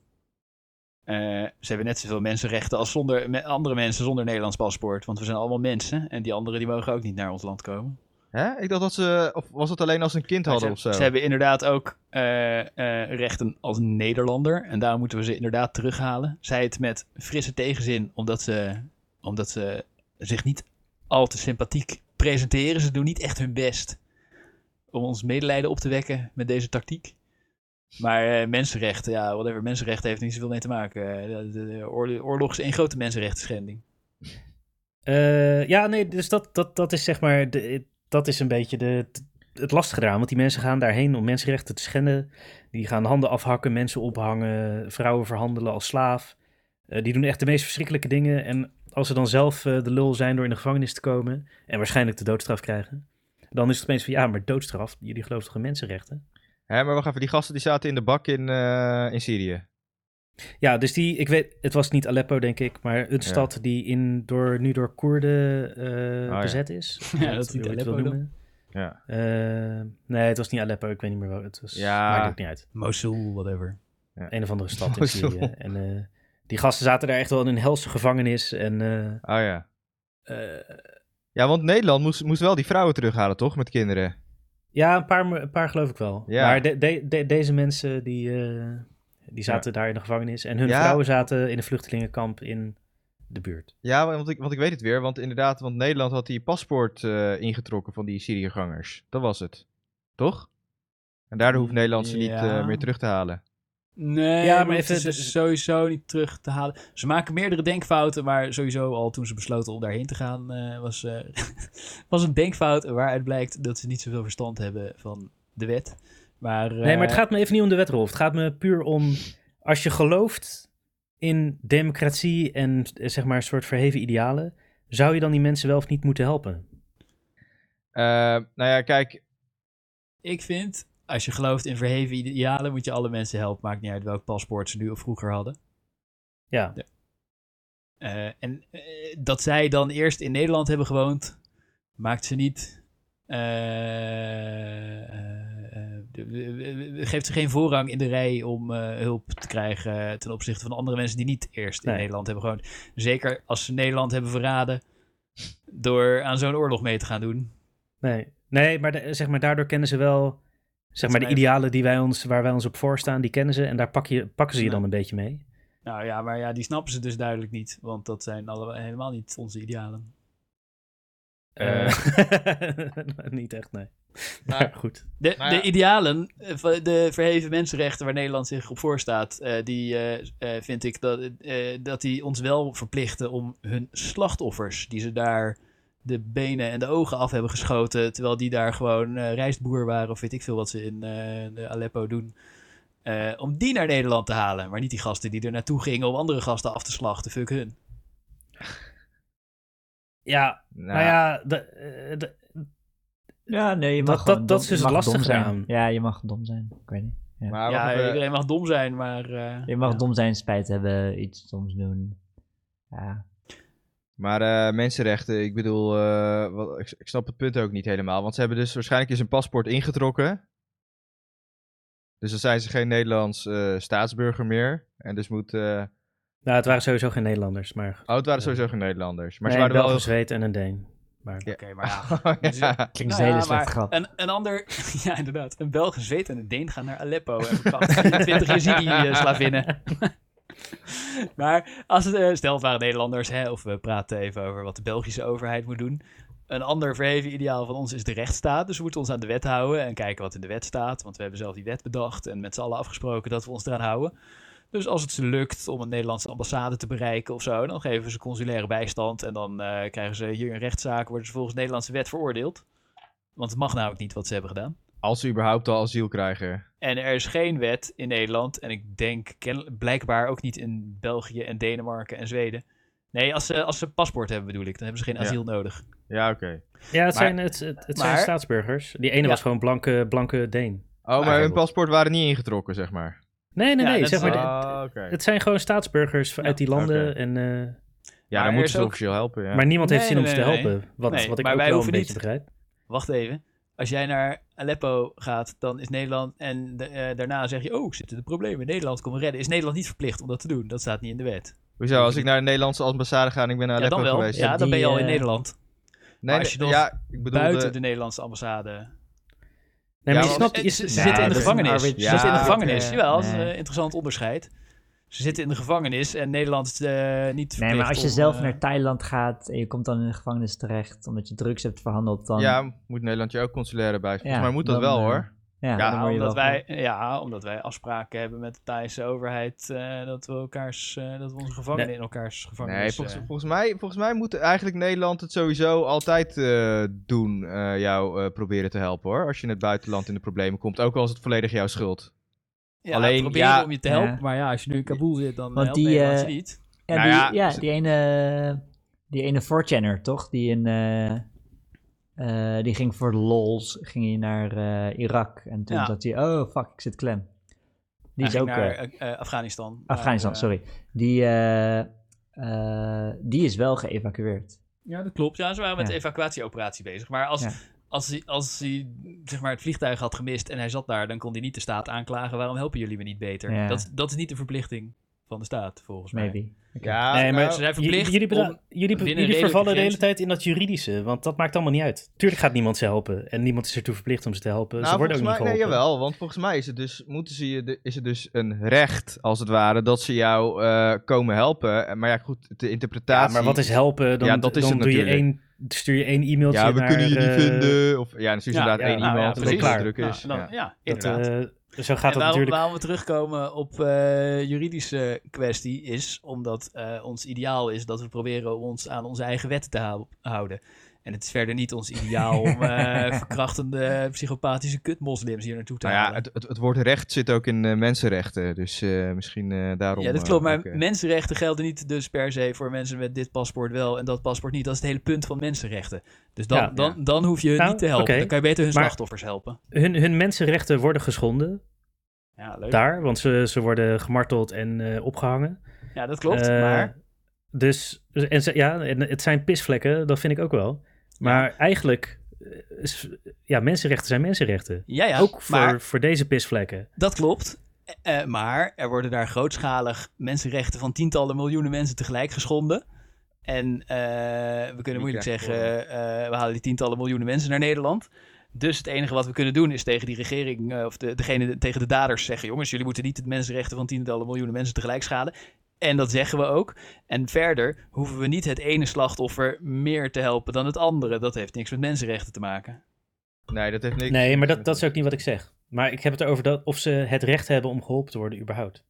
eh, ze hebben net zoveel mensenrechten als zonder, me- andere mensen zonder Nederlands paspoort. Want we zijn allemaal mensen en die anderen die mogen ook niet naar ons land komen. Hè? Ik dacht dat ze... Of was dat alleen als ze een kind hadden Maar of ze, zo? ze hebben inderdaad ook eh, eh, rechten als Nederlander. En daar moeten we ze inderdaad terughalen. Zij het met frisse tegenzin, omdat ze, omdat ze zich niet al te sympathiek presenteren. Ze doen niet echt hun best om ons medelijden op te wekken met deze tactiek. Maar eh, mensenrechten, ja, whatever. Mensenrechten heeft er niet zoveel mee te maken. Eh, de, de- de oorlog- oorlog is één grote mensenrechten schending. Eh, ja, nee, dus dat, dat, dat is zeg maar... De, dat is een beetje de, het lastige eraan, want die mensen gaan daarheen om mensenrechten te schenden. Die gaan handen afhakken, mensen ophangen, vrouwen verhandelen als slaaf. Eh, die doen echt de meest verschrikkelijke dingen. En als ze dan zelf eh, de lul zijn door in de gevangenis te komen en waarschijnlijk de doodstraf krijgen, dan is het opeens van ja, maar doodstraf, jullie geloven toch in mensenrechten? Hè, maar wacht even, die gasten die zaten in de bak in, eh, in Syrië. Ja, dus die, ik weet, het was niet Aleppo denk ik, maar een Ja. stad die in, door, nu door Koerden eh, Oh ja. bezet is. Ja, dat is niet wil ik wel Aleppo dan. noemen. Ja. Eh, nee, het was niet Aleppo, ik weet niet meer waar. Het was, Ja. maakt ook niet uit. Mosul, whatever. Een of andere stad in Mosul. Syrië. En eh, die gasten zaten daar echt wel in een helse gevangenis. En eh, Oh ja. Eh, Ja, want Nederland moest, moest wel die vrouwen terughalen, toch? Met kinderen. ja, een paar, een paar geloof ik wel. Ja. Maar de- de- de- deze mensen die, eh, die zaten daar in de gevangenis. En hun Ja. vrouwen zaten in een vluchtelingenkamp in de buurt. Ja, want ik, want ik weet het weer. Want inderdaad, want Nederland had die paspoort eh, ingetrokken van die Syriëgangers. Dat was het. Toch? En daardoor hoeft Nederland ze niet Ja. eh, meer terug te halen. nee, Ja, ja, maar maar, even even- ze sowieso niet terug te halen. Ze maken meerdere denkfouten, maar sowieso al toen ze besloten om daarheen te gaan, eh, was, eh, was een denkfout waaruit blijkt dat ze niet zoveel verstand hebben van de wet. Maar, Nee, maar eh, het gaat me even niet om de wet, Rolf. Het gaat me puur om als je gelooft in democratie en eh, zeg maar een soort verheven idealen. Zou je dan die mensen wel of niet moeten helpen? Eh, nou ja, kijk. Ik vind, als je gelooft in verheven idealen, moet je alle mensen helpen. Maakt niet uit welk paspoort ze nu of vroeger hadden. Ja, Eh, en eh, dat zij dan eerst in Nederland hebben gewoond, maakt ze niet. eh, eh, eh, de- de- de- geeft ze geen voorrang in de rij om eh, hulp te krijgen ten opzichte van andere mensen die niet eerst in Nee. Nederland hebben gewoond. Zeker als ze Nederland hebben verraden door aan zo'n oorlog mee te gaan doen. Nee, nee maar, de- zeg maar daardoor kennen ze wel zeg is maar, de mijn- idealen die wij ons, waar wij ons op voorstaan, die kennen ze. En daar pak je, pakken ze je dan een beetje mee. Nou ja, maar ja, die snappen ze dus duidelijk niet, want dat zijn alle, helemaal niet onze idealen. Eh. Eh, niet echt, nee. Maar, Maar- goed. De, Nou ja. de idealen, eh, van de verheven mensenrechten waar Nederland zich op voorstaat, eh, die eh, eh, vind ik dat, eh, dat die ons wel verplichten om hun slachtoffers, die ze daar de benen en de ogen af hebben geschoten, terwijl die daar gewoon eh, rijstboer waren of weet ik veel wat ze in eh, de Aleppo doen, eh, om die naar Nederland te halen. Maar niet die gasten die er naartoe gingen om andere gasten af te slachten, fuck hun. Ja, Nou, nou ja, de, eh, de- Ja, nee, je Dat- mag dat- gewoon dat dom- is je dus mag het dom lastige zijn. eraan. Ja, je mag dom zijn. Ik weet niet. Maar wacht Ja, eh, even. iedereen mag dom zijn, maar... eh, Je mag ja. dom zijn, spijt hebben, iets soms doen. Ja. Maar eh, mensenrechten, ik bedoel, eh, wat, ik, ik snap het punt ook niet helemaal. Want ze hebben dus waarschijnlijk eens een paspoort ingetrokken. Dus dan zijn ze geen Nederlands eh, staatsburger meer. En dus moet. eh nou, het waren sowieso geen Nederlanders, maar... oh, het Ja. waren sowieso geen Nederlanders. Maar Maar nee, ze een waren Belg, wel. een Zweed en een Deen. Maar, Ja. Oh, Oké, maar ja, ja. Klinkt Nou als een hele ja, slechte maar grap. Een, een ander, ja inderdaad, een Belg, een Zweed en een Deen gaan naar Aleppo en verkrachten 20 Yazidi-slavinnen. maar als het, eh, stel het waren Nederlanders, hè, of we praten even over wat de Belgische overheid moet doen. Een ander verheven ideaal van ons is de rechtsstaat, dus we moeten ons aan de wet houden en kijken wat in de wet staat. Want we hebben zelf die wet bedacht en met z'n allen afgesproken dat we ons eraan houden. Dus als het ze lukt om een Nederlandse ambassade te bereiken of zo, dan geven ze consulaire bijstand. En dan eh, krijgen ze hier een rechtszaak, worden ze volgens Nederlandse wet veroordeeld. Want het mag namelijk niet wat ze hebben gedaan. Als ze überhaupt al asiel krijgen. En er is geen wet in Nederland. En ik denk ken- blijkbaar ook niet in België en Denemarken en Zweden. Nee, als ze, als ze een paspoort hebben bedoel ik, dan hebben ze geen Ja. asiel nodig. Ja, oké. ja, het, Maar- zijn, het, het, het zijn maar- staatsburgers. Die ene Ja. was gewoon blanke, blanke Deen. Oh, maar hun Bijvoorbeeld. paspoort waren niet ingetrokken, zeg maar. Nee, nee, Ja, nee. net zeg maar, zo. de- Ah, oké. het zijn gewoon staatsburgers Ja. uit die landen. Oké. En, eh, Ja, er dan moeten is ze ook- officieel helpen. Ja. Maar niemand heeft Nee, zin om nee, ze te nee, nee. helpen. Wat, Nee, wat ik maar ook wel wij een hoeven beetje niet. begrijp. Wacht even. Als jij naar Aleppo gaat, dan is Nederland. En de- eh, daarna zeg je: Oh, zitten de problemen in Nederland? Kom redden. Is Nederland niet verplicht om dat te doen? Dat staat niet in de wet. Hoezo, als ik naar de Nederlandse ambassade ga en ik ben naar ja, Aleppo dan wel. geweest. Ja, dan Die, ben je al in eh, Nederland. nee, als je nee, nog ja, ik bedoel Buiten de... de- Nederlandse ambassade. Nee, maar Ja, je want- snapt... je- ze, ze Ja, zitten dat in de is gevangenis. een arbeids- Ze zitten in de Ja, gevangenis. oké. Jawel, dat is Nee. een eh, interessant onderscheid. Ze zitten in de gevangenis en Nederland is eh, niet verplicht Nee, maar als je om, zelf eh, naar Thailand gaat en je komt dan in de gevangenis terecht omdat je drugs hebt verhandeld, dan... Ja, moet Nederland je ook consulaire bij? Volgens Ja, mij moet dat dan, wel eh, hoor. Ja, Ja, dan word Ja, je omdat, wel- wij, ja, omdat wij afspraken hebben met de Thaise overheid eh, dat we elkaars eh, dat we onze gevangenen in elkaars gevangenis. Nee, volgens, eh, volgens, mij, volgens mij moet eigenlijk Nederland het sowieso altijd eh, doen. eh, jou eh, proberen te helpen hoor. Als je in het buitenland in de problemen komt. Ook al is het volledig jouw schuld. ja, alleen, proberen ja, om je te helpen, ja. maar ja, als je nu in Kabul zit, dan Want helpt die, Nederland je eh, niet. Ja, Nou die, ja, ja, ze- die ene, die ene 4 toch? Die in, eh, eh, die ging voor de lols, ging hij naar eh, Irak en toen Ja. zat hij, oh fuck, ik zit klem. Die Hij is ging ook naar eh, eh, eh, Afghanistan. Afghanistan, Maar, eh, sorry. Die, eh, eh, die is wel geëvacueerd. Ja, dat klopt. Ja, ze waren met Ja. de evacuatieoperatie bezig. Maar als, Ja. als, hij, als hij zeg maar, het vliegtuig had gemist en hij zat daar, dan kon hij niet de staat aanklagen. Waarom helpen jullie me niet beter? Ja. Dat, dat is niet de verplichting van de staat, volgens mij. Maybe. Ja, nou, Nee, maar eh, Ze zijn J- verplicht jullie beda- om... jullie, be- binnen jullie redelijke vervallen de hele grenzen- tijd in dat juridische, want dat maakt allemaal niet uit. Tuurlijk gaat niemand ze helpen en niemand is ertoe verplicht om ze te helpen. ze Nou, worden ook volgens niet mij, geholpen. nee, jawel, want volgens mij is het dus, moeten ze je de- is het dus een recht, als het ware, dat ze jou eh, komen helpen. Maar ja, goed, de interpretatie... Ja, maar wat is helpen? Dan, Ja, dat is dan het doe je natuurlijk. één, stuur je één e-mailtje Ja, we naar, kunnen je eh, niet vinden. Of, ja, dan stuur je ja, inderdaad ja, één nou ja, iemand, precies. omdat het druk Nou, is. dan- ja. ja. dat, inderdaad. eh, zo gaat en dat waarom, natuurlijk. waarom we terugkomen op eh, juridische kwestie is omdat eh, ons ideaal is dat we proberen ons aan onze eigen wetten te hou- houden. En het is verder niet ons ideaal om eh, verkrachtende psychopathische kutmoslims hier naartoe te Nou ja, halen. het, het, het woord recht zit ook in eh, mensenrechten, dus eh, misschien eh, daarom... Ja, dat eh, klopt, maar ook, eh, mensenrechten gelden niet dus per se voor mensen met dit paspoort wel en dat paspoort niet. Dat is het hele punt van mensenrechten. Dus dan, Ja. dan, dan hoef je hun Nou, niet te helpen. oké. Dan kan je beter hun Maar- slachtoffers helpen. Hun, hun mensenrechten worden geschonden Ja, leuk. daar, want ze, ze worden gemarteld en eh, opgehangen. ja, dat klopt, Eh, maar... Dus, en ze- ja, en het zijn pisvlekken, dat vind ik ook wel. Maar eigenlijk, eh, is, ja, mensenrechten zijn mensenrechten. Ja, ja, ook voor, maar voor deze pisvlekken. Dat klopt. Eh, eh, maar er worden daar grootschalig mensenrechten van tientallen miljoenen mensen tegelijk geschonden. En eh, we kunnen moeilijk krijgt zeggen, oorlog? eh, we halen die tientallen miljoenen mensen naar Nederland. Dus het enige wat we kunnen doen is tegen die regering, eh, of de, degene, tegen de daders zeggen... jongens, jullie moeten niet het mensenrechten van tientallen miljoenen mensen tegelijk schaden. En dat zeggen we ook. En verder hoeven we niet het ene slachtoffer meer te helpen dan het andere. Dat heeft niks met mensenrechten te maken. Nee, dat heeft niks... eh, Nee, maar dat, dat is ook niet wat ik zeg. Maar ik heb het erover dat, of ze het recht hebben om geholpen te worden überhaupt.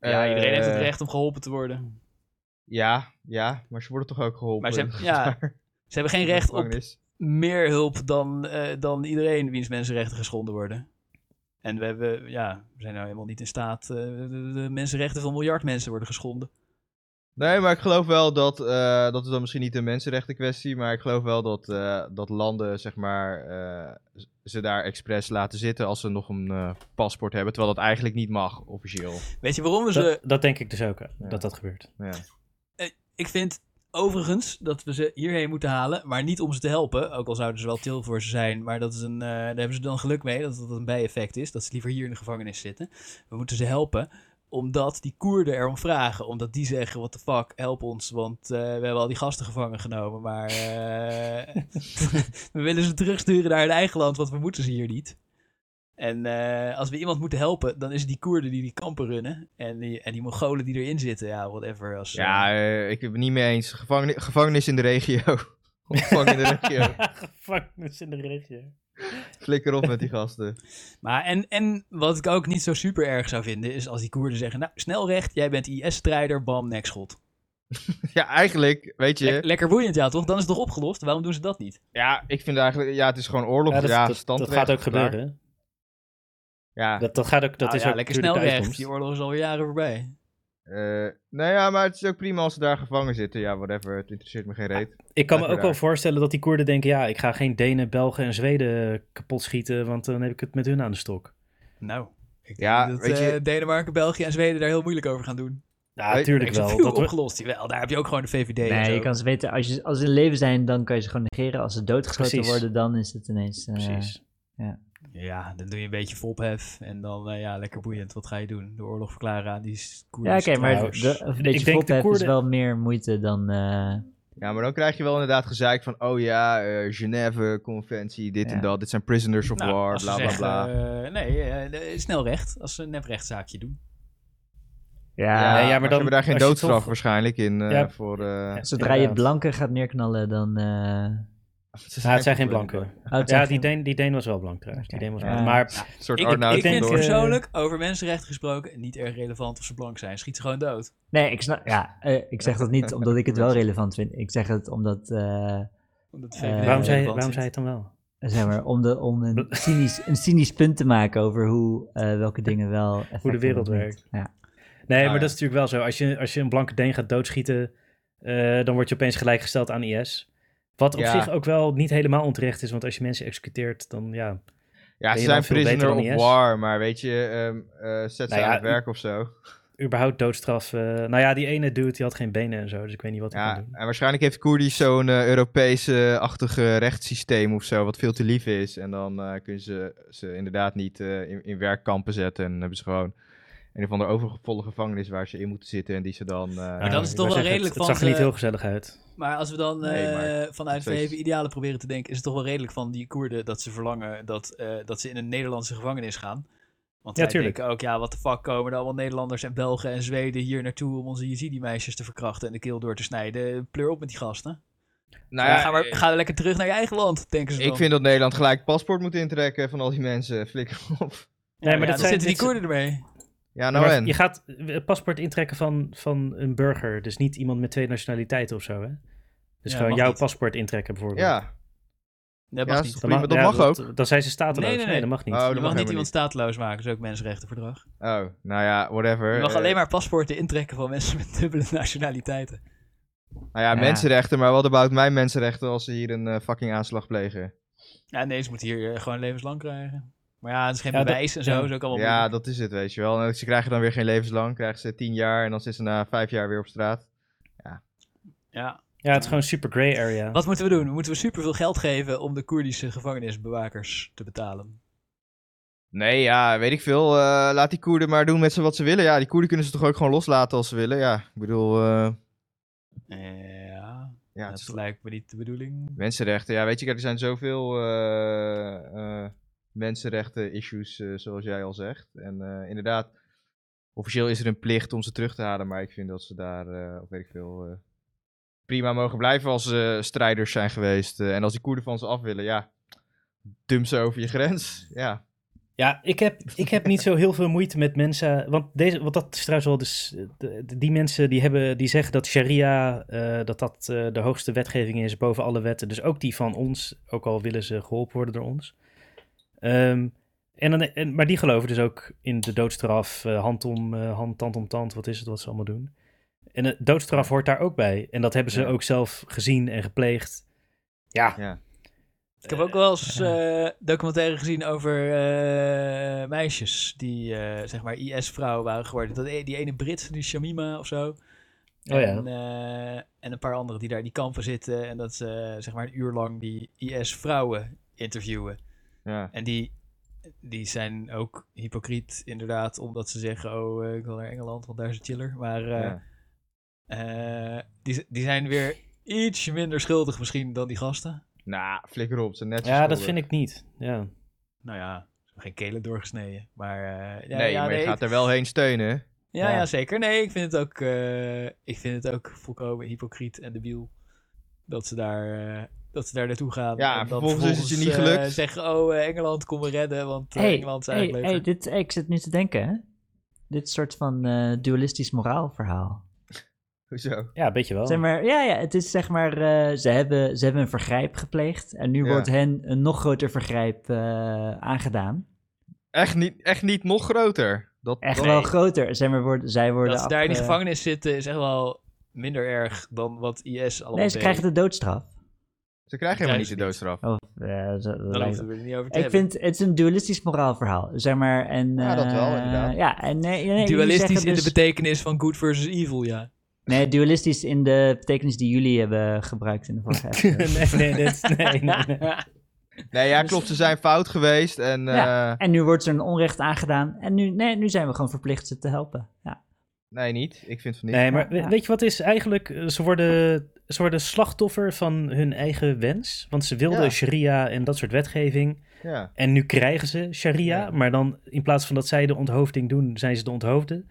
ja, iedereen heeft het Eh, recht om geholpen te worden. Ja, ja, maar ze worden toch ook geholpen. Maar ze hebben- ja, Ze hebben geen recht op Gevangenis. meer hulp dan, eh, dan iedereen wiens mensenrechten geschonden worden. En we, hebben, ja, we zijn nou helemaal niet in staat. eh, de, de- de mensenrechten van miljard mensen worden geschonden. Nee, maar ik geloof wel dat, eh, dat is dan misschien niet een mensenrechten kwestie, maar ik geloof wel dat, eh, dat landen, zeg maar, eh, z- ze daar expres laten zitten als ze nog een eh, paspoort hebben, terwijl dat eigenlijk niet mag, officieel. Weet je waarom we ze. Dat, dat denk ik dus ook, eh, dat dat gebeurt. Ja. Ik vind overigens dat we ze hierheen moeten halen. Maar niet om ze te helpen. Ook al zouden ze wel til voor ze zijn. Maar dat is een, eh, daar hebben ze dan geluk mee dat dat een bijeffect is. Dat ze liever hier in de gevangenis zitten. We moeten ze helpen omdat die Koerden erom vragen. Omdat die zeggen: What the fuck, help ons. Want eh, we hebben al die gasten gevangen genomen. Maar eh, we willen ze terugsturen naar hun eigen land. Want we moeten ze hier niet. En eh, als we iemand moeten helpen, dan is het die Koerden die die kampen runnen. En die, en die Mongolen die erin zitten. Ja, whatever. Als, eh, Ja, eh, ik ben het niet mee eens. Gevangeni- gevangenis in de regio. Opvang in de regio. Gevangenis in de regio. Flikker op met die gasten. Maar en, en wat ik ook niet zo super erg zou vinden, is als die Koerden zeggen: Nou, snel recht, jij bent IS-strijder, bam, nekschot. Ja, eigenlijk, weet je, Lek- lekker boeiend, ja toch? Dan is het toch opgelost? Waarom doen ze dat niet? ja, ik vind eigenlijk, ja, het is gewoon oorlog. Ja, Ja, dat, dat, dat standrecht, gaat ook klaar. gebeuren. Ja, Dat, dat gaat ook, dat Nou is ja, ook lekker snel natuurlijk de recht. uitkomst. Die oorlog is alweer jaren voorbij. eh, nou ja, maar het is ook prima als ze daar gevangen zitten. Ja, whatever, het interesseert me geen reet. Ik kan me Lekker ook wel daar. voorstellen dat die Koerden denken: ja, ik ga geen Denen, Belgen en Zweden kapot schieten, want dan heb ik het met hun aan de stok. Nou, ik denk Ja, dat weet je- eh, Denemarken, België en Zweden daar heel moeilijk over gaan doen. Ja, Nee, natuurlijk Ik vind wel. het Dat we- opgelost. Jawel, daar heb je ook gewoon de VVD. en Nee, zo. je kan ze weten, als, je, als ze in leven zijn, dan kan je ze gewoon negeren. Als ze doodgeschoten Precies. worden, dan is het ineens... eh, Precies. Ja, dan doe je een beetje fophef en dan, eh, ja, lekker boeiend. Wat ga je doen? De oorlog verklaren aan die Koerden. Ja, oké, maar trouwens. de, een beetje denk de fophef is Koerden- wel meer moeite dan... eh, Ja, maar dan krijg je wel inderdaad gezeik van, oh ja, eh, Genève, conventie, dit Ja. en dat. Dit zijn prisoners of Nou, war, als ze bla bla zeggen, bla. eh, nee, eh, snel recht. Als ze een neprechtszaakje doen. ja, nee, ja, maar ze dan- hebben daar geen als je doodstraf toch- waarschijnlijk in eh, Ja. voor... eh, Ja, zodra je inderdaad. blanken gaat neerknallen, dan... eh, Ja, Nou, het zijn geen blanken. Oh, het Ja, zijn die geen- Deen, die Deen was wel blank trouwens. Die Deen was Ja. blank. Maar Een soort Ik, Arnoud ik vind denk, Toor. eh, persoonlijk, over mensenrechten gesproken, niet erg relevant of ze blank zijn. Schiet ze gewoon dood. Nee, ik snap. Ja, eh, ik zeg dat niet omdat ik het wel relevant vind. Ik zeg het omdat. eh, Omdat de Eh, waarom, zei, VVD relevant waarom vindt. zei je het dan wel? zeg maar, om, de, om een, cynisch, een cynisch punt te maken over hoe, eh, welke dingen wel. effect Hoe de wereld hebben of niet. Ja. Nee, Ah, maar ja. dat is natuurlijk wel zo. Als je, als je een blanke Deen gaat doodschieten, eh, dan word je opeens gelijkgesteld aan IS. Wat op Ja. zich ook wel niet helemaal onterecht is, want als je mensen executeert, dan ja. Ja, Ben je ze zijn dan veel beter prisoner dan of IS? war, maar weet je, ehm, eh, zet ze Nou ja, aan het i- werk of zo. Überhaupt doodstraf. eh, nou ja, die ene dude die had geen benen en zo, dus ik weet niet wat hij Ja, kan doen. en waarschijnlijk heeft Koerdisch zo'n eh, Europese-achtige rechtssysteem of zo, wat veel te lief is. En dan eh, kunnen ze ze inderdaad niet eh, in, in werkkampen zetten. En dan hebben ze gewoon een of andere overvolle gevangenis waar ze in moeten zitten. En die ze dan. eh, Maar dan is het ik toch wou wel zeggen, redelijk het- van Het zag er ze- niet heel gezellig uit. Maar als we dan Nee, eh, maar vanuit steeds. verheven idealen proberen te denken, is het toch wel redelijk van die Koerden dat ze verlangen dat, eh, dat ze in een Nederlandse gevangenis gaan. Want Ja, zij tuurlijk. denken ook, ja, wat de fuck komen er allemaal Nederlanders en Belgen en Zweden hier naartoe om onze Yazidi-meisjes te verkrachten en de keel door te snijden. Pleur op met die gasten. nou Ja, ja, eh, ga, maar, ga lekker terug naar je eigen land, denken ze dan. ik vind dat Nederland gelijk paspoort moet intrekken van al die mensen. Flikker Nee, op. maar ja, dat zijn, dan zitten die dit- Koerden ermee. Ja, nou maar en. Je gaat het paspoort intrekken van, van een burger, dus niet iemand met twee nationaliteiten of zo, hè? Dus Ja, gewoon mag jouw niet. paspoort intrekken bijvoorbeeld. Ja, Nee, ja, mag dat is niet. toch prima. Dat ja, mag ook. Dan zijn ze stateloos. Nee, Nee, nee, dat mag niet. Oh, dat Je mag mag niet helemaal iemand niet. stateloos maken, dat is ook mensenrechtenverdrag. Oh, nou ja, whatever. Je mag Eh, alleen maar paspoorten intrekken van mensen met dubbele nationaliteiten. Nou ja, Ja. mensenrechten, maar wat about mijn mensenrechten als ze hier een eh, fucking aanslag plegen? Ja, nee, ze moeten hier eh, gewoon levenslang krijgen. Maar ja, het is geen Ja, dat- bewijs en zo, ja. is ook allemaal Ja, moeilijk. dat is het, weet je wel. En ze krijgen dan weer geen levenslang, krijgen ze tien jaar en dan zitten ze na vijf jaar weer op straat. ja. Ja, het is gewoon super grey area. Wat moeten we doen? Moeten we superveel geld geven om de Koerdische gevangenisbewakers te betalen? Nee, ja, weet ik veel. Eh, laat die Koerden maar doen met ze wat ze willen. Ja, die Koerden kunnen ze toch ook gewoon loslaten als ze willen. Ja, ik bedoel, eh, Eh, Ja, ja, het dat is lijkt me niet de bedoeling. mensenrechten. Ja, weet je, kijk, er zijn zoveel eh, eh, mensenrechten-issues, eh, zoals jij al zegt. En eh, inderdaad, officieel is er een plicht om ze terug te halen, maar ik vind dat ze daar, eh, of weet ik veel, eh, prima mogen blijven als ze strijders zijn geweest. eh, en als die Koerden van ze af willen, ja, dump ze over je grens. Ja, Ja, ik heb, ik heb niet zo heel veel moeite met mensen. Want, deze, want dat is trouwens wel dus. eh, de- de- Die mensen die, hebben, die zeggen dat sharia. eh, dat dat eh, de hoogste wetgeving is boven alle wetten. Dus ook die van ons. Ook al willen ze geholpen worden door ons. Ehm, en dan, en, maar die geloven dus ook in de doodstraf. eh, hand om eh, hand, tand om tand. Wat is het wat ze allemaal doen? En de doodstraf hoort daar ook bij. En dat hebben ze Ja. ook zelf gezien en gepleegd. Ja, ja. Ik heb ook wel eens eh, documentaire gezien over eh, meisjes die eh, zeg maar IS-vrouwen waren geworden. Dat, e- die ene Brit, die Shamima of zo. Oh ja. En, eh, en een paar anderen die daar in die kampen zitten. En dat ze eh, zeg maar een uur lang die IS-vrouwen interviewen. ja. En die, die zijn ook hypocriet, inderdaad, omdat ze zeggen: Oh, eh, ik wil naar Engeland, want daar is het chiller. Maar eh, ja. eh, die, die zijn weer ietsje minder schuldig misschien dan die gasten. Nou, flikker op, ze net zo ja dat schuldig. vind ik niet. Ja. Nou ja, ze hebben geen kelen doorgesneden. Maar, eh, ja, nee, ja, maar je nee, gaat er wel heen steunen. ja, ja. ja, zeker. Nee, ik vind het ook, eh, ik vind het ook volkomen hypocriet en debiel dat ze daar. eh, dat ze daar naartoe gaan. Ja, en dan vervolgens is het je niet eh, gelukt. zeggen, oh, eh, Engeland, kom me redden, want eh, Hey, Engeland is hey, eigenlijk hey, leuker. dit, hey, ik zit nu te denken, hè? Dit soort van eh, dualistisch moraalverhaal. Hoezo? Ja, een Oh. beetje wel. Zeg maar, ja, ja, het is zeg maar, eh, ze, hebben, ze hebben een vergrijp gepleegd en nu Ja. wordt hen een nog groter vergrijp eh, aangedaan. Echt niet, echt niet nog groter. Dat, Echt dat- wel groter. Zeg maar, worden, zij worden dat ze daar in die eh, afge- gevangenis zitten is echt wel minder erg dan wat IS allemaal Nee, ze deed. krijgen de doodstraf. Ze krijgen helemaal niet de doodstraf. Of, eh, zo- dat Dan lijkt- hoeven we er niet over te ik hebben. vind het is een dualistisch moraalverhaal, zeg maar. En, Ja, dat wel, eh, inderdaad. Ja, en nee, nee, jullie Dualistisch zeggen in de dus- betekenis van good versus evil, ja. Nee, dualistisch in de betekenis die jullie hebben gebruikt in de vorige episode. nee, nee, dit, nee, nee, nee. Nee, ja, Dus- klopt. Ze zijn fout geweest. En, Ja. eh, En nu wordt er een onrecht aangedaan. En nu, nee, nu zijn we gewoon verplicht ze te helpen. Ja. Nee, niet. Ik vind van niet. Nee, maar Ja. we- weet je wat is eigenlijk? eh, Ze worden, ze worden slachtoffer van hun eigen wens. Want ze wilden Ja. sharia en dat soort wetgeving. Ja. En nu krijgen ze sharia. Ja. Maar dan in plaats van dat zij de onthoofding doen, zijn ze de onthoofden.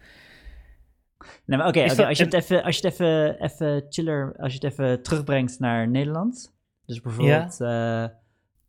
Nee, maar oké, Is oké, dat- als je het even, als je het even, even chiller, als je het even terugbrengt naar Nederland. Dus bijvoorbeeld,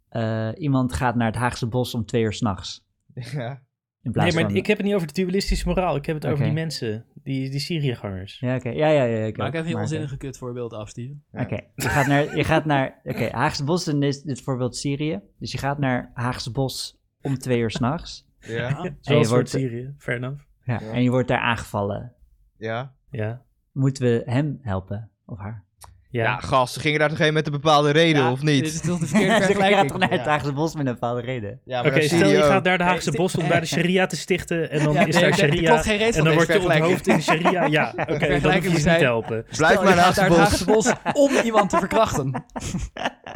eh, eh, iemand gaat naar het Haagse Bos om twee uur s'nachts. Ja. In plaats Nee, maar van... ik heb het niet over de dualistische moraal. Ik heb het over Oké. die mensen, die, die Syriëgangers. Ja, oké. Ja, ja, ja. oké. Maak even je Maar, oké. onzinnige kutvoorbeeld af, Steven. Ja. Oké, je gaat naar, je gaat naar oké, Haagse Bos in dit, dit voorbeeld Syrië. Dus je gaat naar Haagse Bos om twee uur s'nachts. Ja. Zoals voor wordt- Syrië, fair enough. Ja. Ja. En je wordt daar aangevallen. Ja. Ja. Moeten we hem helpen? Of haar? Ja. gast, ze gingen daar toch heen met een bepaalde reden, Ja, of Dit is niet? toch Ze de verkeerde gaat toch vergelijking? naar het ja. Haagse Bos met een bepaalde reden. Ja, Oké, stel je gaat naar de Haagse Nee, bos om eh, daar de sharia te stichten en dan Ja, is nee, daar er- er sharia klopt geen reet en van dan deze word je vergelijking. onthoofd in de sharia. Ja, oké, dan hoef je Vergelijking ze niet zijn- te helpen. Blijf Stel, maar je naast gaat de naar het bos. Haagse Bos om iemand te verkrachten.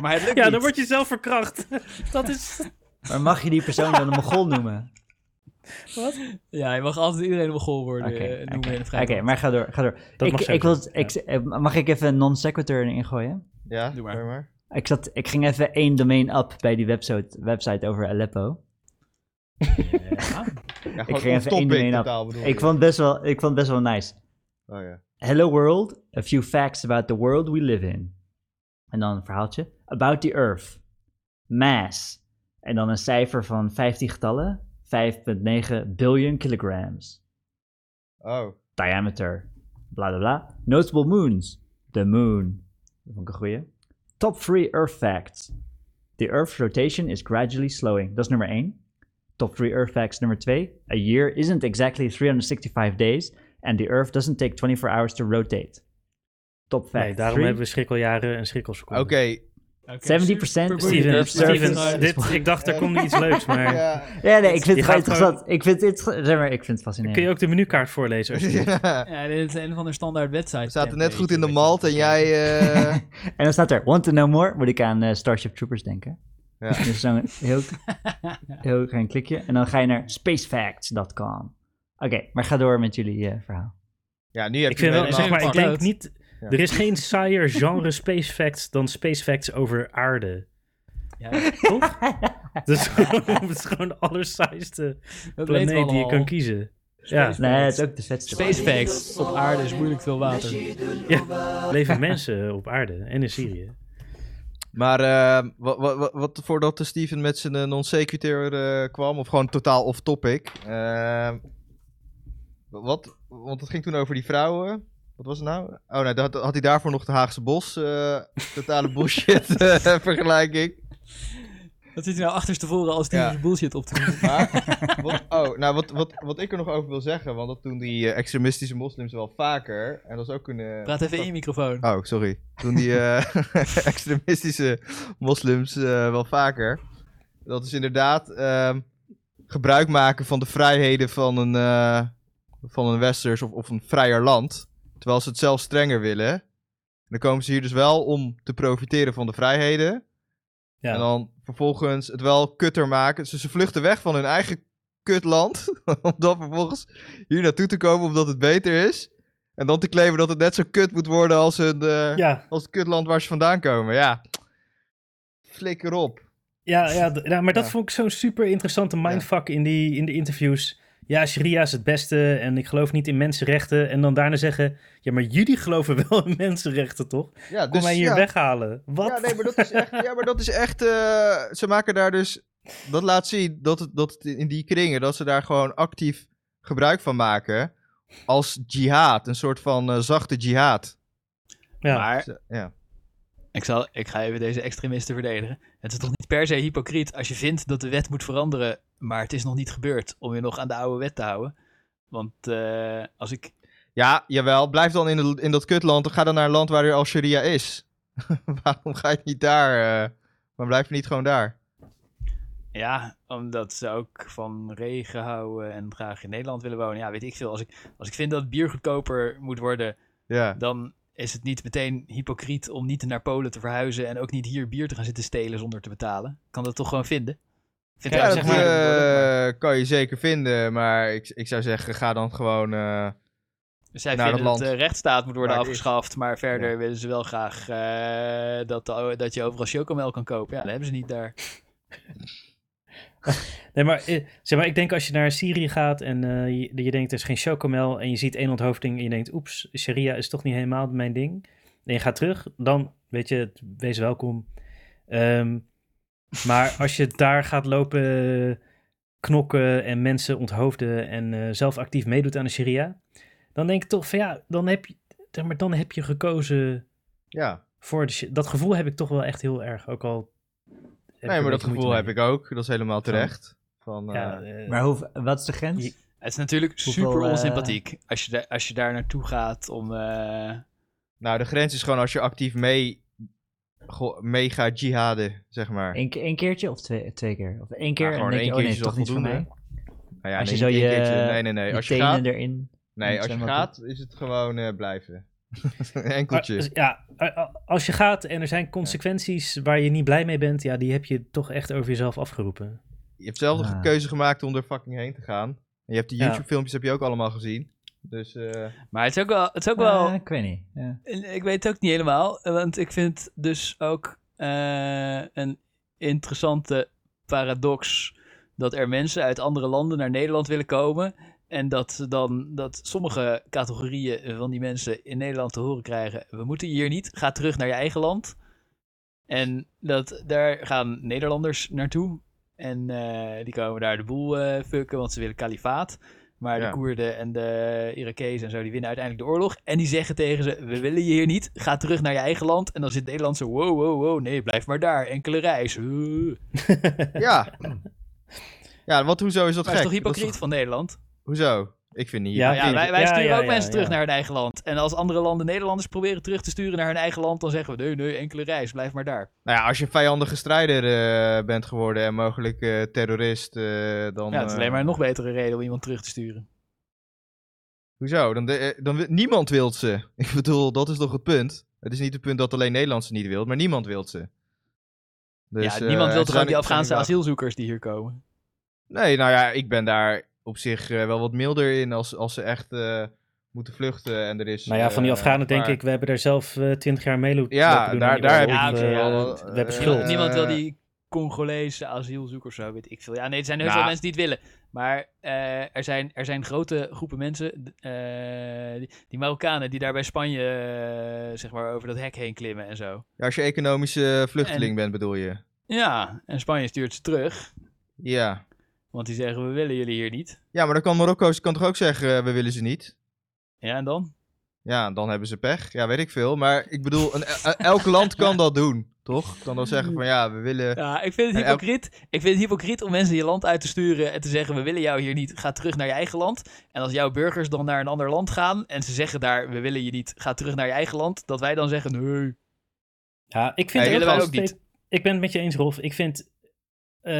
Maar het lukt Ja, niet. dan word je zelf verkracht. Dat is... Maar mag je die persoon dan een mogol noemen? Ja, je mag altijd iedereen een mogol worden Oké, eh, noemen in een Oké, vrij. maar ga door, ga door. Dat ik, mag ik wil, zeker, ik, eh, mag ik even een non sequitur erin gooien? Ja, Doe maar. doe maar. Ik, zat, ik ging even één domein up bij die website, website over Aleppo. Ja. ging Ja, gewoon even off-topic één domein af. totaal, bedoel Ik je. vond het best wel, ik vond het best wel nice. Oh ja. Hello world, a few facts about the world we live in. En dan een verhaaltje. About the earth. Mass. En dan een cijfer van 15 getallen. 5,9 billion kilograms. Oh. Diameter. Bla bla bla. Notable moons. The moon. Dat vond ik een goeie. Top 3 earth facts. The earth's rotation is gradually slowing. Dat is nummer 1. Top 3 earth facts nummer 2. A year isn't exactly 365 days. And the earth doesn't take 24 hours to rotate. Top fact Nee, daarom three. hebben we schrikkeljaren en schrikkelsconden. Oké. 70% Super boeiend. Steven, Steven, Steven, Steven, dit, ik dacht, er komt iets leuks, maar... Ja. Ja, nee, ik vind Je gaat het gewoon gewoon- interessant. Ik vind het, inter- zeg maar, ik vind het fascinerend. Kun je ook de menukaart voorlezen? alsjeblieft? Ja. Ja, dit is een van de standaard websites. We zaten net goed in de malt en jij... eh, En dan staat er, want to know more, moet ik aan eh, Starship Troopers denken. Ja. Dus zo'n heel, heel klein klikje. En dan ga je naar spacefacts.com. Oké, maar ga door met jullie eh, verhaal. Ja, nu heb Ik je vind wel, me zeg maar, ik apart. denk niet... Er is geen saaier genre space facts dan space facts over aarde. Ja, Toch? dat is gewoon, dat is gewoon de allersaaiste dat weten we planeet die je allemaal. kan kiezen. Ja, Nee, het is ook de vetste. SpaceX op aarde is moeilijk veel water. ja, leven mensen op aarde en in Syrië. Maar eh, wat, wat, wat, wat voordat de Steven met zijn eh, non sequitur eh, kwam, of gewoon totaal off-topic. eh, wat, want het ging toen over die vrouwen. Wat was het nou? Oh nee, dat, had hij daarvoor nog de Haagse Bos. eh, totale bullshit eh, vergelijking. Dat zit hij nou achterstevoren als die Ja. bullshit op te doen. Maar, wat, oh, nou, wat, wat, wat ik er nog over wil zeggen, want dat doen die eh, extremistische moslims wel vaker. En dat is ook een... eh, Praat even in je microfoon. Oh, sorry. Toen die eh, extremistische moslims eh, wel vaker. Dat is inderdaad ehm, gebruik maken van de vrijheden van een, eh, van een westers of, of een vrijer land. Terwijl ze het zelf strenger willen. Dan komen ze hier dus wel om te profiteren van de vrijheden. En Ja, dan vervolgens het wel kutter maken. Dus ze vluchten weg van hun eigen kutland. om dan vervolgens hier naartoe te komen omdat het beter is. En dan te claimen dat het net zo kut moet worden als hun... eh, ja, als het kutland waar ze vandaan komen, ja. Flikker op. ja, ja, d- ja, maar dat Ja. vond ik zo'n super interessante mindfuck in, die, in de interviews. Ja, Sharia is het beste en ik geloof niet in mensenrechten. En dan daarna zeggen, ja, maar jullie geloven wel in mensenrechten, toch? Kom Ja, dus, mij hier ja, weghalen. Wat? Ja, nee, maar dat is echt... Ja, maar dat is echt eh, ze maken daar dus... Dat laat zien dat, het, dat het in die kringen... dat ze daar gewoon actief gebruik van maken... als jihad. Een soort van eh, zachte jihad. Ja. Maar Ze- Ja. ik, zal, ik ga even deze extremisten verdedigen. Het is toch niet per se hypocriet als je vindt dat de wet moet veranderen, maar het is nog niet gebeurd om je nog aan de oude wet te houden. Want eh, als ik ja, jawel. Blijf dan in, het- in dat kutland. Dan ga dan naar een land waar er al sharia is. Waarom ga je niet daar... eh maar blijf je niet gewoon daar? Ja, omdat ze ook van regen houden en graag in Nederland willen wonen. Ja, weet ik veel. Als ik, als ik vind dat bier goedkoper moet worden, Ja. dan is het niet meteen hypocriet om niet naar Polen te verhuizen en ook niet hier bier te gaan zitten stelen zonder te betalen. Ik kan dat toch gewoon vinden? Ik Vind Ja, Ja, het dat zeg wel maar- een moeilijk woord, maar- eh, kan je zeker vinden, maar ik, ik zou zeggen, ga dan gewoon... eh, Dus zij naar dat vinden dat land de rechtsstaat moet worden waar het is. afgeschaft, maar verder Ja. willen ze wel graag eh, dat, de- dat je overal chocomel kan kopen. Ja, dat hebben ze niet daar. Nee, maar, eh, zeg maar ik denk als je naar Syrië gaat en eh, je, je denkt er is geen chocomel en je ziet één onthoofding en je denkt oeps, Sharia is toch niet helemaal mijn ding. En je gaat terug, dan weet je, wees welkom. Ehm, maar als je daar gaat lopen knokken en mensen onthoofden en eh, zelf actief meedoet aan de Sharia, dan denk ik toch van ja, dan heb je, zeg maar, dan heb je gekozen Ja, voor de shi- Dat gevoel heb ik toch wel echt heel erg, ook al... heb ik nee, er maar een beetje dat moeite gevoel mee. heb ik ook. Dat is helemaal terecht. Van, Ja, eh, eh, Maar hoe, wat is de grens? Je- Het is natuurlijk Hoeveel, super eh, onsympathiek als, je daar- als je daar naartoe gaat om... eh, Nou, de grens is gewoon als je actief mee, go- mee gaat jihaden, zeg maar. Eén, ke- één keertje of twee, twee keer? Of één Ja, keer en gewoon denk één je, oh nee, keertje is toch al niet voor voldoende. mij. Nou ja, Als je nee, zo één je- keertje. Nee, nee, nee. Je Als je tenen gaat, erin. nee, als je zwembad gaat is het gewoon eh, blijven. Enkeltje. Maar, dus- eh, ja, als je gaat en er zijn consequenties waar je niet blij mee bent, ja, die heb je toch echt over jezelf afgeroepen. Je hebt zelf de Ah. keuze gemaakt om er fucking heen te gaan. En je hebt die Ja. YouTube-filmpjes heb je ook allemaal gezien. Dus eh, maar het is ook wel... Het is ook wel Ah, ik weet niet. Ja. Ik weet het ook niet helemaal, eh, want ik vind het dus ook eh, een interessante paradox dat er mensen uit andere landen naar Nederland willen komen en dat ze dan dat sommige categorieën van die mensen in Nederland te horen krijgen: we moeten hier niet, ga terug naar je eigen land. En dat daar gaan Nederlanders naartoe en eh, die komen daar de boel eh fucken, want ze willen kalifaat. Maar Ja. de Koerden en de Irakezen en zo, die winnen uiteindelijk de oorlog. En die zeggen tegen ze, we willen je hier niet. Ga terug naar je eigen land. En dan zit Nederland zo, wow, wow, wow, nee, blijf maar daar. Enkele reis. Uh. ja. ja, want hoezo is dat Maar gek? is toch Dat is hypocriet van Nederland? toch- hoezo? Ik vind niet. Ja, Nou ja, hypocriet. wij, wij Ja, sturen ja, ook ja, mensen terug ja. naar hun eigen land. En als andere landen Nederlanders proberen terug te sturen naar hun eigen land, dan zeggen we, nee, nee, enkele reis, blijf maar daar. Nou ja, als je een vijandige strijder eh, bent geworden en mogelijk eh, terrorist, eh, dan... Ja, het is eh, alleen maar een nog betere reden om iemand terug te sturen. Hoezo? Dan, de- eh, dan, wi- niemand wil ze. Ik bedoel, dat is toch het punt? Het is niet het punt dat alleen Nederlanders ze niet wil, maar niemand wil ze. Dus, ja, eh, niemand wil ze zijn- toch ook die ze zijn Afghaanse wel- asielzoekers die hier komen? Nee, nou ja, ik ben daar op zich eh, wel wat milder in als, als ze echt eh, moeten vluchten en er is... Nou ja, van die eh, Afghanen denk maar- ik, we hebben daar zelf eh, twintig jaar mee lo- lopen Ja, doen daar, in die daar heb oorlog. Ja, ik... oké, Eh, ja, wel- we hebben eh, schuld. Niemand wil die Congolese asielzoekers, zo weet ik veel. Ja, nee, er zijn heel Nou. veel mensen die het willen. Maar eh, er, zijn, er zijn grote groepen mensen, d- eh, die, die Marokkanen, die daar bij Spanje eh, zeg maar over dat hek heen klimmen en zo. Ja, als je economische vluchteling bent, bedoel je? Ja, en Spanje stuurt ze terug, Ja. want die zeggen we willen jullie hier niet. Ja, maar dan kan Marokko kan toch ook zeggen, eh, we willen ze niet? Ja, en dan? Ja, dan hebben ze pech. Ja, weet ik veel. Maar ik bedoel, een, el- elk land kan dat doen, toch? Kan dan zeggen van ja, we willen. Ja, ik vind het En elk- hypocriet. Ik vind het hypocriet om mensen je land uit te sturen en te zeggen: we willen jou hier niet, ga terug naar je eigen land. En als jouw burgers dan naar een ander land gaan en ze zeggen daar: we willen je niet, ga terug naar je eigen land, dat wij dan zeggen: nee. Ja, ik vind Ja, het willen ook wij wel ook niet. steeds- Ik ben het met je eens, Rolf. Ik vind eh,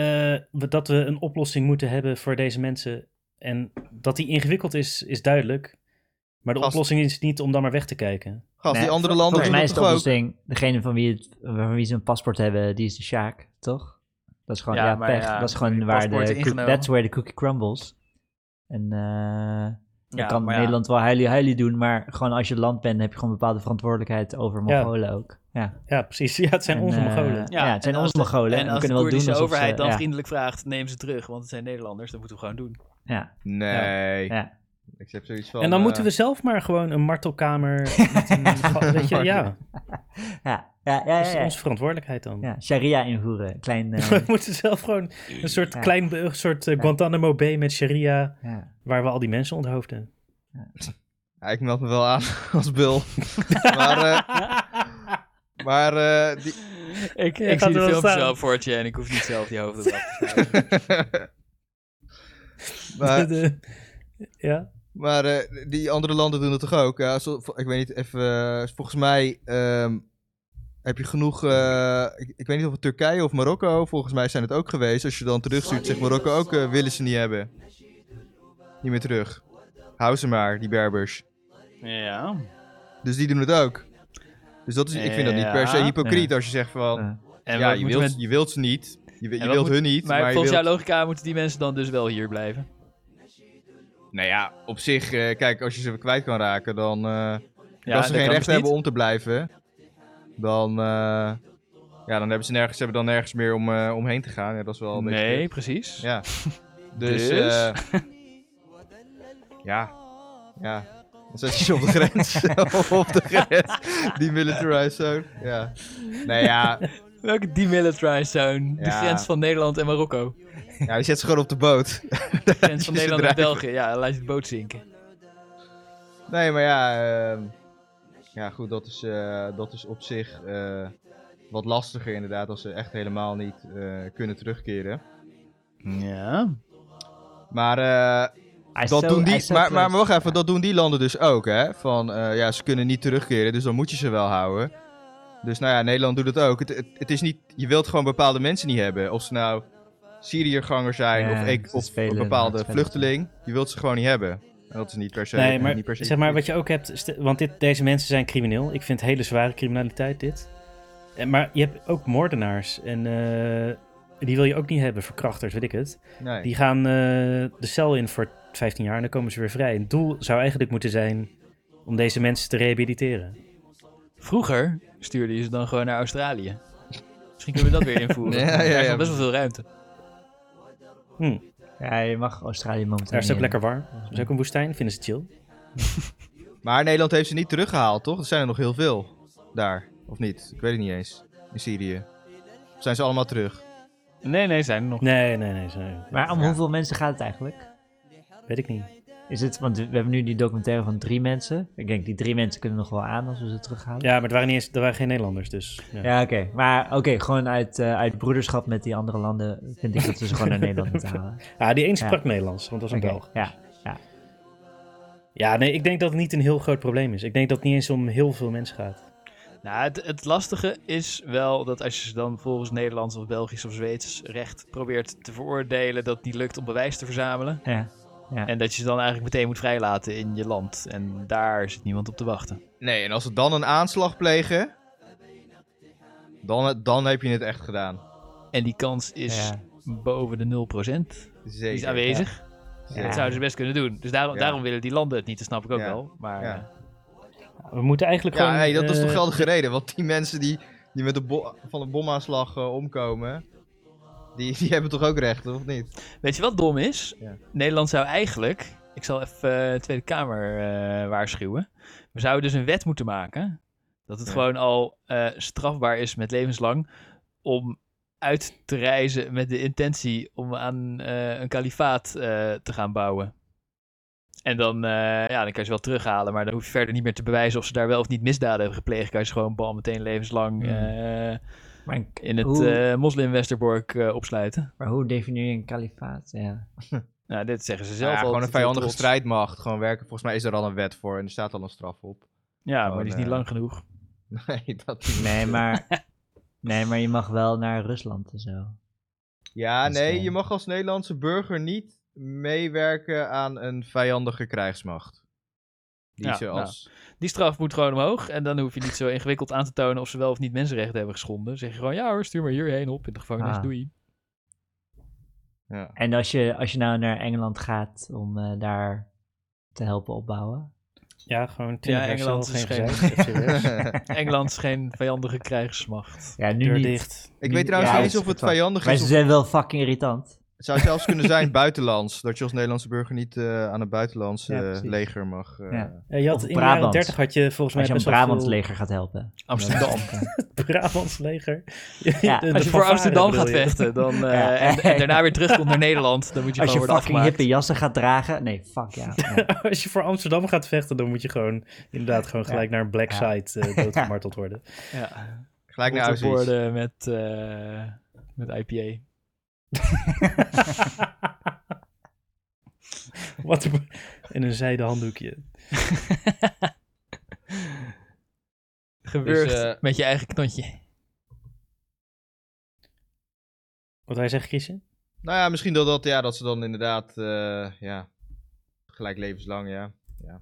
we- dat we een oplossing moeten hebben voor deze mensen. En dat die ingewikkeld is, is duidelijk. Maar de Gast. oplossing is niet om dan maar weg te kijken. Gast, Nee, die andere landen Volgens doen mij dat is de toch ook. oplossing, degene van wie, het, van wie ze een paspoort hebben, die is de Sjaak, toch? Dat is gewoon, Ja, ja, maar pech. ja, dat is gewoon die waar de, paspoorten cookie- ingenomen. that's where the cookie crumbles. En eh dan Ja, kan maar ja. Nederland wel heilig heilig doen, maar gewoon als je land bent, heb je gewoon bepaalde verantwoordelijkheid over Ja. Mongolen ook. Ja, Ja, precies. Ja, het zijn En, onze eh, Mongolen. Ja, het zijn en onze als de- Mongolen en En we als de kunnen wel doen Koerdische alsof ze- overheid dan ja. vriendelijk vraagt: neem ze terug, want het zijn Nederlanders, dat moeten we gewoon doen. ja, Nee. ja. Ik heb zoiets van. En dan eh, moeten we zelf maar gewoon een martelkamer. Met een, ga- weet je, ja, Ja, ja, dat is ja, ja, ja. Dus onze verantwoordelijkheid dan. Ja, sharia invoeren. Klein, eh, We moeten zelf gewoon een soort Ja. klein be- een soort eh, Guantanamo Bay met sharia, ja. waar we al die mensen onthoofden. Ja, ik meld me wel aan als Bill. maar eh, maar eh, die... Ik, Ja, ik gaat zie er de wel filmpjes staan. wel voor je en ik hoef niet zelf die hoofden te De- maar, de- ja. maar eh, die andere landen doen dat toch ook? Ja, zo- ik weet niet, even. eh, volgens mij ehm, heb je genoeg. eh, ik, ik weet niet of het Turkije of Marokko, volgens mij zijn het ook geweest. Als je dan terugstuurt, zegt Marokko ook: eh, willen ze niet hebben. Niet meer terug. Hou ze maar, die Berbers. Ja. Dus die doen het ook. Dus dat is, ik vind dat niet per se Ja. hypocriet als je zegt van, Ja. En ja, wat je moeten wilt, we- je wilt ze niet, je, wi- en je wat wilt moet- hun niet, maar, Maar, je volgens wilt... jouw logica moeten die mensen dan dus wel hier blijven. Nou ja, op zich, eh, kijk, als je ze kwijt kan raken, dan... eh, Ja, als ze dat geen kan recht dus niet. hebben om te blijven, dan... eh, ja, dan hebben ze nergens, hebben dan nergens meer om, eh, omheen te gaan. Ja, dat is wel een beetje- Nee, precies. Ja. Dus... Dus? eh, ja. Ja. Dan zet je ze op de grens. op de grens. Die militarized zone. Ja. Nee, ja. Welke demilitarized zone? De Ja. grens van Nederland en Marokko. Ja, die zet ze gewoon op de boot. De grens van Die Nederland drijven. en België. Ja, laat je de boot zinken. Nee, maar ja. ehm, ja, goed, dat is, eh, dat is op zich eh, wat lastiger inderdaad. Als ze echt helemaal niet eh, kunnen terugkeren. Ja. Maar, eh, Hij is dat zo- doen hij die, is zo maar, maar, maar close. wacht even, dat doen die landen dus ook, hè? Van, eh, ja, ze kunnen niet terugkeren, dus dan moet je ze wel houden. Dus nou ja, Nederland doet het ook. Het, het, het is niet, je wilt gewoon bepaalde mensen niet hebben. Of ze nou Syriërganger zijn Ja, of, ik, ze of spelen een hard bepaalde spelen. vluchteling. Je wilt ze gewoon niet hebben. En dat is niet per se... Nee, eh, niet per maar se zeg maar wat je ook hebt, stel- want dit, deze mensen zijn crimineel. Ik vind hele zware criminaliteit dit. En, maar je hebt ook moordenaars en eh, die wil je ook niet hebben, verkrachters, weet ik het. Nee. Die gaan eh, de cel in voor 15 jaar en dan komen ze weer vrij. Het doel zou eigenlijk moeten zijn om deze mensen te rehabiliteren. Vroeger stuurde je ze dan gewoon naar Australië. Misschien kunnen we dat weer invoeren. Ja, ja, Ja, ja, ja. best wel veel ruimte. Hm, Ja, je mag Australië momenteel daar is het ook niet in. lekker warm. Dat is ook een woestijn, vinden ze chill. Maar Nederland heeft ze niet teruggehaald, toch? Er zijn er nog heel veel daar. Of niet? Ik weet het niet eens. In Syrië. Of zijn ze allemaal terug? Nee, nee, zijn er nog. Nee, nee, nee, zo- Maar om Ja. hoeveel mensen gaat het eigenlijk? weet ik niet. Is het, want we hebben nu die documentaire van drie mensen. Ik denk, die drie mensen kunnen nog wel aan als we ze terughalen. Ja, maar het waren, niet eens, er waren geen Nederlanders, dus... Ja. Ja, oké. Maar oké, gewoon uit, eh, uit broederschap met die andere landen vind ik dat we ze gewoon naar Nederland moeten halen. Ah, die een Ja. sprak Nederlands, want dat was een Oké, Belg. ja. Ja, nee, ik denk dat het niet een heel groot probleem is. Ik denk dat het niet eens om heel veel mensen gaat. Nou, het, het lastige is wel dat als je ze dan volgens Nederlands of Belgisch of Zweeds recht probeert te veroordelen, dat het niet lukt om bewijs te verzamelen. ja. Ja. En dat je ze dan eigenlijk meteen moet vrijlaten in je land. En daar zit niemand op te wachten. Nee, en als ze dan een aanslag plegen... Dan, dan heb je het echt gedaan. En die kans is Ja. boven de 0%. Zeker. Die is aanwezig. Ja. Dat zouden ze best kunnen doen. Dus daarom, Ja. daarom willen die landen het niet, dat snap ik ook Ja. wel. Maar Ja. eh, We moeten eigenlijk Ja, gewoon... hey, dat is eh, toch geldige reden. Want die mensen die, die met de bo- van een bomaanslag eh, omkomen... Die, die hebben toch ook recht, of niet? weet je wat dom is? Ja. Nederland zou eigenlijk, ik zal even eh, de Tweede Kamer eh, waarschuwen. We zouden dus een wet moeten maken dat het Ja. gewoon al eh, strafbaar is met levenslang om uit te reizen met de intentie om aan eh, een kalifaat eh, te gaan bouwen. En dan, eh, ja, dan kan je ze wel terughalen, maar dan hoef je verder niet meer te bewijzen of ze daar wel of niet misdaden hebben gepleegd. Kan je ze gewoon bal meteen levenslang Hmm. eh, Maar, een- in het Hoe- eh moslim-Westerbork eh, opsluiten. maar hoe definieer je een kalifaat? Ja. Nou, dit zeggen ze zelf Ja, al. gewoon een Het is heel vijandige trots. strijdmacht. Gewoon werken. Volgens mij is er al een wet voor en er staat al een straf op. Ja, maar Gewoon, die is niet eh, lang genoeg. Nee, dat niet. Nee, maar, nee, maar je mag wel naar Rusland en zo. Ja, Dus, nee, eh, je mag als Nederlandse burger niet meewerken aan een vijandige krijgsmacht. Die Ja, nou. ze als... Die straf moet gewoon omhoog. En dan hoef je niet zo ingewikkeld aan te tonen of ze wel of niet mensenrechten hebben geschonden. Dan Zeg je gewoon, ja hoor, stuur maar hierheen op in de gevangenis, Ah. doei. Ja. En als je, als je nou naar Engeland gaat om eh, daar te helpen opbouwen. Ja, gewoon 20 Ja, jaar Engeland cel, is geen geen- gezeik, dat is serieus. Engeland is geen vijandige krijgsmacht. Ja, nu Deur niet. dicht. Ik Nu- weet trouwens ja, niet eens het of is het goed. vijandig Maar is. ze Of... zijn wel fucking irritant. Het zou zelfs kunnen zijn buitenlands. Dat je als Nederlandse burger niet eh, aan een buitenlands Ja, eh, precies. leger mag. eh, Ja. Ja, je had, Of in de jaren Brabant. 30 had je volgens mij Als je een best wel Brabants veel leger gaat helpen. Amsterdam. Brabants leger. Ja, De- de Als je voor fanfare Amsterdam bedoel gaat je. vechten dan, eh, Ja. en, en daarna weer terugkomt naar Nederland, dan moet je Als je gewoon worden fucking afgemaakt. hippe jassen gaat dragen. Nee, fuck ja. ja. Als je voor Amsterdam gaat vechten, dan moet je gewoon inderdaad gewoon gelijk naar een black Ja. site eh, doodgemarteld worden. Ja. Gelijk naar Moeten Auschwitz. worden met, eh, met IPA. Wat een- in een zijden handdoekje. Gewurgd Dus, eh, met je eigen knotje. Wat wij zeggen, kiezen? Nou ja, misschien dat, dat, ja, dat ze dan inderdaad. eh, ja, gelijk levenslang, ja. Ja,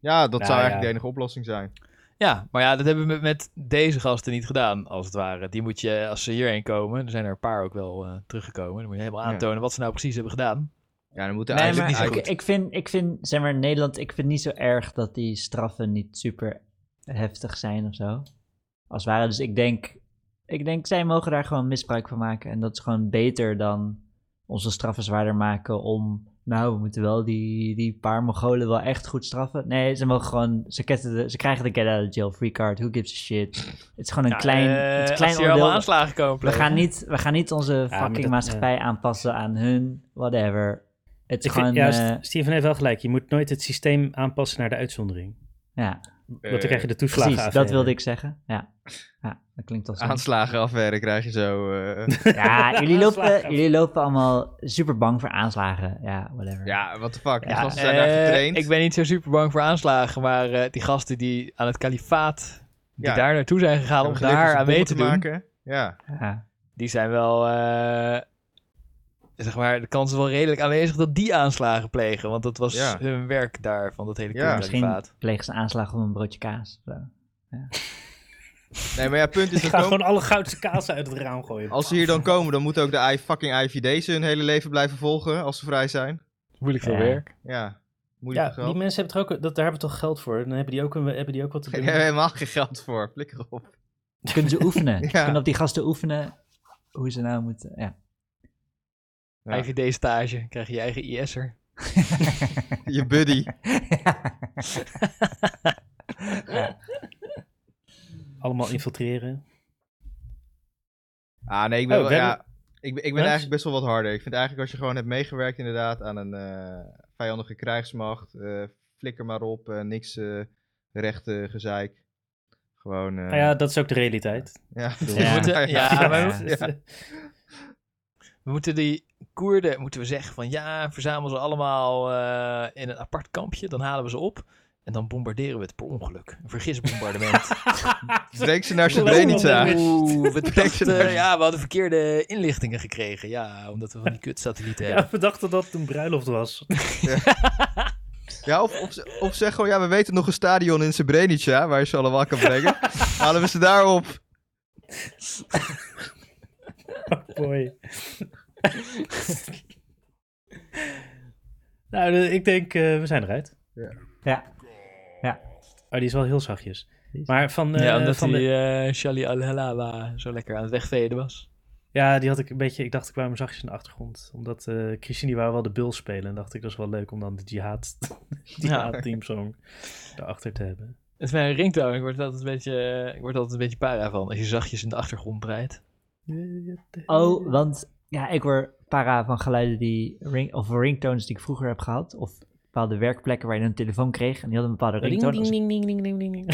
ja dat Nou, zou eigenlijk ja. de enige oplossing zijn. Ja, maar ja, dat hebben we met, met deze gasten niet gedaan, als het ware. Die moet je, als ze hierheen komen, er zijn er een paar ook wel eh, teruggekomen. Dan moet je helemaal Ja. aantonen wat ze nou precies hebben gedaan. Ja, dan moeten Nee, eigenlijk maar ik, eigenlijk- ik, vind, ik vind, zeg maar, Nederland, ik vind niet zo erg dat die straffen niet super heftig zijn of zo. Als het ware. Dus ik denk, ik denk, zij mogen daar gewoon misbruik van maken. En dat is gewoon beter dan onze straffen zwaarder maken om... Nou, we moeten wel die, die paar Mongolen wel echt goed straffen. Nee, ze mogen gewoon... Ze, ketten de- ze krijgen de get out of jail free card. Who gives a shit? Het is gewoon een klein, eh, het is een als klein hier allemaal onderdeel. aanslagen komen We plegen. gaan, niet, we gaan niet onze maar fucking dat- maatschappij aanpassen aan hun, whatever. Het is Ik gewoon... vind, ja, eh, St- Steven heeft wel gelijk. Je moet nooit het systeem aanpassen naar de uitzondering. ja, eh, Want dan krijg je de toeslagen precies. Dat wilde ik zeggen. Ja, ja dat klinkt als een Aanslagenaffaire krijg je zo. eh. Ja, jullie lopen, Aanslagen. jullie lopen allemaal super bang voor aanslagen. Ja, whatever. ja, what the fuck. Die Ja, gasten zijn daar Eh, getraind. Ik ben niet zo super bang voor aanslagen, maar eh, die gasten die aan het kalifaat, die Ja. daar naartoe zijn gegaan om Hebben geleerd daar ze aan bommen mee te, doen, maken. Ja. Ja. die zijn wel, eh, zeg maar, de kans is wel redelijk aanwezig dat die aanslagen plegen, want dat was Ja. hun werk daar, van dat hele Ja. Misschien kalifaat. plegen ze aanslagen om een broodje kaas. Zo. Nee, maar ja, het punt is, Ik dan ga komen, gewoon alle goudse kaas uit het raam gooien. als ze hier dan komen, dan moeten ook de I fucking IVD's hun hele leven blijven volgen als ze vrij zijn. Moeilijk veel Ja. werk. Ja, moeilijk ja, ja, geld. die mensen hebben toch ook, dat, daar hebben we toch geld voor. Dan hebben die ook, een- hebben die ook wat te Daar doen. hebben we helemaal geen geld voor. Flikker op. Kunnen ze oefenen? Ja. Ze kunnen op die gasten oefenen hoe ze nou moeten. Ja. Ja. Eigen D-stage, krijg je je eigen IS'er. Je buddy. Allemaal infiltreren. Ah, nee, ik ben, Oh, wel- we ja, hebben- ik, ben- ik ben Mens? eigenlijk best wel wat harder. Ik vind eigenlijk als je gewoon hebt meegewerkt inderdaad aan een eh, vijandige krijgsmacht, eh, flikker maar op, eh, niks eh rechten gezeik. Gewoon. eh, Nou ja, dat is ook de realiteit. ja, Ja. We moeten- ja, Ja. maar we- Dat is, eh, We moeten die Koerden, moeten we zeggen van ja, verzamel ze allemaal eh, in een apart kampje, dan halen we ze op en dan bombarderen we het per ongeluk. Een vergisbombardement. Breek ze naar Oeh, Srebrenica. oeh, Oeh, we, Protection dachten, Act. ja, we hadden verkeerde inlichtingen gekregen. Ja, omdat we van die kutsatellieten Ja, hebben. we dachten dat het een bruiloft was. Ja, of, of, ze- of zeg gewoon, ja, we weten nog een stadion in Srebrenica waar je ze allemaal kan brengen. Halen we ze daarop. Mooi. nou, de- ik denk, eh, we zijn eruit. ja. Oh, die is wel heel zachtjes. Maar van, eh, ja, omdat van die de, eh Shali Al-Halawa zo lekker aan het wegveden was. ja, die had ik een beetje, ik dacht ik wou hem zachtjes in de achtergrond. Omdat eh Christine die wou wel de Bulls spelen. En dacht ik, dat is wel leuk om dan de jihad, jihad teamsong erachter te hebben. Het is mijn ringtone. Ik word er altijd een beetje, eh, ik word er altijd een beetje para van als je zachtjes in de achtergrond draait. Oh, want ja, ik word para van geluiden die ring, of ringtones die ik vroeger heb gehad. Of bepaalde werkplekken waar je een telefoon kreeg en die hadden een bepaalde ringtone. Als, ding, ding, ding, ding, ding.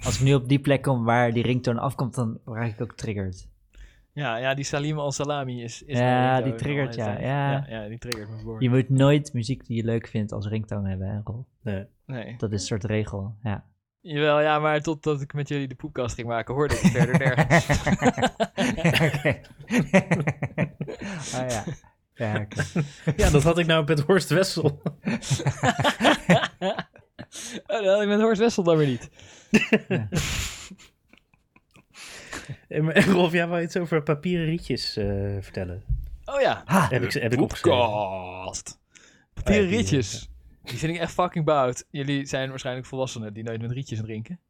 als ik nu op die plek kom waar die ringtone afkomt, dan raak ik ook triggerd. Ja, ja die Salim Al-Salami is, is Ja, mijn ringtone die triggert, al de hele ja, tijd. ja. ja. die triggert me voor. Je moet nooit muziek die je leuk vindt als ringtone hebben, hè, Rolf? Nee. Nee. Dat is een soort regel, ja. Jawel, ja, maar totdat ik met jullie de poepkast ging maken, hoorde ik het verder nergens. Oké. oh ja. Ja, oké. Ja, dat had ik nou met Horst Wessel. Oh, dat had ik met Horst Wessel dan weer niet. En maar- en Rolf, jij wou iets over papieren rietjes eh, vertellen. Oh ja, Heb ik, heb ik opgeschreven. Podcast. Papieren Oh ja, die- rietjes. Die vind ik echt fucking bout. Jullie zijn waarschijnlijk volwassenen die nooit met rietjes drinken.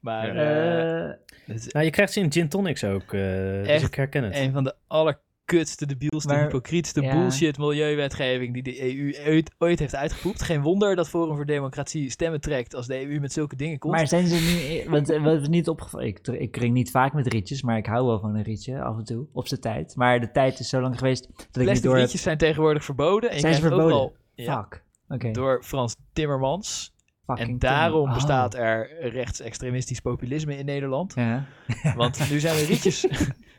Maar eh Eh, dit is Nou, je krijgt ze in gin tonics ook. eh Dus Echt ik herken het. een van de allerkutste, debielste, Maar- hypocrietste ja. bullshit milieuwetgeving die de EU ooit, ooit heeft uitgepoept. Geen wonder dat Forum voor Democratie stemmen trekt als de EU met zulke dingen komt. maar zijn ze nu... Want eh, wat is niet opgevallen... Ik, dr- ik drink niet vaak met rietjes, maar ik hou wel van een rietje af en toe, op zijn tijd. Maar de tijd is zo lang geweest dat ik niet Plastic door heb... rietjes zijn tegenwoordig verboden. En je Zijn ze krijgt ook verboden? al- ja, Fuck. Oké. door Frans Timmermans. fucking en daarom kinderen. Oh. bestaat er rechtsextremistisch populisme in Nederland. Ja. Want nu zijn er rietjes.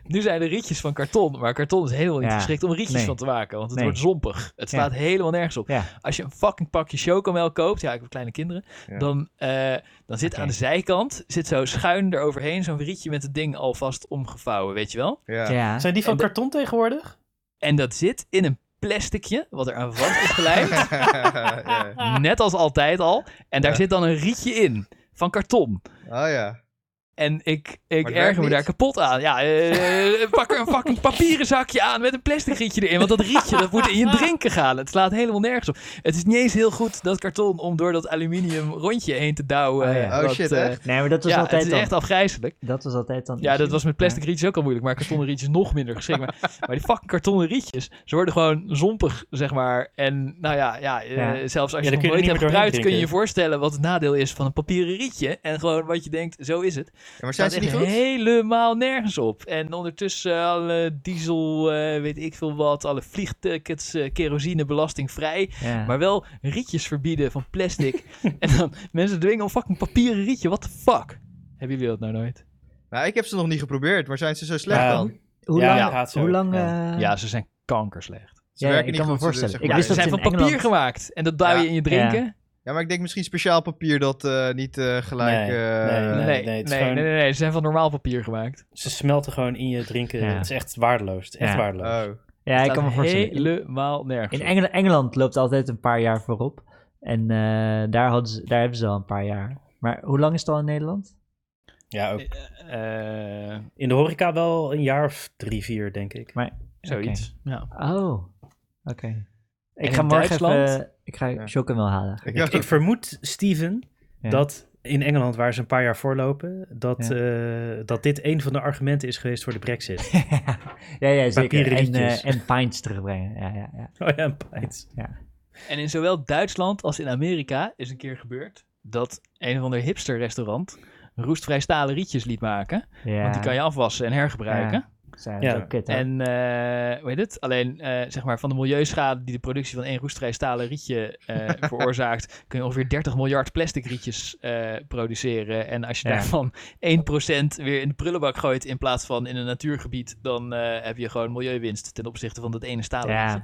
Nu zijn er rietjes van karton, maar karton is helemaal niet Ja, geschikt om rietjes nee. van te maken, want het Nee. wordt zompig. Het Ja. staat helemaal nergens op. Ja. Als je een fucking pakje chocomel koopt, ja, ik heb kleine kinderen, Ja. dan, eh, dan zit Oké. aan de zijkant, zit zo schuin eroverheen zo'n rietje met het ding alvast omgevouwen, weet je wel? Ja. Ja. Zijn die van En de- karton tegenwoordig? En dat zit in een plasticje, wat er aan vast is gelijmd, Ja. net als altijd al, en daar Ja. zit dan een rietje in, van karton. Oh ja. En ik, ik werkt erger me niet. daar kapot aan. Ja, eh, pak er een fucking papieren zakje aan met een plastic rietje erin. Want dat rietje, dat moet in je drinken gaan. Het slaat helemaal nergens op. Het is niet eens heel goed, dat karton, om door dat aluminium rondje heen te douwen. Ah, ja. Oh, Dat, shit, eh, echt? Nee, maar dat was Ja, het altijd is dan. Oh, echt afgrijzelijk. Dat was altijd dan. Ja, dat issue. was met plastic rietjes ook al moeilijk, maar kartonnen rietjes nog minder geschikt. Maar, maar die fucking kartonnen rietjes, ze worden gewoon zompig, zeg maar. En nou ja, ja, eh, Ja. zelfs als Ja, je daar kun het je nog nooit niet hebt meer doorheen gebruikt, kun je je drinken. voorstellen wat het nadeel is van een papieren rietje. En gewoon wat je denkt, zo is het. Ja, maar zijn staat ze echt niet goed? helemaal nergens op. En ondertussen eh, alle diesel, eh, weet ik veel wat, alle vliegtickets, eh, kerosine belastingvrij. Ja. Ja. Maar wel rietjes verbieden van plastic. en dan mensen dwingen om fucking papieren rietje. What the fuck? Hebben jullie dat nou nooit? Nou, ik heb ze nog niet geprobeerd, maar zijn ze zo slecht Ja. Nou, dan? hoe Ja, lang? ja, gaat zo. hoe lang? Ja. eh, Ja, ze zijn kankerslecht. Ze Ja, werken ik niet kan me goed, ze- voorstellen. zeg Ik maar- Ja, wist ze dat zijn ze van in papier Engeland- gemaakt. En dat duw je Ja. in je drinken. Ja, maar ik denk misschien speciaal papier dat eh, niet eh, gelijk... Nee, eh, nee, Nee, nee, nee, het is nee, gewoon- nee, Ze zijn van normaal papier gemaakt. Ze smelten gewoon in je drinken. Ja. Het is echt waardeloos. Het is echt Ja. waardeloos. Oh. Ja, ik Staat kan me voorstellen. In- Helemaal nergens. In op. Engel- Engeland loopt altijd een paar jaar voorop. En eh, daar, hadden ze, daar hebben ze al een paar jaar. Maar hoe lang is het al in Nederland? Ja, ook Eh, in de horeca wel een jaar of drie, vier, denk ik. zoiets. Ja. Oh, oké. Ik in ga morgen Duitsland? even... Ik ga Ja. Choco wel halen. Ik, Ik, ik vermoed, Steven, Ja. dat in Engeland, waar ze een paar jaar voorlopen, dat, Ja. eh, dat dit een van de argumenten is geweest voor de brexit. ja, ja, zeker. Papieren En, rietjes. eh en pints terugbrengen. Ja, ja, ja. oh ja, een pint. En in zowel Duitsland als in Amerika is een keer gebeurd dat een of ander hipster restaurant roestvrij stalen rietjes liet maken. ja. Want die kan je afwassen en hergebruiken. Zijn Ja. ja. ook kut, hè? En eh hoe heet het? Alleen eh, zeg maar van de milieuschade die de productie van één roestvrij stalen rietje eh, veroorzaakt, kun je ongeveer 30 miljard plastic rietjes eh, produceren. En als je Ja. daarvan 1% weer in de prullenbak gooit in plaats van in een natuurgebied, dan eh, heb je gewoon milieuwinst ten opzichte van dat ene stalen Ja. rietje.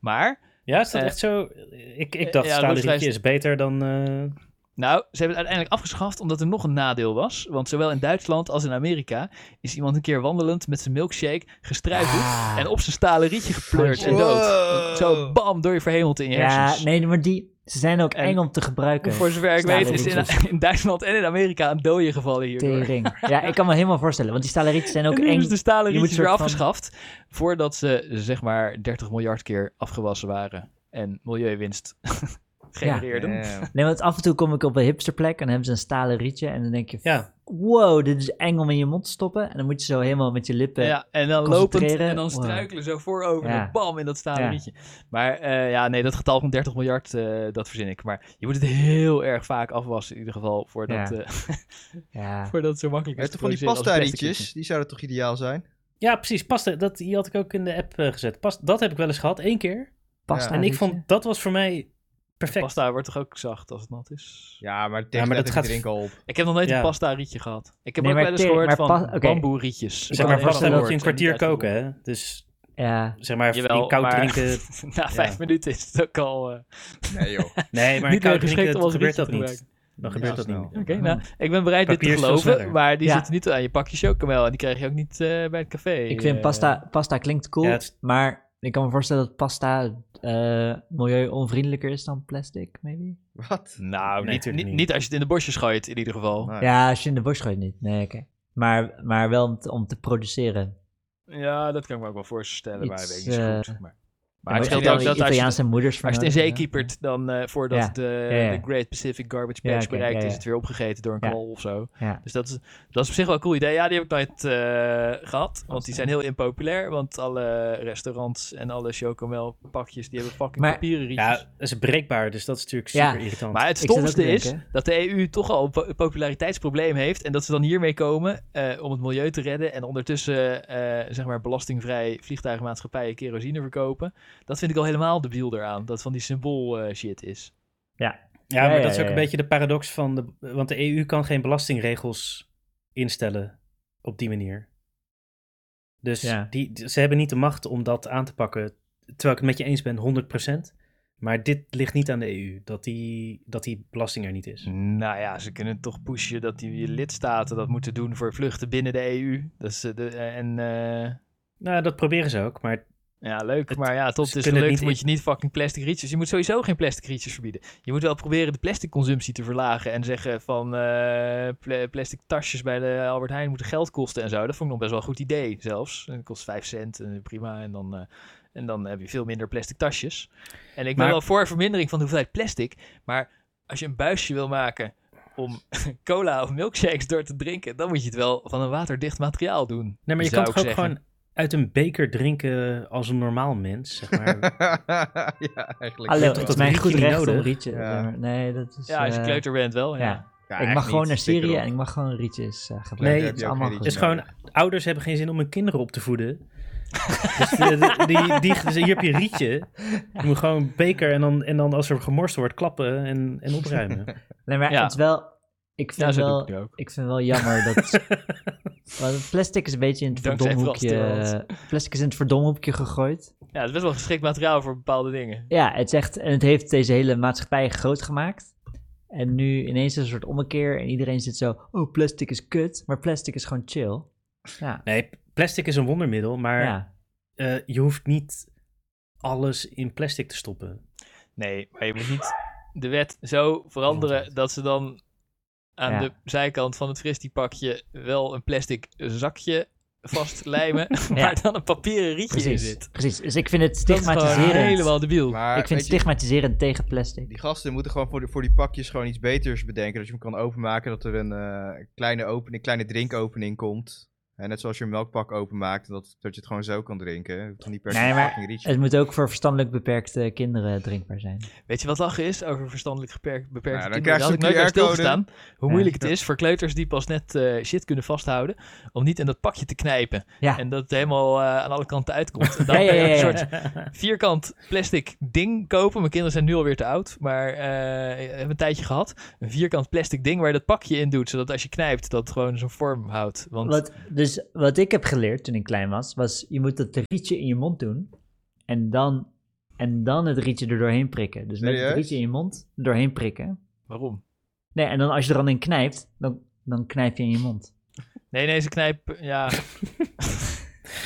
Maar Ja, is dat Eh, echt zo? Ik, ik dacht, ja, stalen roestrijst- rietje is beter dan... eh, Nou, ze hebben het uiteindelijk afgeschaft omdat er nog een nadeel was. Want zowel in Duitsland als in Amerika is iemand een keer wandelend met zijn milkshake gestruikeld Ah. en op zijn stalen rietje gepleurd en Wow. dood. Zo bam, door je verhemeld in je ja, hersens. nee, maar die... Ze zijn ook En- eng om te gebruiken. Voor zover ik weet is Stalen in, in Duitsland en in Amerika een dode gevallen hierdoor. Tering. Ja, ik kan me helemaal voorstellen. Want die stalen rietjes zijn ook En nu eng. is de stalen Je moet rietjes weer soort van- afgeschaft voordat ze zeg maar 30 miljard keer afgewassen waren en milieuwinst genereerden. Ja. Nee, want af en toe kom ik op een hipsterplek en dan hebben ze een stalen rietje. En dan denk je, ja, wow, dit is eng om in je mond te stoppen. En dan moet je zo helemaal met je lippen... Ja, en dan lopend concentreren. en dan Wow. struikelen zo voorover. Ja. en Bam, in dat stalen Ja. rietje. Maar eh, ja, nee, dat getal van 30 miljard, eh, dat verzin ik. Maar je moet het heel erg vaak afwassen in ieder geval, voordat, Ja. eh, Ja. voordat het zo makkelijk Je is hebt te toch van die produceren als een pasta plastic rietjes? rietje. Die zouden toch ideaal zijn? ja, precies. Pasta, dat, die had ik ook in de app eh, gezet. Pas, dat heb ik wel eens gehad, één keer. Pasta en ik rietje. vond, dat was voor mij perfect. Pasta wordt toch ook zacht als het nat is? Ja, maar het Ja, ja, maar maar dat gaat- drinken al op. Ik heb nog nooit Ja. een pasta rietje gehad. Ik heb Nee, ook maar wel eens tering, gehoord maar van pa- oké. bamboe rietjes. Zeg maar, Ik had pasta even moet je een kwartier koken, hè? Dus Ja. zeg maar, Jawel, in koud maar- drinken... Na vijf minuten is het ook al eh, Nee joh. Nee, maar in niet meer koud geschikt drinken om dan als gebeurt rietje dat te niet. gebruiken. Dan gebeurt dat snel. niet. Oké, nou, ik ben bereid dit te Papier is veel geloven, sneller. maar die Ja. zitten niet aan je pakje chocomel. En die krijg je ook niet eh, bij het café. Ik vind eh. pasta, pasta klinkt cool, Ja, het is- maar ik kan me voorstellen dat pasta eh milieu-onvriendelijker is dan plastic, maybe? Wat? Nou, Nee, niet, natuurlijk niet, niet. niet als je het in de bosjes gooit, in ieder geval. Nee. Ja, als je in de bos gooit niet. Nee, oké. Maar, maar wel om te, om te produceren. Ja, dat kan ik me ook wel voorstellen, maar Iets, weet ik niet zo eh, goed. Maar, maar het Daar scheelt hebben ook dat als je, Italiaanse moeders voor als je het in nodig, zee ja. keepert, dan eh, voordat Ja, de, ja, ja. de Great Pacific Garbage Patch Ja, oké, bereikt ja, ja. is, het weer opgegeten door een Ja. kwal of zo. Ja. Dus dat is, dat is op zich wel een cool idee. Ja, die heb ik nooit eh, gehad, want die zijn heel impopulair. Want alle restaurants en alle chocomel pakjes, die hebben fucking Maar- papieren rietjes. Ja, dat is breekbaar, dus dat is natuurlijk Ja. super irritant. Maar het Ik zat ook stomste te is denken. dat de EU toch al een po- een populariteitsprobleem heeft. En dat ze dan hiermee komen eh, om het milieu te redden. En ondertussen eh, zeg maar belastingvrij vliegtuigmaatschappijen kerosine verkopen. Dat vind ik al helemaal debiel eraan. Dat van die symbool eh, shit is. Ja, Ja, maar ja, dat is ook ja, een ja. beetje de paradox van de. Want de EU kan geen belastingregels instellen op die manier. Dus Ja. die, die- ze hebben niet de macht om dat aan te pakken. Terwijl ik het met je eens ben, 100%. Maar dit ligt niet aan de EU, dat die, dat die belasting er niet Hmm. is. Nou ja, ze kunnen toch pushen dat die lidstaten dat moeten E doen voor vluchten binnen de EU. Dat is, eh, de, en eh, Nou, dat proberen ze ook, maar Ja, leuk. Het- maar ja, tot ze het kunnen is het gelukt niet moet je niet fucking plastic rietjes. Je moet sowieso geen plastic rietjes verbieden. Je moet wel proberen de plastic consumptie te verlagen. En zeggen van eh, pla- plastic tasjes bij de Albert Heijn moeten geld kosten en zo. Dat vond ik nog best wel een goed idee zelfs. En Dat kost 5 cent, eh, prima. En dan, eh, en dan heb je veel minder plastic tasjes. En ik ben Maar- wel voor vermindering van de hoeveelheid plastic. Maar als je een buisje wil maken om cola of milkshakes door te drinken... dan moet je het wel van een waterdicht materiaal doen. Nee, maar je zou kan toch ik ook zeggen. gewoon uit een beker drinken als een normaal mens, zeg maar. ja, eigenlijk. Hallo, wel. toch het dat is mijn rietje goed niet recht om nodig? rietje. Ja. Ja, maar Nee, dat is... Ja, als je eh, kleuter bent wel, ja. Ja. Ja, ik eigenlijk mag gewoon niet. naar Flikker Syrië op. en ik mag gewoon rietjes eh, gebruiken. Nee, het is heb je ook allemaal geen Het is goed. rietjes. gewoon, ouders hebben geen zin om hun kinderen op te voeden. Dus de- de- die, die, dus hier heb je een rietje. Je moet gewoon een beker en dan, en dan als er gemorst wordt, klappen en, en opruimen. Nee, maar Ja. het is wel... Ik Ja, vind zo doe ik wel... het ook. Ik vind wel jammer dat... Want plastic is een beetje in het Dankzij verdomhoekje... eh, Plastic is in het verdomhoekje gegooid. Ja, het is best wel geschikt materiaal voor bepaalde dingen. Ja, het is echt... En het heeft deze hele maatschappij groot gemaakt. En nu ineens is een soort ommekeer en iedereen zit zo... Oh, plastic is kut, maar plastic is gewoon chill. Ja, Nee, plastic is een wondermiddel, maar ja. eh, je hoeft niet alles in plastic te stoppen. Nee, maar je moet niet de wet zo veranderen dat ze dan aan Ja. de zijkant van het frisdiepakje wel een plastic zakje vastlijmen, waar dan een papieren rietje in Precies, zit. precies. Dus ik vind het Dat is gewoon stigmatiserend. helemaal debiel. Maar, ik vind het weet je, stigmatiserend tegen plastic. Die gasten moeten gewoon voor, de, voor die pakjes gewoon iets beters bedenken. Dat je hem kan openmaken, dat er een eh, kleine, opening, kleine drinkopening komt. En net zoals je een melkpak openmaakt, dat, dat je het gewoon zo kan drinken. Je hoeft toch niet per se Nee, een maar fucking rietje. Het moet ook voor verstandelijk beperkte kinderen drinkbaar zijn. Weet je wat lachen is over verstandelijk beperkte Nou, kinderen? dan Daar krijg had je ik nooit bij een QR-code. stilgestaan. Hoe Ja. moeilijk het is voor kleuters die pas net eh, shit kunnen vasthouden, om niet in dat pakje te knijpen. Ja. En dat het helemaal eh, aan alle kanten uitkomt. En dan Ja, ja, ben je ja, een ja. soort vierkant plastic ding kopen. Mijn kinderen zijn nu alweer te oud, maar eh hebben een tijdje gehad. Een vierkant plastic ding waar je dat pakje in doet, zodat als je knijpt, dat het gewoon zo'n vorm houdt. Want Wat, dus wat ik heb geleerd toen ik klein was, was je moet dat rietje in je mond doen en dan, en dan het rietje er doorheen prikken. Dus met het Serieus? rietje in je mond er doorheen prikken. waarom? Nee, en dan als je er dan in knijpt, dan, dan knijp je in je mond. Nee, nee, ze knijpen. Ja,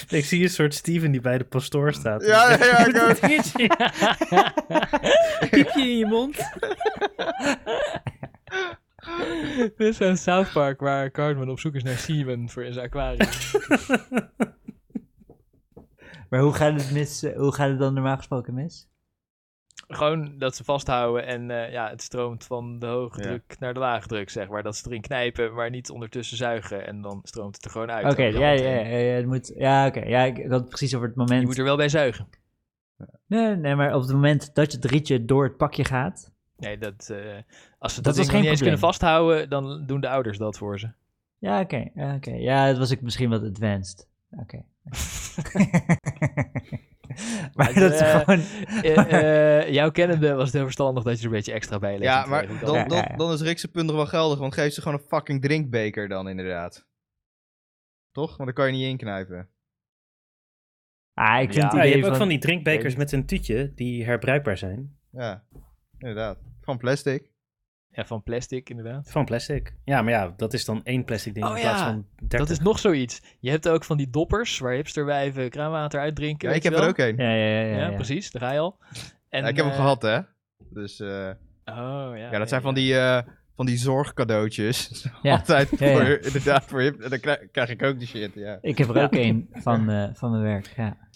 Ik zie een soort Steven die bij de pastoor staat. Ja, ja, ja, ik ook. Piepje in je mond. dit is een South Park waar Cartman op zoek is naar Steven voor in zijn aquarium. Maar hoe gaat het, mis, eh, hoe gaat het dan normaal gesproken mis? gewoon dat ze vasthouden en eh, ja, het stroomt van de hoge Ja. druk naar de lage druk, zeg maar. Dat ze erin knijpen, maar niet ondertussen zuigen en dan stroomt het er gewoon uit. Oké, Ook dat ja, ja, meteen. ja, ja, het moet, ja, oké, ja, ik ik had het precies over het moment. Je moet er wel bij zuigen. Nee, nee, maar op het moment dat je het rietje door het pakje gaat. Nee, dat, eh, als ze Dat is dat, ding nog geen niet eens probleem. kunnen vasthouden, dan doen de ouders dat voor ze. Ja, oké. ja, oké. Ja, dat was ik misschien wat advanced. Oké. maar Maar, dat is eh, gewoon. Eh, eh, jouw kennende was het heel verstandig dat je er een beetje extra bij legt. Ja, om te maar weten dan, hoe dat- Ja, ja, ja. dan, dan is Rick's punt nog wel geldig, want geef ze gewoon een fucking drinkbeker dan inderdaad. Toch? Want dan kan je niet inknijpen. Ah, ik vind Ja, het Ja, je idee hebt ook van, van die drinkbekers met een tuutje die herbruikbaar zijn. Ja, inderdaad. Van plastic. Ja, van plastic inderdaad. Van plastic. Ja, maar ja, dat is dan één plastic ding Oh in plaats ja, van 30. Dat is nog zoiets. Je hebt ook van die doppers waar hipsterwijven kraanwater uitdrinken. Ja, ik weet je heb er wel? ook een. Ja, ja, ja. ja, Ja, ja. precies. Daar ga je al. En, Ja, ik heb hem eh, gehad, hè. Dus... eh, Oh, ja. Ja, nee, dat zijn van die, eh, van die zorgcadeautjes. Ja. Altijd Ja, ja. voor, inderdaad voor hip. En dan krijg, krijg ik ook die shit, ja. Ik heb er ook één van, eh, van mijn werk. Ja.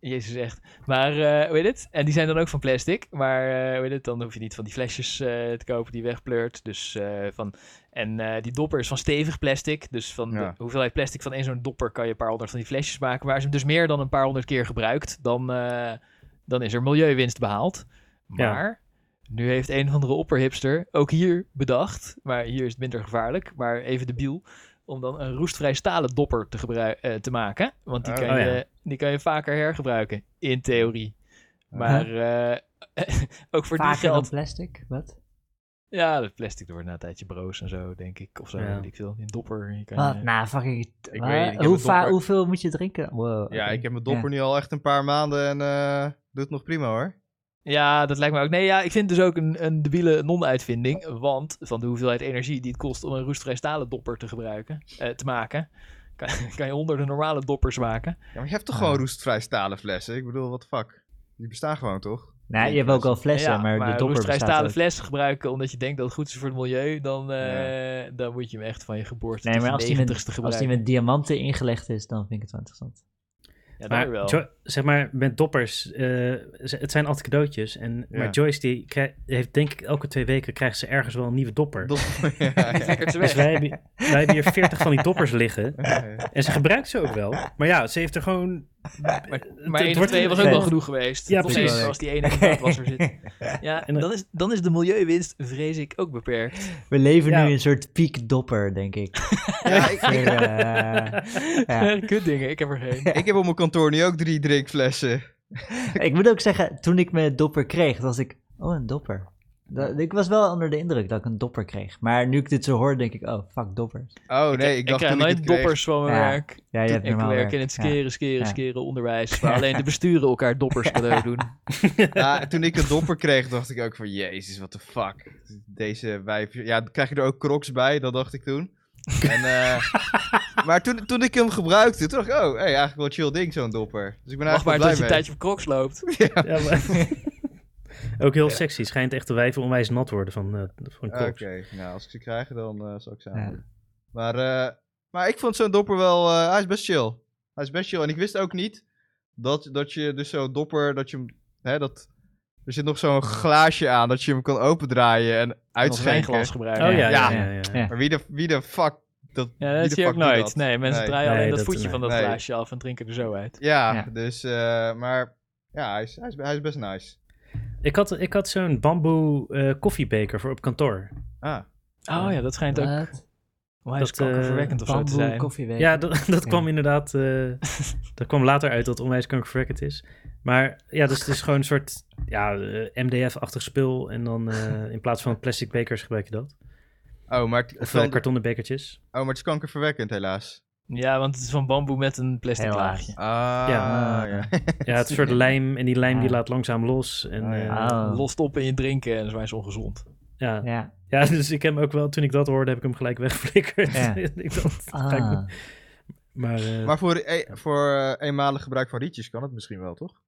Jezus echt. Maar eh, hoe heet het? En die zijn dan ook van plastic. Maar eh, hoe heet het? Dan hoef je niet van die flesjes eh, te kopen die je wegpleurt. Dus eh, van. En eh, die dopper is van stevig plastic. Dus van Ja. de hoeveelheid plastic van één zo'n dopper kan je een paar honderd van die flesjes maken. Maar als je hem dus meer dan een paar honderd keer gebruikt, dan, eh, dan is er milieuwinst behaald. Ja. Maar nu heeft een of andere opperhipster ook hier bedacht. Maar hier is het minder gevaarlijk. Maar even debiel. Om dan een roestvrij stalen dopper te, gebrui- eh, te maken. Want die Oh. kan, Oh, je, ja. die kan je vaker hergebruiken. In theorie. Maar eh, ook voor Vaker die dan geld. plastic? Wat? Ja, dat plastic dat wordt na een tijdje broos en zo, denk ik. Of zo, Ja. weet ik veel. In dopper. Je kan, Wat? eh, Nou, fucking. wat? weet niet, ik heb Hoe een va dopper. hoeveel moet je drinken? Wow, Ja, oké. ik heb mijn dopper nu al echt een paar maanden en eh doet het nog prima, hoor. Ja, dat lijkt me ook. Nee, ja, ik vind het dus ook een, een debiele non-uitvinding. Want van de hoeveelheid energie die het kost om een roestvrij stalen dopper te gebruiken, eh, te maken, Kan, kan je onder de normale doppers maken. Ja, maar je hebt toch Ah. gewoon roestvrij stalen flessen? Ik bedoel, wat fuck? Die bestaan gewoon, toch? Nou, je hebt ook al flessen, Ja, maar, de dopper roestvrij bestaat stalen ook. fles gebruiken omdat je denkt dat het goed is voor het milieu, dan, eh, dan moet je hem echt van je geboorte Nee, tot maar je als die, met, negentigste als gebruiken. die met diamanten ingelegd is, dan vind ik het wel interessant. Ja, daar Maar wel. jo- zeg maar, met doppers, eh, ze- het zijn altijd cadeautjes. En, Ja. Maar Joyce, die krij- heeft denk ik elke twee weken krijgt ze ergens wel een nieuwe dopper. Dat- ja, ja, Lekker te Dus weg. wij hebben, wij hebben hier 40 van die doppers liggen. ja. En ze gebruikt ze ook wel. Maar ja, ze heeft er gewoon. Maar, Het- maar het één of wordt- twee was ook Nee. wel genoeg geweest. Ja, Nog precies. steeds, Als die ene in de wasser zit. Ja, En dat- dan is, dan is de milieuwinst, vrees ik, ook beperkt. We leven Ja. nu in een soort piek dopper, denk ik. Ja, ik, Weer, eh, ja. Kut dingen, ik heb er geen. ik heb op mijn kantoor nu ook drie drinkflessen. Oh, eh, ik moet ook zeggen, toen ik mijn dopper kreeg, was ik, oh, een dopper. Da- ik was wel onder de indruk dat ik een dopper kreeg. Maar nu ik dit zo hoor, denk ik, oh, fuck doppers. Oh nee, ik, Ik dacht krijg toen ik nooit het kreeg- doppers van mijn Ja, werk. Ja, je hebt Ik normaal werk in het Ja. skeren, skeren, Ja. skeren onderwijs. Waar alleen de besturen elkaar doppers cadeau doen. Ja, toen ik een dopper kreeg, dacht ik ook van, jezus, what the fuck. Deze wijf... Ja, krijg je er ook crocs bij? Dat dacht ik toen. En, eh, maar toen, toen ik hem gebruikte, toen dacht ik, oh, hey, eigenlijk wel chill ding, zo'n dopper. Dus ik ben Mag maar eigenlijk wel dat je een blij mee. tijdje op crocs loopt. Ja, maar- ook heel sexy. Schijnt echt de wijven onwijs nat worden van, eh van Oké, koks. nou, als ik ze krijg, dan eh, zal ik ze aan. Ja. doen. Maar, eh, maar ik vond zo'n dopper wel, eh, hij is best chill. Hij is best chill. En ik wist ook niet dat, dat je dus zo'n dopper, dat je hem, hè, dat... Er zit nog zo'n glaasje aan dat je hem kan opendraaien en Nog geen uitschenken. glas gebruiken. Oh ja, ja, ja. Ja. ja, ja. Maar wie de, wie de fuck. Dat, Ja, wie dat de zie je ook fuck doet nooit. dat? Nee, mensen Nee. draaien alleen Nee, dat, dat- voetje van dat nee. glaasje af en drinken er zo uit. Ja, Ja. dus. eh, maar ja, hij is, hij, is, hij is best nice. Ik had, ik had zo'n bamboe eh, koffiebeker voor op kantoor. Ah, Oh ja, dat schijnt ook Wat? onwijs Dat, eh, kankerverwekkend of zo te Bamboe zijn. koffieweek. Ja, dat, dat kwam inderdaad. eh, dat kwam later uit dat het onwijs kankerverwekkend is. Maar ja, dus het is gewoon een soort ja, eh, MDF-achtig spul. En dan eh, in plaats van plastic bekers gebruik je dat. oh, maar het, Of kan- eh, kartonnen bekertjes. oh, maar het is kankerverwekkend, helaas. Ja, want het is van bamboe met een plastic Heel laag. laagje. Ah, Ja. ja. Ja, het is een soort lijm. En die lijm die Ah. laat langzaam los. En, Oh, ja. eh, Oh. Lost op in je drinken en dat is wijs ongezond. ja. Ja. ja, dus ik heb hem ook wel. Toen ik dat hoorde, heb ik hem gelijk weggeflikkerd. Ja. Ik dacht, kijk, Ah. maar eh, Maar voor, eh, voor eh, eenmalig gebruik van rietjes kan het misschien wel, toch?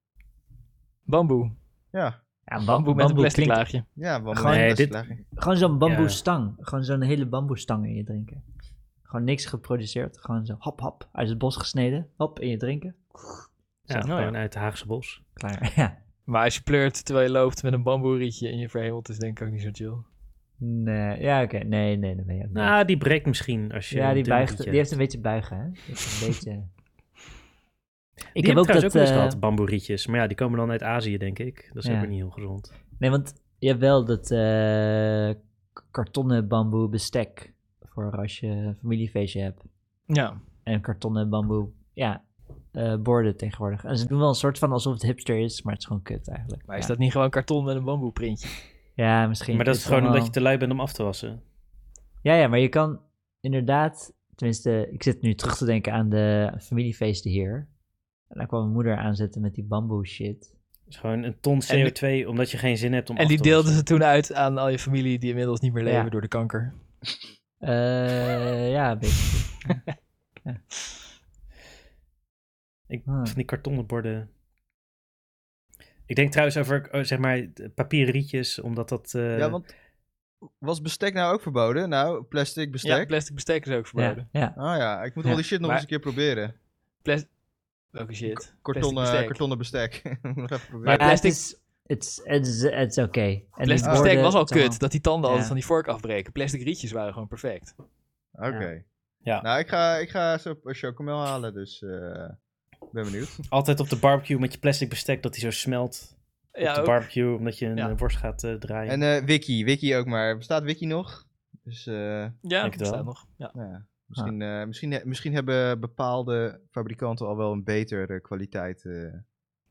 Bamboe. Ja. Ja, bam- Bamboe met een plastic klinkt- laagje. Ja, want Gewoon- nee, Nee, dat is dit- lager. Gewoon zo'n Ja. bamboestang. Gewoon zo'n hele bamboestang in je drinken. Gewoon niks geproduceerd. Gewoon zo hap hap. Uit het bos gesneden. Hop, in je drinken. ja, Oh, ja. gewoon uit het Haagse bos. Klaar. Ja. Maar als je pleurt terwijl je loopt met een bamboerietje in je verhemeld, is denk ik ook niet zo chill. Nee. Ja, oké. Nee, nee, dat ben je ook niet. Nou, die breekt misschien als je. ja, een die, dun buigt, rietje die heeft een beetje buigen, hè? Dat is een beetje... Ik Die heb ook dat... trouwens ook wel eens eh, gehad, bamboerietjes. Maar ja, die komen dan uit Azië, denk ik. Dat is Ja. ook weer niet heel gezond. Nee, want je hebt wel dat eh, k- kartonnen bamboe bestek voor als je een familiefeestje hebt. Ja. En kartonnen bamboe, ja, eh, borden tegenwoordig. En ze doen wel een soort van alsof het hipster is, maar het is gewoon kut eigenlijk. Maar ja. is dat niet gewoon karton met een bamboeprintje? Ja, misschien. Maar dat is het gewoon omdat je allemaal- te lui bent om af te wassen. Ja, ja, maar je kan inderdaad... Tenminste, ik zit nu terug te denken aan de familiefeesten hier. En daar kwam mijn moeder aanzetten met die bamboe shit. Het is gewoon een ton En CO2 omdat je geen zin hebt om En af die te wassen. deelden ze toen uit aan al je familie die inmiddels niet meer leven Ja. door de kanker. Eh, ja, een beetje. Ik, Ah. Van die kartonnen borden. Ik denk trouwens over, eh, zeg maar, d- papieren rietjes, omdat dat... eh, Ja, want was bestek nou ook verboden? Nou, plastic bestek. Ja, plastic bestek is ook Ja, verboden. ja. Ah ja, ik moet al die shit nog Maar- eens een keer proberen. Welke shit. Kartonnen bestek. bestek. Kartonnen bestek. Moet nog even proberen. Maar- Ja, plastic- het is, het is, het is, het is oké. En die Plastic borden, bestek was al het is allemaal- kut, dat die tanden altijd Ja. van die vork afbreken. Plastic rietjes waren gewoon perfect. Oké. Ja. Nou, ik ga, ik ga zo een chocomel halen, dus eh, ik ben benieuwd. Altijd op de barbecue met je plastic bestek, dat die zo smelt. op Ja, de ook. barbecue, omdat je een Ja. eh, worst gaat eh, draaien. En eh, Wiki, Wiki ook maar. Bestaat Wiki nog? Dus eh, ja denk het wel. bestaat nog. Ja. nou ja, misschien, Ah. eh, misschien, he- misschien hebben bepaalde fabrikanten al wel een betere kwaliteit. eh.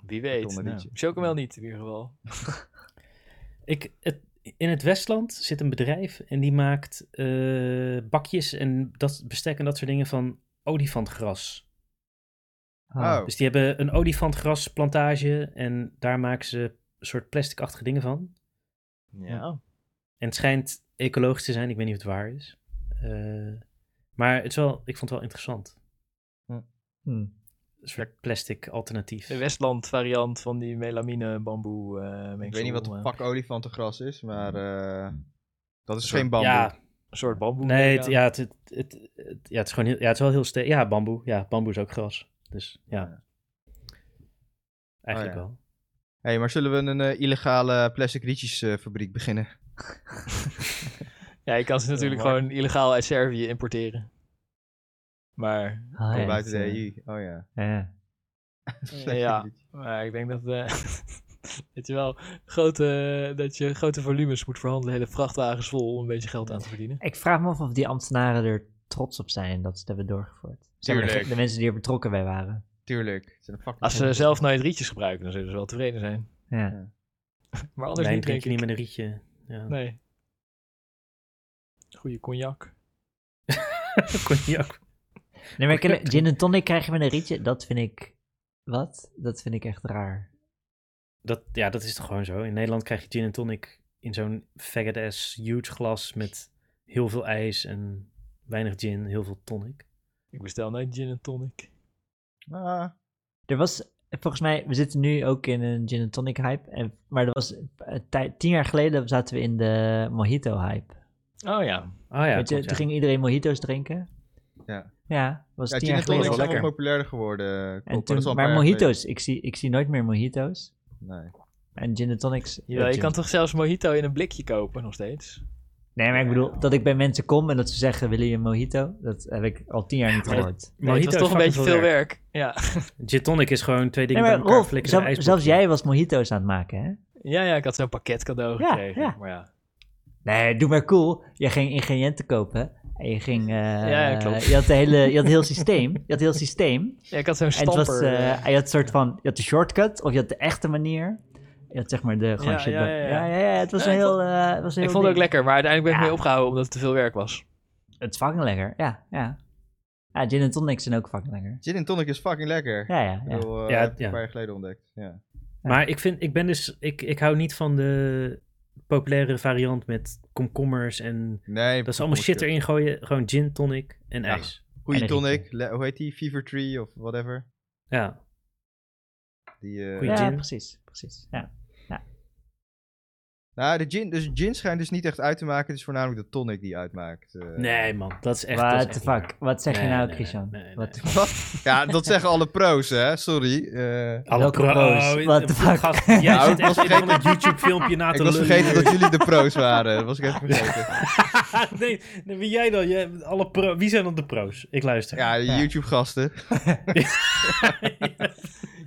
Wie weet. Kartonnen Nou, rietje. Chocomel niet in ieder geval. Ik, het, in het Westland zit een bedrijf en die maakt eh, bakjes en dat, bestek en dat soort dingen van olifantgras. Ah, Oh, Dus die hebben een olifantgrasplantage en daar maken ze een soort plasticachtige dingen van. Ja. En het schijnt ecologisch te zijn, ik weet niet of het waar is. Eh, maar het is wel, ik vond het wel interessant. Hm. Een soort plastic alternatief. De Westland variant van die melamine bamboe. eh, Ik mengsel, weet niet wat de eh, Mm. fuck olifantengras is, maar eh, dat is Een soort- geen bamboe. Ja, Een soort bamboe. nee, denk het, ik ja, het, het, het- het- ja, het is gewoon heel, ja, het is wel heel sterk. Ja, bamboe. Ja, bamboe is ook gras. Dus ja. Eigenlijk Oh, wel. Hé, maar zullen we een eh, illegale plastic rietjesfabriek beginnen? aan. Ja, je kan ze natuurlijk waar. gewoon illegaal uit Servië importeren. Maar, Ah, Van ja, buiten dat, de eh, EU. Oh ja. ja. Plastic ja. rietjes. maar ik denk dat, eh, dat je wel grote, dat je grote volumes moet verhandelen. Hele vrachtwagens vol om een beetje geld aan te verdienen. Ik vraag me af of die ambtenaren er trots op zijn dat ze het hebben doorgevoerd. Zeg maar, Tuurlijk. De mensen die er betrokken bij waren. Tuurlijk. Het zijn fucking Als ze mensen. zelf nooit rietjes gebruiken, dan zullen ze wel tevreden zijn. Ja. Maar anders Wijn niet, drink denk je ik. niet met een rietje. Ja. Nee. Goeie cognac. Cognac. Nee, maar ken- gin en tonic krijg je met een rietje, dat vind ik... Wat? Dat vind ik echt raar. Dat, ja, dat is toch gewoon zo. In Nederland krijg je gin en tonic in zo'n faggot ass huge glas met heel veel ijs en weinig gin, heel veel tonic. Ik bestel nooit gin en tonic. Ah, Er was, volgens mij, we zitten nu ook in een gin en tonic hype. En, maar er was, een tij- tien jaar geleden zaten we in de mojito hype. Oh ja. Oh ja, Weet je, klopt, toen ja. ging iedereen mojito's drinken. Ja. Ja, was ja, tien gin jaar geleden. en tonic wel zijn wel lekker. populairder geworden. klopt, En dat toen, is al een maar paar jaar geleden. mojito's, ik zie, ik zie nooit meer mojito's. Nee. En gin en tonics. Jawel, eh, je gin- kan toch zelfs mojito in een blikje kopen nog steeds? Nee, maar ik bedoel, dat ik bij mensen kom en dat ze zeggen, willen je een mojito? Dat heb ik al tien jaar niet maar dat- gehoord. Nee, het Mojito was is toch een fucking beetje veel werk. Ja. Gin tonic is gewoon twee Nee, dingen maar bij elkaar Rolf, flikkeren. zelf- in een zelfs ijsblokje. jij was mojito's aan het maken, hè? ja, ja, ik had zo'n pakket cadeau Ja, gekregen. ja. Maar ja. Nee, doe maar cool. Je ging ingrediënten kopen en je ging... eh, Ja, ja, klopt. Je had, de hele, je had heel systeem. Je had heel systeem. ja, ik had zo'n En het was, stamper. eh, eh, je had een soort van, je had de shortcut of je had de echte manier. Je had zeg maar de gewoon Ja, shit. ja, dat- ja, ja. ja, ja, het was Ja, een ik heel, eh, het was een ik heel vond het ook ding. lekker, maar uiteindelijk ben ik Ja. mee opgehouden omdat het te veel werk was. Het is fucking lekker, ja, ja. Ja, gin en tonic zijn ook fucking lekker. Gin en tonic is fucking lekker. Ja, ja, Ik ja. bedoel, eh, Ja, heb ik ja. een paar jaar geleden ontdekt. Ja. Maar ik vind, ik ben dus, ik, ik hou niet van de populaire variant met komkommers en Nee, dat is allemaal shit erin gooien. Gewoon gin tonic en Ja. ijs. Goeie En een tonic. le- hoe heet die? Fever Tree of whatever. Ja, Die, eh, Goeie- ja, gin. precies, precies. Ja. Nou, de gin, dus gin schijnt dus niet echt uit te maken. Het is voornamelijk de tonic die uitmaakt. eh. nee man, dat is echt. dat is What echt the niet waar. fuck? Wat zeg je Nee, nou, nee, Christian? nee, nee, What the nee. fuck? Ja, dat zeggen alle pro's, hè. Sorry. eh. Alle Welke pro- pro's? oh, What the fuck? Gast, jij Nou, zit ik was echt in een YouTube-filmpje na te ik was lullen vergeten hier. dat jullie de pro's waren. Dat was ik even vergeten. nee, nee, wie jij dan? Jij- alle pro- wie zijn dan de pro's? Ik luister. Ja, de Ja. YouTube-gasten.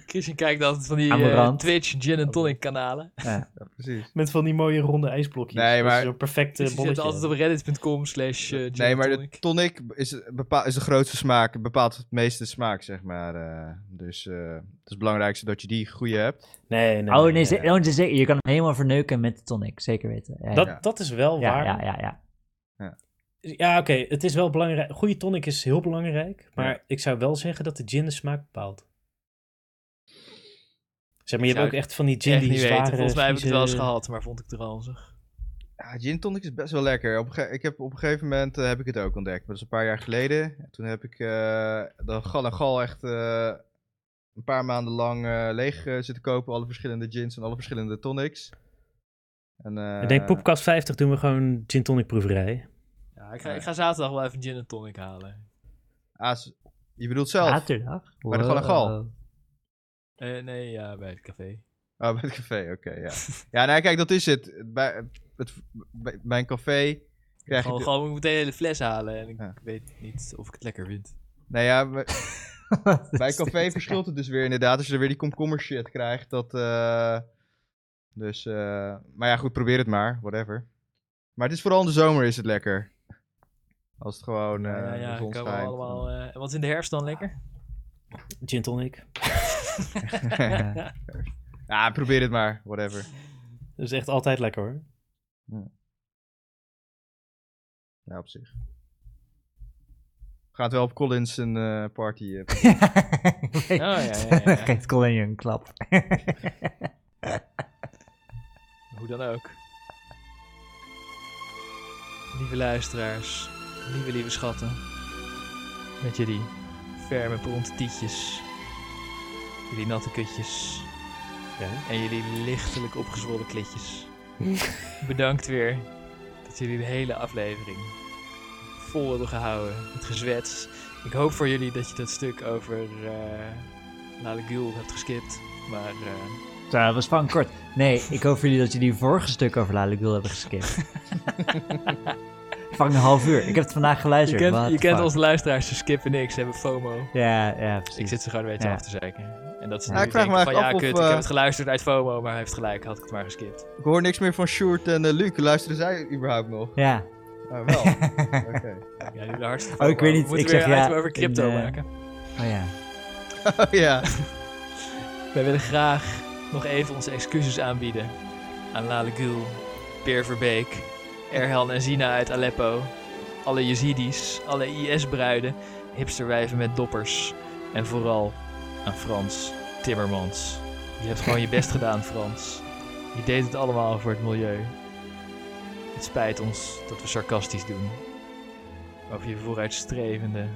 Christian kijkt altijd van die eh, Amarant. Twitch gin en tonic kanalen. Ja, precies. Met van die mooie ronde ijsblokjes. Nee, Dat is maar- Zo'n perfecte Dus die zit bolletje. altijd op reddit.com slash eh, gin Nee, en maar de tonic. tonic is, bepaal, is de grootste smaak. Bepaalt het meeste smaak, zeg maar. eh. dus eh, het is het belangrijkste dat je die goede hebt. Nee, nee. Oh, nee, ze- oh, ze- zeker. Je kan hem helemaal verneuken met de tonic, zeker weten. Ja, Dat, Ja. dat is wel ja, waar. ja, ja, ja. Ja, oké. Het is wel belangrijk. Goede tonic is heel belangrijk. Maar ik zou wel zeggen dat de gin de smaak bepaalt. Zeg maar, je Ik hebt ook zou echt van die gin Echt die niet zware... weten. Volgens mij heb ik het wel eens vieze- eh, gehad, maar vond ik het ranzig. Ja, gin tonic is best wel lekker. Op een ge- ik heb, op een gegeven moment eh, heb ik het ook ontdekt. Maar dat is een paar jaar geleden. En Toen heb ik eh de gal en gal echt eh, een paar maanden lang eh, leeg eh, zitten kopen. Alle verschillende gins en alle verschillende tonics. En, eh, Ik denk, Popcast 50 doen we gewoon gin tonic proeverij. Ja, ik ga, ik ga zaterdag wel even gin en tonic halen. ah, s- je bedoelt zelf? Zaterdag? Maar dat gewoon een gal. Eh, nee, ja, bij het café. Oh, bij het café, oké, ja. Ja, nou kijk, dat is het. Bij, het, bij, bij een café krijg gewoon, je... de- gewoon, ik moet de hele fles halen en ik Ja. weet niet of ik het lekker vind. Nou ja, bij- Wow. bij een café verschilt het dus weer inderdaad. Als je er weer die komkommer shit krijgt, dat... eh, dus, eh, maar ja, goed, probeer het maar, whatever. Maar het is vooral in de zomer is het lekker. Als het gewoon eh ja, de ja, zon komen we schijnt. allemaal... eh, en wat is in de herfst dan lekker? Gin tonic. eh. Ja, probeer het maar, whatever. Dat is echt altijd lekker hoor. Ja, op zich. Gaat wel op Collins een eh, party. eh, Nee. ja, ja, ja. Geeft Colin je een klap. Hoe dan ook. Lieve luisteraars, lieve lieve schatten. Met jullie verme blond tietjes. Jullie natte kutjes. Ja. En jullie lichtelijk opgezwollen klitjes. Bedankt weer dat jullie de hele aflevering vol hebben gehouden. Het gezwets. Ik hoop voor jullie dat je dat stuk over eh Lale Gül hebt geskipt. Maar eh, Zo, dat was van kort. Nee, ik hoop voor jullie dat jullie het vorige stuk over Lale Gul hebben geskipt. Vang een half uur. Ik heb het vandaag je geluisterd. kent, What je the kent fuck. onze luisteraars, ze skippen niks, ze hebben FOMO. Ja, ja, precies. Ik zit ze gewoon een beetje Ja. af te zeiken. En dat is Ja, nu ik ik vraag me van ja, eigenlijk af kut, of, ik eh, heb het geluisterd uit FOMO, maar hij heeft gelijk, had ik het maar geskipt. Ik hoor niks meer van Sjoerd en eh, Luc. Luisteren zij überhaupt nog? Ja. Ah, wel. Oké. Ja, jullie hebben hartstikke Oh, ik FOMO. weet niet, We moeten ik zeg weer een ja, item over crypto in, eh, maken. Oh ja. Oh ja. Eh. Wij willen graag nog even onze excuses aanbieden aan Lale Gül, Peer Verbeek, Erhan en Zina uit Aleppo, alle Yazidis, alle IS-bruiden, hipsterwijven met doppers en vooral aan Frans Timmermans. Je hebt gewoon je best gedaan, Frans. Je deed het allemaal voor het milieu. Het spijt ons dat we sarcastisch doen over je vooruitstrevende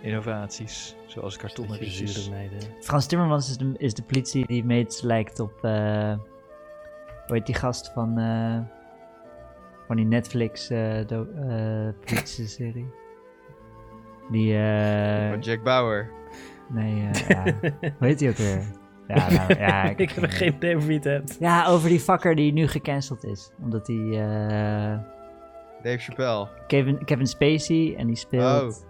innovaties, zoals kartonnen rietjes. Zure meiden. Frans Timmermans is de, is de politie die meets lijkt op. eh hoe heet die gast van. eh, van die Netflix eh do- eh, politie-serie? Die. eh Van Jack Bauer. nee, eh, ja. hoe heet die ook weer? Ja, nou, ja, ik heb geen idee of wie het hebt. Ja, over die fucker die nu gecanceld is. Omdat hij. eh Dave Chappelle. Kevin, Kevin Spacey en die speelt.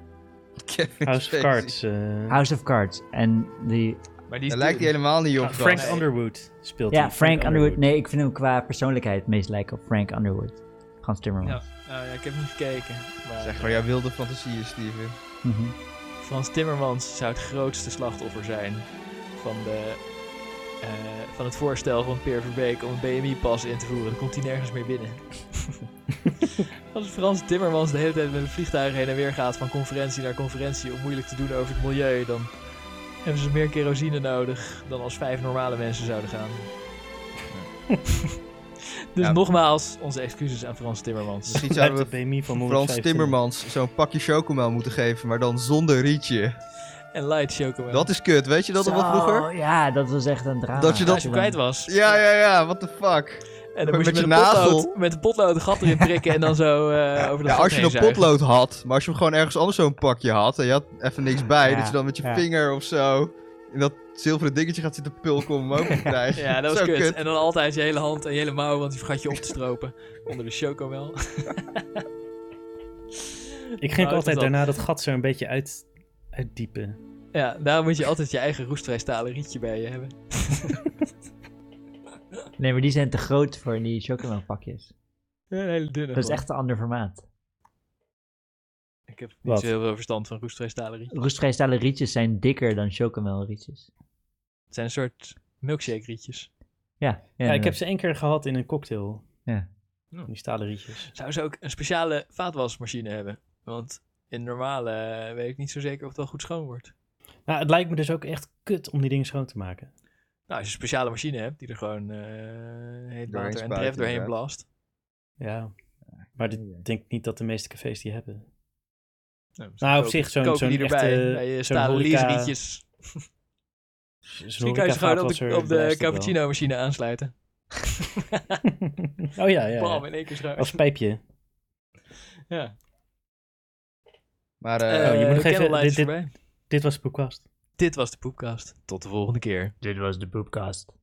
Kevin House of Spacey. Cards. eh, House of Cards. En die. Maar die is Daar lijkt hij helemaal niet op. ah, Frank gast. Underwood speelt Ja, hij, Frank, Underwood. Nee, ik vind hem qua persoonlijkheid het meest lijken op Frank Underwood. Frans Timmermans. Ja, nou ja, ik heb niet gekeken. Maar Zeg maar jouw wilde fantasieën, Steven. Mhm. Frans Timmermans zou het grootste slachtoffer zijn van, de, eh, van het voorstel van Peer Verbeek om een BMI-pas in te voeren. Dan komt hij nergens meer binnen. Als Frans Timmermans de hele tijd met een vliegtuig heen en weer gaat van conferentie naar conferentie om moeilijk te doen over het milieu, dan hebben ze meer kerosine nodig dan als vijf normale mensen zouden gaan. dus Ja. nogmaals, onze excuses aan Frans Timmermans. Misschien Hij heeft zouden we de BMI van Frans 115. Timmermans zo'n pakje chocomel moeten geven, maar dan zonder rietje. En light chocomel. Dat is kut, weet je dat nog wel Zo, vroeger? Ja, dat was echt een drama. Dat je dat- als je hem kwijt was. Ja, ja, ja, what the fuck. En Met- dan moest je met je met, een potlood, nagel. met een potlood een gat erin prikken en dan zo eh over Ja, de gat als je heen een zuigen. potlood had, maar als je hem gewoon ergens anders zo'n pakje had en je had even niks bij, Ja, dat je dan met je ja. vinger of zo in dat zilveren dingetje gaat zitten pulken om hem open te krijgen. Ja, dat was Zo kut. En dan altijd je hele hand en je hele mouw, want die vergat je op te stropen. Onder de chocomel. Ik Nou, ging ik altijd dat- daarna dat gat zo een beetje uit, uitdiepen. Ja, daar moet je altijd je eigen roestvrij stalen rietje bij je hebben. Nee, maar die zijn te groot voor die chocomelpakjes. Ja, Een hele dunne. Dat is gewoon. echt een ander formaat. Dus Ik heb niet Wat? zo heel veel verstand van roestvrij stalen rietje. Roestvrijstalen rietjes zijn dikker dan chocomelrietjes. Het zijn een soort milkshake rietjes. Ja, ja, Ja, ik heb ze één keer gehad in een cocktail. Ja. Van Die stalen rietjes. Zouden ze ook een speciale vaatwasmachine hebben? Want in normale eh, weet ik niet zo zeker of het wel goed schoon wordt. Nou, het lijkt me dus ook echt kut om die dingen schoon te maken. Nou, als je een speciale machine hebt die er gewoon eh heet Doorheen water en spuit, tref doorheen inderdaad. blaast. Ja. Maar dit- ik denk niet dat de meeste cafés die hebben. Nou, Nou, op zich zo'n koken zo'n die erbij. bij echte... je zo'n stalen horeca- lease-rietjes. Zo'n Misschien kan je ze gewoon op de, horeca-vaatwasser op de eh, beluistert wel. cappuccino-machine aansluiten. oh ja, ja, ja. Bam, in één keer zo. Als pijpje. Ja. Maar eh, Eh, Oh, je moet nog de even- candlelight is dit- dit- voorbij. Dit was Boekkast. Dit was de Poepkast. Tot de volgende keer. Dit was de poepkast.